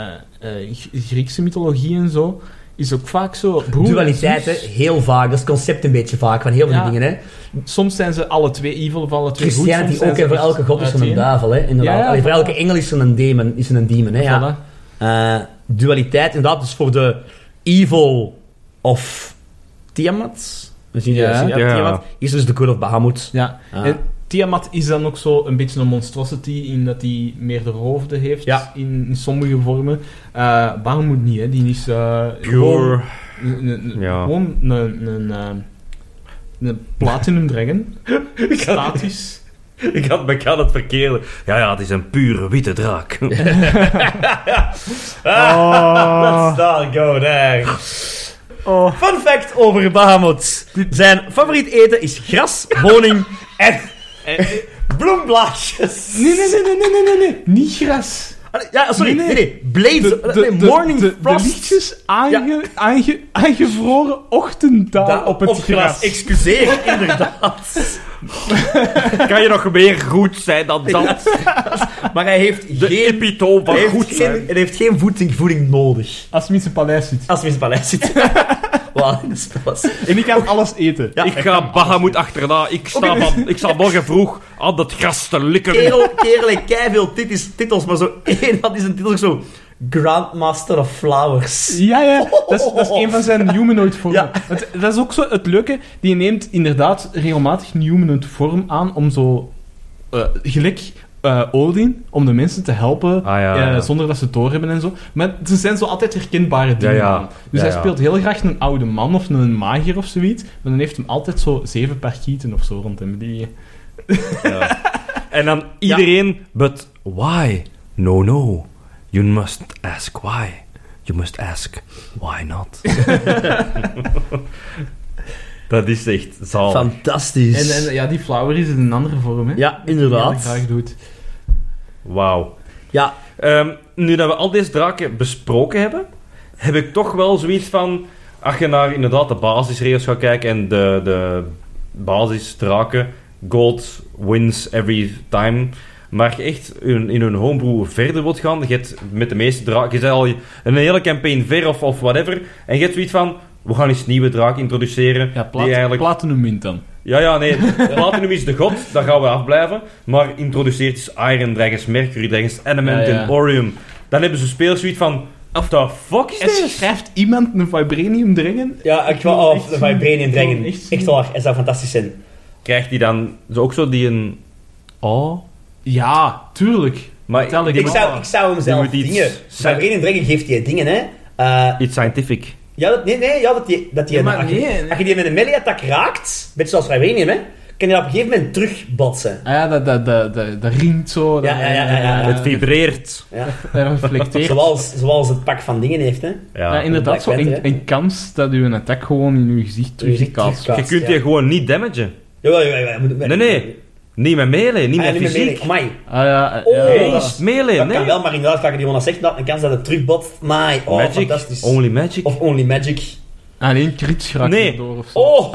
C: eh, G- Griekse mythologie en zo, is ook vaak zo... broer en
B: Dualiteiten,
C: zus.
B: heel vaak. Dat is het concept een beetje vaak van heel veel
C: Ja.
B: dingen, hè.
C: Soms zijn ze alle twee evil of alle twee goed. soms
B: Christianity
C: zijn
B: ook,
C: ze
B: hè. Voor
C: echt
B: elke god is er een
C: uiteen.
B: duivel, hè. Inderdaad.
C: Ja, ja,
B: Allee, voor
C: voilà.
B: elke engel is er een demon, is er een demon hè. Ja.
C: Voilà.
B: Eh, dualiteit, inderdaad. Dus voor de evil of Tiamat... We zien
C: Ja.
B: ja. Ja,
A: Ja.
B: Tiamat. Is dus de God of Bahamut.
C: Ja.
B: Ah.
C: En Tiamat is dan ook zo een beetje een monstrosity in dat hij meerdere hoofden heeft
B: Ja.
C: in, in sommige vormen. Eh Bahamut niet, hè. Die is... eh,
A: Pure.
C: N- n- n-
A: Ja.
C: Gewoon een, een, een, een platinum dragon. Statisch.
A: Ik had, ik had het verkeerde. Ja, ja, het is een pure witte draak.
B: Ah,
C: Oh.
B: Let's not go there. Fun fact over Bahamut. Zijn favoriet eten is gras, honing en bloemblaadjes.
C: Nee, nee, nee, nee, nee, nee, nee, nee. Niet gras.
B: Allee, Ja, sorry.
C: Nee,
B: Nee,
C: nee.
B: nee. Blades. nee, morning
C: de, de
B: frost.
C: lichtjes aange, aange, aangevroren ochtenddaal
B: Da-
C: op het
B: op
C: gras.
B: Excuseer, inderdaad.
A: kan je nog meer goed zijn dan dat?
B: Maar hij heeft
A: De
B: geen...
A: epitoom van
B: Hij heeft,
A: goed zijn.
B: geen, hij heeft geen voeding, voeding nodig.
C: Als je in zijn paleis zit.
B: Als we in het paleis zitten. Wauw, dat is pas.
C: En ik kan alles eten.
B: Ja.
A: Ik ga Bahamut achterna. Ik sta, van, ik sta morgen vroeg aan dat gras te likken.
B: kerel, kerel heeft keiveel titis- titels, maar zo één had is een titel zo... Grandmaster of Flowers.
C: Ja, ja. Dat is, dat is een van zijn humanoid vormen.
B: Ja.
C: Want Dat is ook zo het leuke. Die neemt inderdaad regelmatig een humanoid vorm aan om zo... eh, gelijk eh, Odin, om de mensen te helpen
A: Ah, ja,
C: eh,
A: ja.
C: zonder dat ze het doorhebben en zo. Maar ze zijn zo altijd herkenbare dingen
A: Ja, ja.
C: aan.
A: Ja,
C: Dus hij
A: ja.
C: speelt heel graag een oude man of een magier of zoiets. Maar dan heeft hem altijd zo zeven parkieten of zo rond hem liggen.
A: En dan iedereen, but why? No, no. You must ask why. You must ask why not. dat is echt zalig.
B: Fantastisch.
C: En, en ja, die flower is in een andere vorm, hè.
B: ja,
C: Die hij
B: inderdaad.
C: graag doet.
A: Wauw.
B: Ja,
A: Ehm, nu dat we al deze draken besproken hebben, heb ik toch wel zoiets van... Als je naar inderdaad de basisregels gaat kijken en de, de basisdraken... Gold wins every time. Maar je echt in, in hun homebrew verder wilt gaan. Je hebt met de meeste draken... Je bent al een hele campaign ver of, of whatever. En je hebt zoiets van... We gaan eens nieuwe draak introduceren.
C: Ja,
A: die
C: plat,
A: eigenlijk
C: platinum mint dan.
A: ja, ja, nee. Platinum is de god, daar gaan we afblijven. Maar introduceert dus Iron Dragons, Mercury Dragons, Element
C: Ja, ja.
A: en Orium. Dan hebben ze spelers zoiets van... What the fuck is
C: En
A: dit?
C: schrijft iemand een vibranium dringen?
B: Ja, ik
C: wil
B: wou
C: echt
B: af van mijn
C: zien.
B: brain in
C: Ik
B: dringen.
A: Oh,
C: wil echt zien.
B: Echt waar, hij zou fantastisch zijn.
A: Krijgt hij dan zo ook zo die een... Oh?
C: Ja, tuurlijk.
A: Maar
C: Tel ik
A: die
B: Ik
A: moet-
C: maar.
B: zou, ik zou hem zelf
A: moet iets
B: dingen...
A: zijn.
B: Bij brain in dringen geeft hij dingen, hè. Eh,
A: Iets scientific.
B: ja, dat, nee, nee, ja, dat die... Dat die
C: Ja, maar
B: als, je,
C: nee, nee.
B: als je die met een melee-attack raakt, beetje zoals Vibranium, hè, kan je dat op een gegeven moment terugbotsen.
C: Ah ja, dat, dat, dat, dat, dat ringt zo.
B: Ja,
C: dat-
B: ja, ja, ja, ja.
A: Het vibreert.
B: Ja.
C: Dat reflecteert.
B: Zoals, zoals het pak van dingen heeft, hè.
A: Ja.
C: Ja, inderdaad,
B: Black
C: zo
B: Panther,
C: een,
B: hè.
C: een kans dat u een attack gewoon in uw gezicht
B: Uw gezicht
C: terugkaatst.
A: Je kunt
B: ja.
A: je gewoon niet damagen.
B: Jawel, jawel, jawel. moet-
A: Nee, nee. Niet met melee, niet
B: Ah, ja,
A: met
B: niet met
A: fysiek.
B: melee. Amai.
C: Ah ja,
B: Oh,
C: ja.
A: Nee,
B: Ja.
A: is melee,
B: Dat kan
A: nee.
B: wel, maar inderdaad, vaak die Jonas zegt, dat een kans dat het terugbotst. Amai. Oh,
A: Magic,
B: fantastisch.
A: only magic.
B: Of Only Magic.
C: Alleen crits geraakt
A: Nee.
C: door of zo.
B: Oh,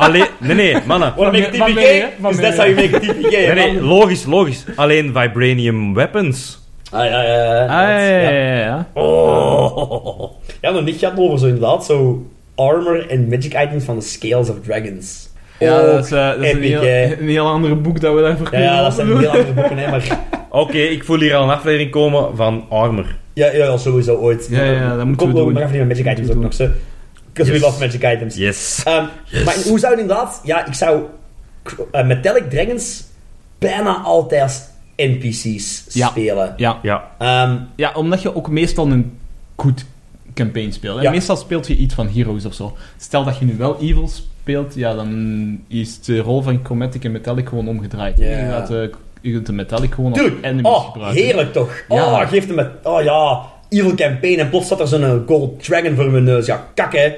A: Alleen... Nee, nee, mannen.
B: Wat
C: Van
B: make
C: mee- van
B: TPK?
C: mee, hè? Van
B: Dus
C: mee,
B: dat zou je make TPK
A: Nee,
B: hè,
A: nee,
B: man.
A: logisch, logisch. Alleen vibranium weapons.
B: Ah, ja, ja, ja.
C: Ah, ja, ja,
B: ja. ja.
C: ja, ja.
A: Oh.
B: Ja, maar niet gaat over zo inderdaad, zo armor en magic items van de Scales of Dragons.
C: Ja,
B: Ook
C: dat is, eh, dat is een,
B: epic,
C: heel,
B: hè.
C: een heel ander boek dat we daarvoor
B: Ja,
C: kunnen
B: ja, dat zijn
C: doen.
B: heel andere boeken, hè, maar...
A: Oké, ik voel hier al een aflevering komen van Armor.
B: Ja, ja, ja, sowieso ooit.
C: Ja, ja, ja, dat moeten
B: Kom,
C: we
B: we
C: doen.
B: Maar even die magic items
C: Moeten
B: ook
C: we
B: nog, zo. Because
A: Yes.
B: we love magic items.
A: Yes.
B: Ehm, Maar hoe zou het inderdaad... Ja, ik zou eh, Metallic Dragons bijna altijd als NPC's
C: Ja.
B: spelen.
C: Ja.
A: Ja.
B: Ehm,
C: ja, omdat je ook meestal een goed campaign speelt. En
B: Ja.
C: meestal speelt je iets van heroes of zo. Stel dat je nu wel evil speelt, ja, dan is de rol van chromatic en metallic gewoon omgedraaid.
B: Ja.
C: Je, gaat, eh, je kunt de metallic gewoon als
B: Dude,
C: enemies
B: oh,
C: gebruiken.
B: heerlijk toch?
C: Ja.
B: Oh, geef hem met... Oh ja, evil campaign en plots staat er zo'n eh, gold dragon voor mijn neus. Ja, kak hè.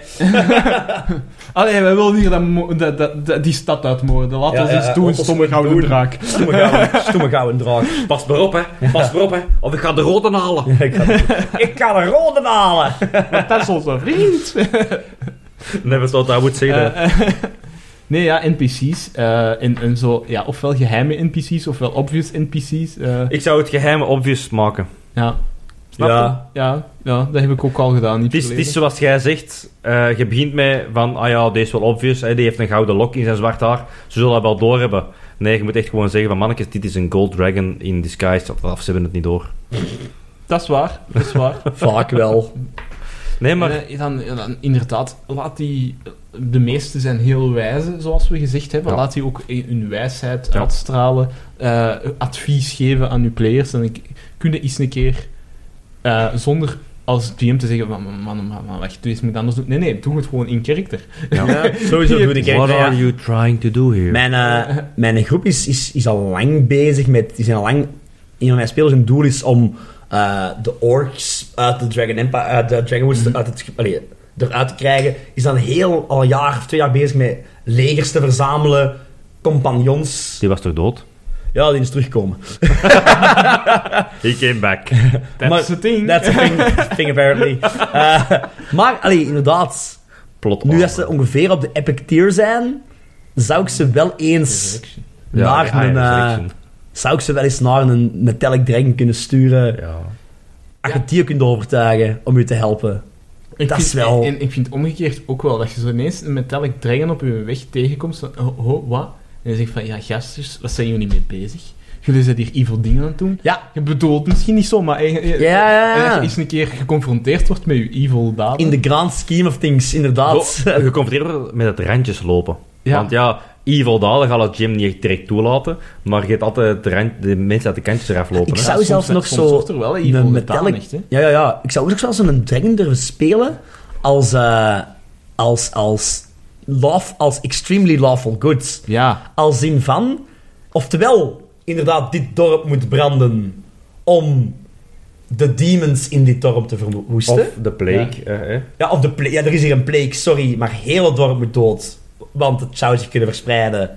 C: Allee, wij willen hier dat mo- dat, dat, dat- die stad uitmoorden. Laat
B: Ja,
C: ons
B: ja,
C: iets
B: ja,
C: doen,
B: laat ons
C: stomme
B: iets
C: gouden
B: doen.
C: draak.
B: Stomme gouden, stomme gouden draak.
A: Pas maar op, hè. Pas maar op, hè. Of ik ga de rode halen.
B: Ik ga, ik ga de rode halen.
C: Maar dat is onze vriend.
A: Never thought I would say that.
C: Eh, eh, nee, ja, NPC's. eh, en, en zo, ja, ofwel geheime NPC's, ofwel obvious NPC's. eh,
A: ik zou het geheim obvious maken.
C: ja. Snap
B: Ja.
C: je? ja. Ja, dat heb ik ook al gedaan. Niet
A: Het is, het is zoals jij zegt, eh, je begint met van, ah ja, deze is wel obvious, hè, die heeft een gouden lok in zijn zwart haar, ze zullen dat wel doorhebben. Nee, je moet echt gewoon zeggen van, mannetjes, dit is een gold dragon in disguise, of, of ze hebben het niet door.
C: dat is waar, dat is waar.
B: Vaak wel.
A: Nee, maar
C: En, eh, dan, dan inderdaad, laat die... De meesten zijn heel wijze, zoals we gezegd hebben.
A: Ja.
C: Laat die ook in hun wijsheid
A: Ja.
C: uitstralen. eh, advies geven aan uw players. En ik, kunnen eens een keer, eh, zonder als GM te zeggen van... Man, man, man, man, wacht, doe eens met anders doen. Nee, nee, doe het gewoon in karakter.
A: Ja.
B: sowieso doe ik
A: what
B: echt.
A: are you trying to do here?
B: Mijn, eh, mijn groep is, is, is al lang bezig met... Die zijn al lang... Een van mijn spelers hun doel is om eh, de orks uit de Dragon Empire... Uit de Dragonwoods te- uit het, allee, eruit te krijgen. Is dan heel, al een jaar of twee jaar bezig met legers te verzamelen. Compagnons.
A: Die was toch dood?
B: Ja, die is terugkomen.
A: He came back.
C: That's
B: Maar-
C: the thing.
B: That's a thing, thing apparently. Eh, maar, allee, inderdaad.
A: Plot
B: Nu dat
A: armor.
B: ze ongeveer op de epic tier zijn... Zou ik ze wel eens...
C: Resurrection.
A: Ja,
B: naar
A: ja, ja,
B: een... eh,
A: resurrection.
B: zou ik ze wel eens naar een metallic dragon kunnen sturen.
A: Ja.
B: Als je die kunt overtuigen om u te helpen.
C: Ik
B: Dat
C: vind,
B: is wel-
C: En, en ik vind omgekeerd ook wel dat je zo ineens een metallic dragon op je weg tegenkomt. Van, ho, ho, wat? En je zegt van, ja, gasters, wat zijn jullie mee bezig? Jullie zijn hier evil dingen aan het doen.
B: Ja.
C: Je bedoelt het misschien niet zo, maar... eh, eh,
B: Ja, ja, ja.
C: En dat je eens een keer geconfronteerd wordt met je evil daden.
B: In the grand scheme of things, inderdaad.
A: Zo, geconfronteerd worden met het randjes lopen.
C: Ja.
A: Want ja, evil daden gaat het gym niet echt direct toelaten, maar je gaat altijd het rand- de mensen uit de kantjes eraf lopen.
B: Ik
A: hè.
B: zou
C: soms-
B: zelfs nog
C: soms
B: zo
C: wordt er wel
B: een
C: evil
B: metallic-
C: gedaan, echt, hè.
B: Ja, ja, ja. Ik zou ook zelfs een dragon durven spelen als, eh, als, als, love, als extremely lawful good.
C: Ja.
B: Als zin van, oftewel, inderdaad, dit dorp moet branden om de demons in dit dorp te verwoesten.
A: Of de plague. eh, hè.
B: Ja, of de pla- ja, er is hier een plague, sorry, maar heel het dorp moet dood. Want het zou zich kunnen verspreiden.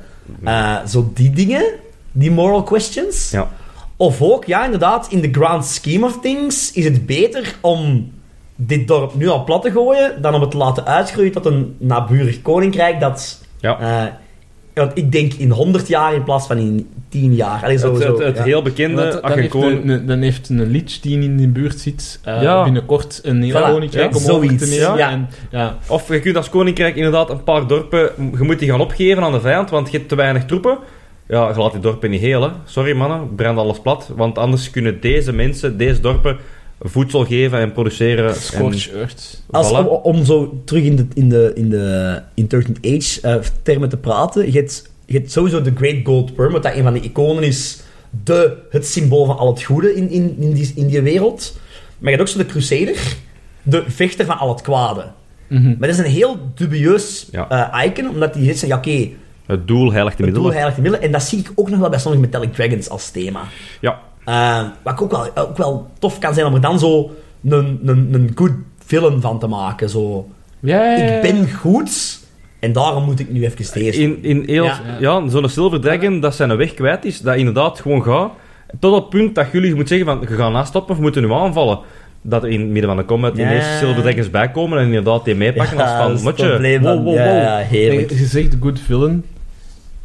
B: Eh, zo die dingen, die moral questions.
A: Ja.
B: Of ook, ja, inderdaad, in the grand scheme of things is het beter om dit dorp nu al plat te gooien dan om het te laten uitgroeien tot een naburig koninkrijk dat...
A: Ja.
B: eh, want ik denk in 100 jaar in plaats van in 10 jaar. Allee,
A: het
B: sowieso.
A: het, het
B: ja.
A: heel
C: Want
A: bekende
C: dan, heeft
A: Agenkoon.
C: een, een- dan heeft een lich die in de buurt zit eh,
A: Ja.
C: binnenkort een heel
B: Voilà.
C: koninkrijk
B: Ja,
C: om over te
B: zoiets.
C: nemen.
B: Ja.
C: En, ja.
A: Of je kunt als koninkrijk inderdaad een paar dorpen... Je moet die gaan opgeven aan de vijand, want je hebt te weinig troepen. Ja, je laat die dorpen niet heel, hè. Sorry, mannen. Brand alles plat. Want anders kunnen deze mensen, deze dorpen, voedsel geven en produceren. En,
C: Scorch Earth.
B: Als,
A: Voilà.
B: om, om zo terug in de, in de, in de in 13th Age eh, termen te praten, je hebt, je hebt sowieso de Great Gold Worm, wat dat een van de iconen is, de, het symbool van al het goede in, in, in, die, in die wereld. Maar je hebt ook zo de Crusader, de vechter van al het kwade.
C: Mhm.
B: Maar dat is een heel dubieus
A: Ja.
B: eh, icon, omdat die zegt, ja oké,
A: het doel heiligt de
B: het doel
A: middelen.
B: heiligt de middelen. En dat zie ik ook nog wel bij sommige Metallic Dragons als thema.
A: Ja.
B: Eh, wat ik ook wel, ook wel tof kan zijn om er dan zo een, een, een good villain van te maken, zo...
C: Ja, ja, ja.
B: Ik ben goed en daarom moet ik nu even deze.
A: In, in heel, ja,
B: Ja.
A: zo'n Silver Dragon dat zijn weg kwijt is, dat inderdaad gewoon gaat. Tot op het punt dat jullie moeten zeggen van, je gaat nastappen of we moeten nu aanvallen. Dat er in het midden van de combat
B: Ja.
A: ineens Silver Dragons bijkomen en inderdaad die meepakken
B: Ja, dat
A: als
B: is
A: van,
B: het
A: motje,
B: probleem
A: wow,
B: van-
A: wow,
B: ja,
A: wow.
B: ja, heerlijk.
C: Nee, je zegt good villain,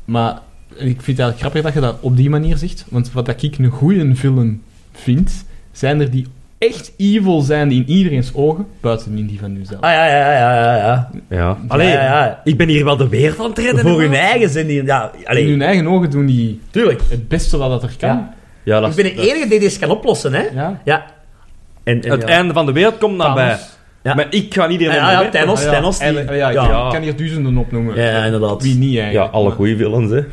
C: maar ik vind het eigenlijk grappig dat je dat op die manier zegt. Want wat dat ik een goede villain vind, zijn er die echt evil zijn in iedereen's ogen, buiten in die van jezelf.
B: Ah ja, ja, ja, ja, ja.
A: Ja. Allee,
B: Ja, ja.
A: ik ben hier wel de weer van het redden.
B: Voor
A: hè,
B: hun
A: man.
B: eigen zin. die- Ja,
C: in
B: alleen,
C: hun eigen ogen doen die
B: tuurlijk.
C: het beste wat dat er kan.
B: Ja.
A: Ja, dat
B: Ik
A: is-
B: ben de
A: dat-
B: enige die deze kan oplossen, hè?
C: Ja.
B: Ja. En, en
A: Het
B: ja.
A: einde van de wereld komt nabij.
C: Thanos.
B: Ja.
A: Maar ik ga niet
B: Ja,
A: iedereen
B: ja,
A: onderwerpen.
B: Thanos,
C: Ah, ja.
B: Thanos. die-
C: En, eh, ja, ik
B: ja.
C: ik kan hier duizenden opnoemen.
B: Ja, ja, inderdaad.
C: Wie niet
A: Ja,
C: eigenlijk.
A: alle
C: maar-
A: goede villains, hè.
C: Eh,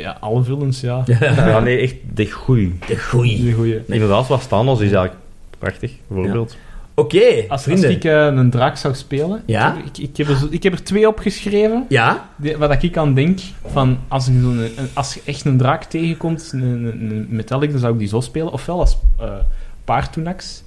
C: Ja, alle villains, ja.
A: Ja, nee, echt de goeie.
B: De goeie.
C: De goeie.
A: Inderdaad, wat Thanos is eigenlijk prachtig, bijvoorbeeld.
B: Oké,
C: Als, als
B: vrienden.
C: ik eh, een draak zou spelen,
B: Ja?
C: ik, ik, heb er, zo- ik heb er twee opgeschreven.
B: Ja?
C: Die- wat ik aan denk, van als je, zo'n- een- als je echt een draak tegenkomt, een, een, een metallic, dan zou ik die zo spelen. Ofwel als eh paartoenax.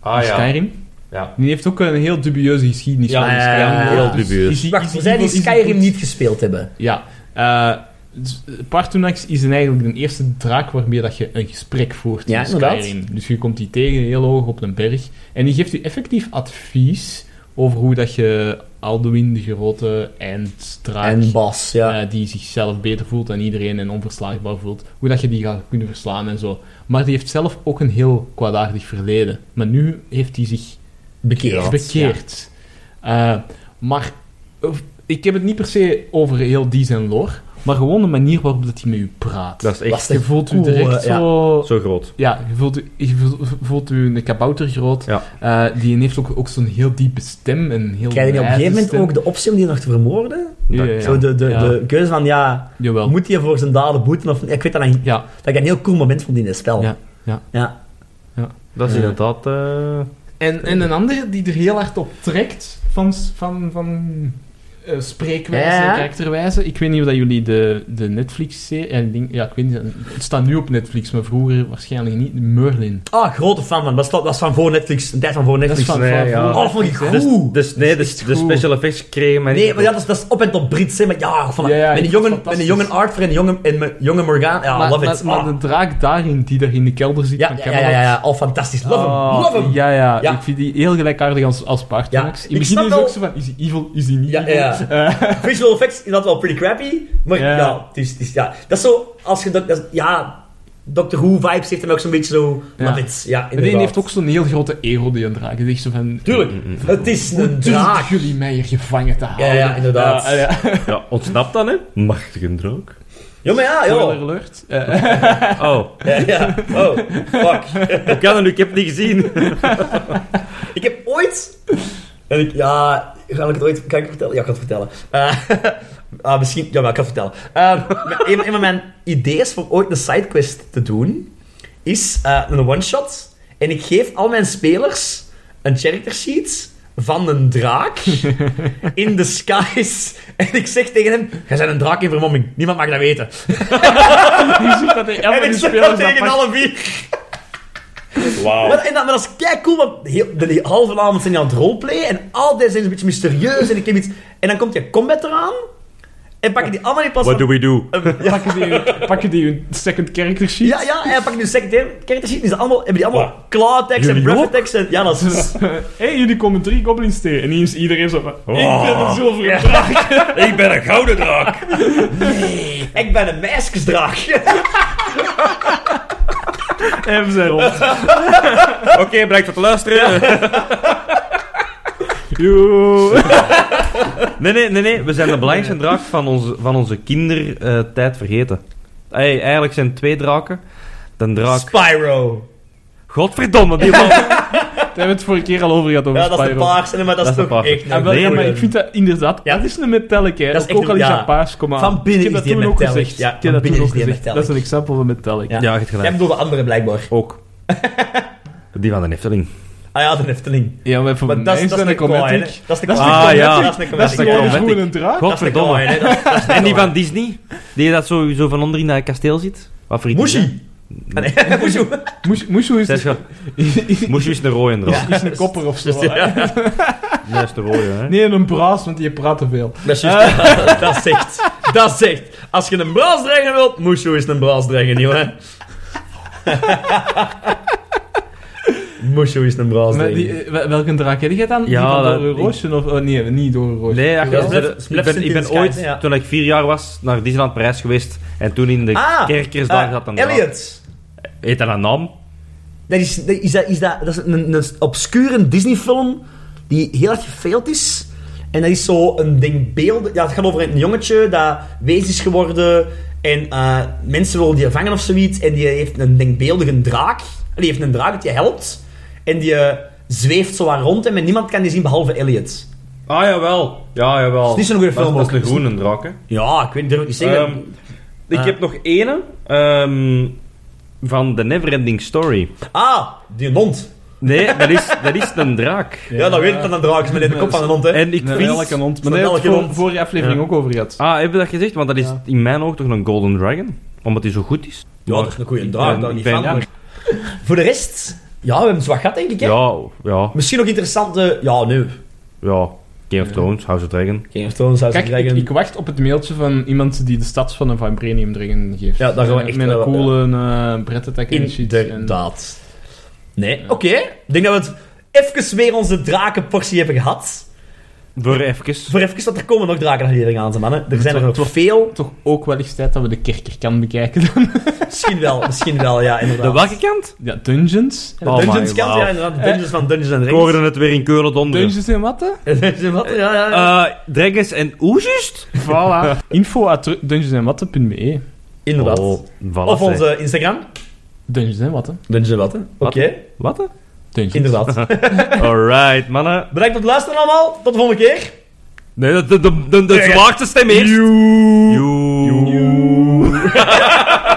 A: Ah ja.
C: Skyrim.
A: ja.
C: Die heeft ook een heel dubieuze geschiedenis.
A: Ja,
C: van
B: ja,
C: Skyrim.
B: ja, ja.
A: Heel
C: Dus
A: dubieus.
C: is die-
B: Wacht,
C: is
B: voor zij die
C: is
B: Skyrim niet gespeeld hebben.
C: Ja. eh dus, eh, Partunax is eigenlijk de eerste draak waarmee dat je een gesprek voert
B: Ja,
C: in
B: inderdaad.
C: Skyrim. Dus je komt die tegen heel hoog op een berg. En die geeft je effectief advies over hoe dat je Alduin, de grote einddraak...
B: En Bas, ja.
C: eh, die zichzelf beter voelt dan iedereen en onverslaagbaar voelt, hoe dat je die gaat kunnen verslaan en zo. Maar die heeft zelf ook een heel kwaadaardig verleden. Maar nu heeft hij zich
B: Bekeerd.
C: bekeerd. Eh, maar eh, ik heb het niet per se over heel die zijn lore, maar gewoon de manier waarop dat hij met u praat.
A: Dat is echt
B: Was
C: je voelt u
B: cool,
C: direct
B: eh, ja.
C: zo...
A: zo groot.
C: Ja, je voelt, u- je voelt- voelt u een kabouter groot.
A: Ja.
C: Eh, die heeft ook, ook zo'n heel diepe stem. Een heel
B: Krijg je niet op een
C: wijze
B: gegeven moment
C: stem.
B: ook de optie om die nog te vermoorden?
C: Ja, ja, ja.
B: Zo de, de,
C: Ja.
B: de keuze van, ja,
C: Jawel.
B: moet hij voor zijn daden boeten? Of, ik weet dat, dat
C: Ja,
B: ik een heel cool moment vond in het spel.
C: Ja, ja.
B: ja.
A: Dat is
C: Ja.
A: inderdaad... eh,
C: En, en een andere die er heel hard op trekt van, s- van, van eh, spreekwijze,
B: Ja.
C: karakterwijze. Ik weet niet of dat jullie de, de Netflix-serie... Ja, ik denk- ja, ik weet niet. eh, Het staat nu op Netflix, maar vroeger waarschijnlijk niet. Merlin.
B: Ah, grote fan van. Dat is, dat is van voor Netflix. Een tijd van voor
C: Dat is
B: Netflix.
C: van,
A: nee,
C: van
A: ja.
C: vroeger.
B: Oh, dat vond ik
C: Ja.
B: goed.
A: Dus nee, de,
C: is echt
A: de
C: goed.
A: special effects kregen mij
B: Nee,
A: niet.
B: maar ja, dat is, dat is op en top Brits, hè. Maar ja, van,
C: Ja, ja, ik
B: met een
C: vind
B: jongen,
C: het
B: met een
C: fantastisch.
B: jongen Arthur en een jongen, en een jonge Morgan. Ja,
C: maar,
B: love
C: maar,
B: it.
C: maar
B: Ah.
C: de draak daarin, die daar in de kelder zit
B: ja,
C: van
B: ja, ja, ja,
C: Camelot.
B: ja. Oh, fantastisch. Love him,
C: Oh,
B: love him.
C: Ja, ja,
B: Ja.
C: Ik vind die heel gelijkaardig als, als Partonax.
B: Ja,
C: In
B: ik
C: het begin
B: snap
C: is het ook
B: wel-
C: zo van, is hij evil, is hij niet
B: Ja,
C: evil?
B: ja.
C: Eh,
B: Visual effects is dat wel pretty crappy. Maar
C: Ja.
B: ja, het is, het is- ja. dat is zo, als je... Dat, dat is- ja, Doctor Who vibes heeft hem ook zo'n beetje zo...
C: Ja.
B: Love it. Ja,
C: en die
B: inderdaad.
C: heeft ook zo'n heel grote ero, die een draak. Die zegt zo van...
B: Tuurlijk,
C: mm.
B: het is een
C: Durven
B: draak.
C: jullie mij hier gevangen te houden?
B: Ja, Ah, ja, inderdaad.
C: Ja, ja.
A: Ja, ontsnapt dan, hè? Machtige droog.
B: Ja, maar ja,
C: Spoiler
B: Ah, joh.
C: alert. Eh,
A: Oh,
B: Ja, ja. Oh, fuck.
A: ik kan het nu, ik heb het niet gezien.
B: Ik heb ooit... En ik, ja, ga ik het ooit... Kan ik het vertellen? Ja, ik ga het vertellen. Eh, ah, misschien... Ja, maar ik ga het vertellen. Eh, maar een, een van mijn ideeën voor ooit een sidequest te doen, is eh, een one-shot. En ik geef al mijn spelers een character sheet van een draak in the skies. En ik zeg tegen hem, jij bent een draak in vermomming. Niemand mag dat weten.
C: je ziet dat hij elke
B: en ik zeg
C: speler
B: dat tegen alle vier.
A: Wauw.
B: Maar, en dat, maar dat is kei cool, want heel, de halve avond zijn die aan het roleplayen en al deze zijn een beetje mysterieus en ik heb iets... En dan komt je combat eraan en pakken die allemaal in plaats
A: What
B: van...
A: do we do?
C: Pakken die, pakken die hun second character sheet?
B: Ja, ja, en dan pakken die secretaire character sheet en die zijn allemaal, hebben die allemaal
A: Wow.
B: clawtex en
A: Jullie
B: breath en... Ja, dat is...
C: Hé, hey, jullie komen drie goblins tegen. En hier is iedereen zo van... Ik ben
A: Oh.
C: een zilveren draak.
A: Ik ben een gouden draak.
B: Nee, ik ben een meisjesdraag.
C: En we zijn rond.
A: Oké, bedankt voor het luisteren.
C: Joe.
A: Nee, nee, nee, nee. We zijn de belangrijkste draak van onze, van onze kindertijd vergeten. Hey, eigenlijk zijn het twee draken. De draak...
B: Spyro.
A: Godverdomme, die man.
C: Daar hebben we het vorige keer al over gehad over
B: Ja, dat is de
C: Spyro.
B: paarse, maar dat,
A: Dat is
B: is
A: de
B: toch
A: paarse.
B: echt...
C: Ja, Ah, wel,
A: Nee,
C: ja, maar
A: maar-
C: ik vind dat inderdaad...
B: Ja.
C: dat is een metallic, hè.
B: Dat is
C: Ook
B: echt
C: al
B: een-
C: is
B: ja.
C: dat paars, kom aan.
B: Van binnen is
C: ik heb dat
B: die
C: toen
B: een
C: ook
B: metallic.
C: gezegd.
B: Ja,
C: ik
B: van
C: heb dat toen
B: binnen
C: ook
B: is die een
C: gezegd. Dat is
B: metallic.
C: een example van metallic.
B: Ja.
A: Ja, je hebt
B: Jij
A: gelijk.
B: bedoelt de andere, blijkbaar.
A: Ook. Die van de Nefteling.
B: Ah ja, de Efteling.
C: Ja, maar voor
B: Maar dat is, dat is
C: een
B: een kwaai, hè.
C: chromatic.
B: Dat is de
C: Dat is een
A: Ah,
B: kwaai.
A: ja.
B: Dat is een
C: Dat is
A: een
B: kwaai.
C: gewoon
A: chromatic.
C: gewoon een draak.
B: Dat is de kwaai,
A: Godverdomme.
B: hè. Dat- dat is de
A: En die
B: kwaai.
A: van Disney. Die dat sowieso van onder in dat kasteel zit. Wat voor iets is dat?
B: Moeshi. Ah, nee, Moeshoe.
C: Moes- Moeshoe is,
A: Zeg
C: is,
A: je, Moesje is een rode draak.
C: is een kopper of zo.
B: Dus, ja, dat
A: Nee, is de rode, hè.
C: Nee, een braas, want die praat te veel.
B: is juist. dat zegt. Dat zegt. Als je een braasdreiger wilt, Moeshoe is een braasdreiger, jongen. Moeshoe is een
C: Maar die,
B: braasdreiger.
C: eh, wel- welke draak heb jij dan?
A: Ja,
C: die van
A: dat-
C: Dore Roosje? Of, oh, nee, niet Dore Roosje.
A: Nee, ach,
B: Ja,
A: ik
B: Blef-
A: ben- ik
B: Blef
A: ben,
B: zit
A: ik
B: in
A: ben
B: de
A: ooit,
B: sky, ja.
A: toen ik vier jaar was, naar Disneyland Parijs geweest. En toen in de
B: Ah,
A: kerkers daar zat een
B: Eh,
A: draak.
B: Elliot.
A: Heet dat een naam?
B: Dat is, dat is, dat is, dat, dat is een, een obscure Disney-film die heel erg gefaild is. En dat is zo een denkbeeld. Ja, het gaat over een jongetje dat wees is geworden. En eh, mensen willen die vangen of zoiets. En die heeft een denkbeeldige draak. Die heeft een draak dat die helpt. En die eh, zweeft zo waar rond hem. En niemand kan die zien behalve Elliot.
A: Ah, jawel. Ja, jawel.
B: Het is niet zo'n goede
A: Dat is-
B: film,
A: Dat is
B: ook.
A: een groene draak, hè.
B: Ja, ik weet durf ik niet zeggen.
A: Ehm, ik
B: Ah.
A: heb nog ene ehm, van de Neverending Story.
B: ah, die hond.
A: Nee, dat is, dat is een draak.
B: Ja, dat weet ik dat een draak is met de kop van een hond. Hè.
A: En ik
C: Een
A: vind...
C: welke hond. Maar
B: Een
C: daar hebben we
B: welke
C: het
B: hond.
C: vorige aflevering
A: Ja.
C: ook over gehad.
A: Ah, heb je dat gezegd? Want dat is
C: Ja.
A: in mijn oog toch een Golden Dragon? Omdat hij zo goed is.
B: ja, dat is een goede draak.
A: Ja,
B: daar
A: ik
B: niet
A: ben-
B: van. Voor de rest, Ja, we hebben het wat gehad, denk ik. Hè?
A: Ja, ja,
B: Misschien nog interessante... Ja, nu.
A: ja. Game of Thrones, House of Dragon.
B: Game of Thrones, House
C: Kijk, ik, ik wacht op het mailtje van iemand die de stats van een Vibranium Dragon geeft.
B: Ja, daar gaan we echt
C: Met een
B: wel-
C: coole eh Brett Attack en shit. En-
B: Inderdaad. Nee, oké. Ik denk dat we het even weer onze drakenportie hebben gehad.
A: Door even.
B: Voor even, want er komen nog drakenafleveringen aan, ze mannen. Er zijn er nog
C: wordt-
B: wel veel.
C: toch ook wel eens tijd dat we de kerker kan bekijken dan.
B: Misschien wel, misschien wel, ja, inderdaad.
A: De welke kant?
C: Ja, dungeons.
B: De
A: Oh my,
B: Dungeons kant,
A: wauw.
B: ja, inderdaad. De Dungeons van Dungeons and
A: Ik
B: Dragons.
A: hoorde het weer in Keulen donderen.
C: Dungeons en wat, hè?
B: Dungeons en wat? Ja, ja, ja.
A: Eh, dragons en Oezust?
C: Voilà. Info at dungeonsenwatten.be.
B: Inderdaad.
A: Oh, voilà,
B: of
A: zeg.
B: onze Instagram.
C: Dungeons en watten.
B: Dungeons en Watten. Oké,
A: Wat? hè?
C: Dungeons.
B: inderdaad.
A: Alright, mannen.
B: Bedankt voor het luisteren allemaal. Tot de volgende keer.
A: Nee, de, de, de, de, de zwaarste stem eerst. Joe.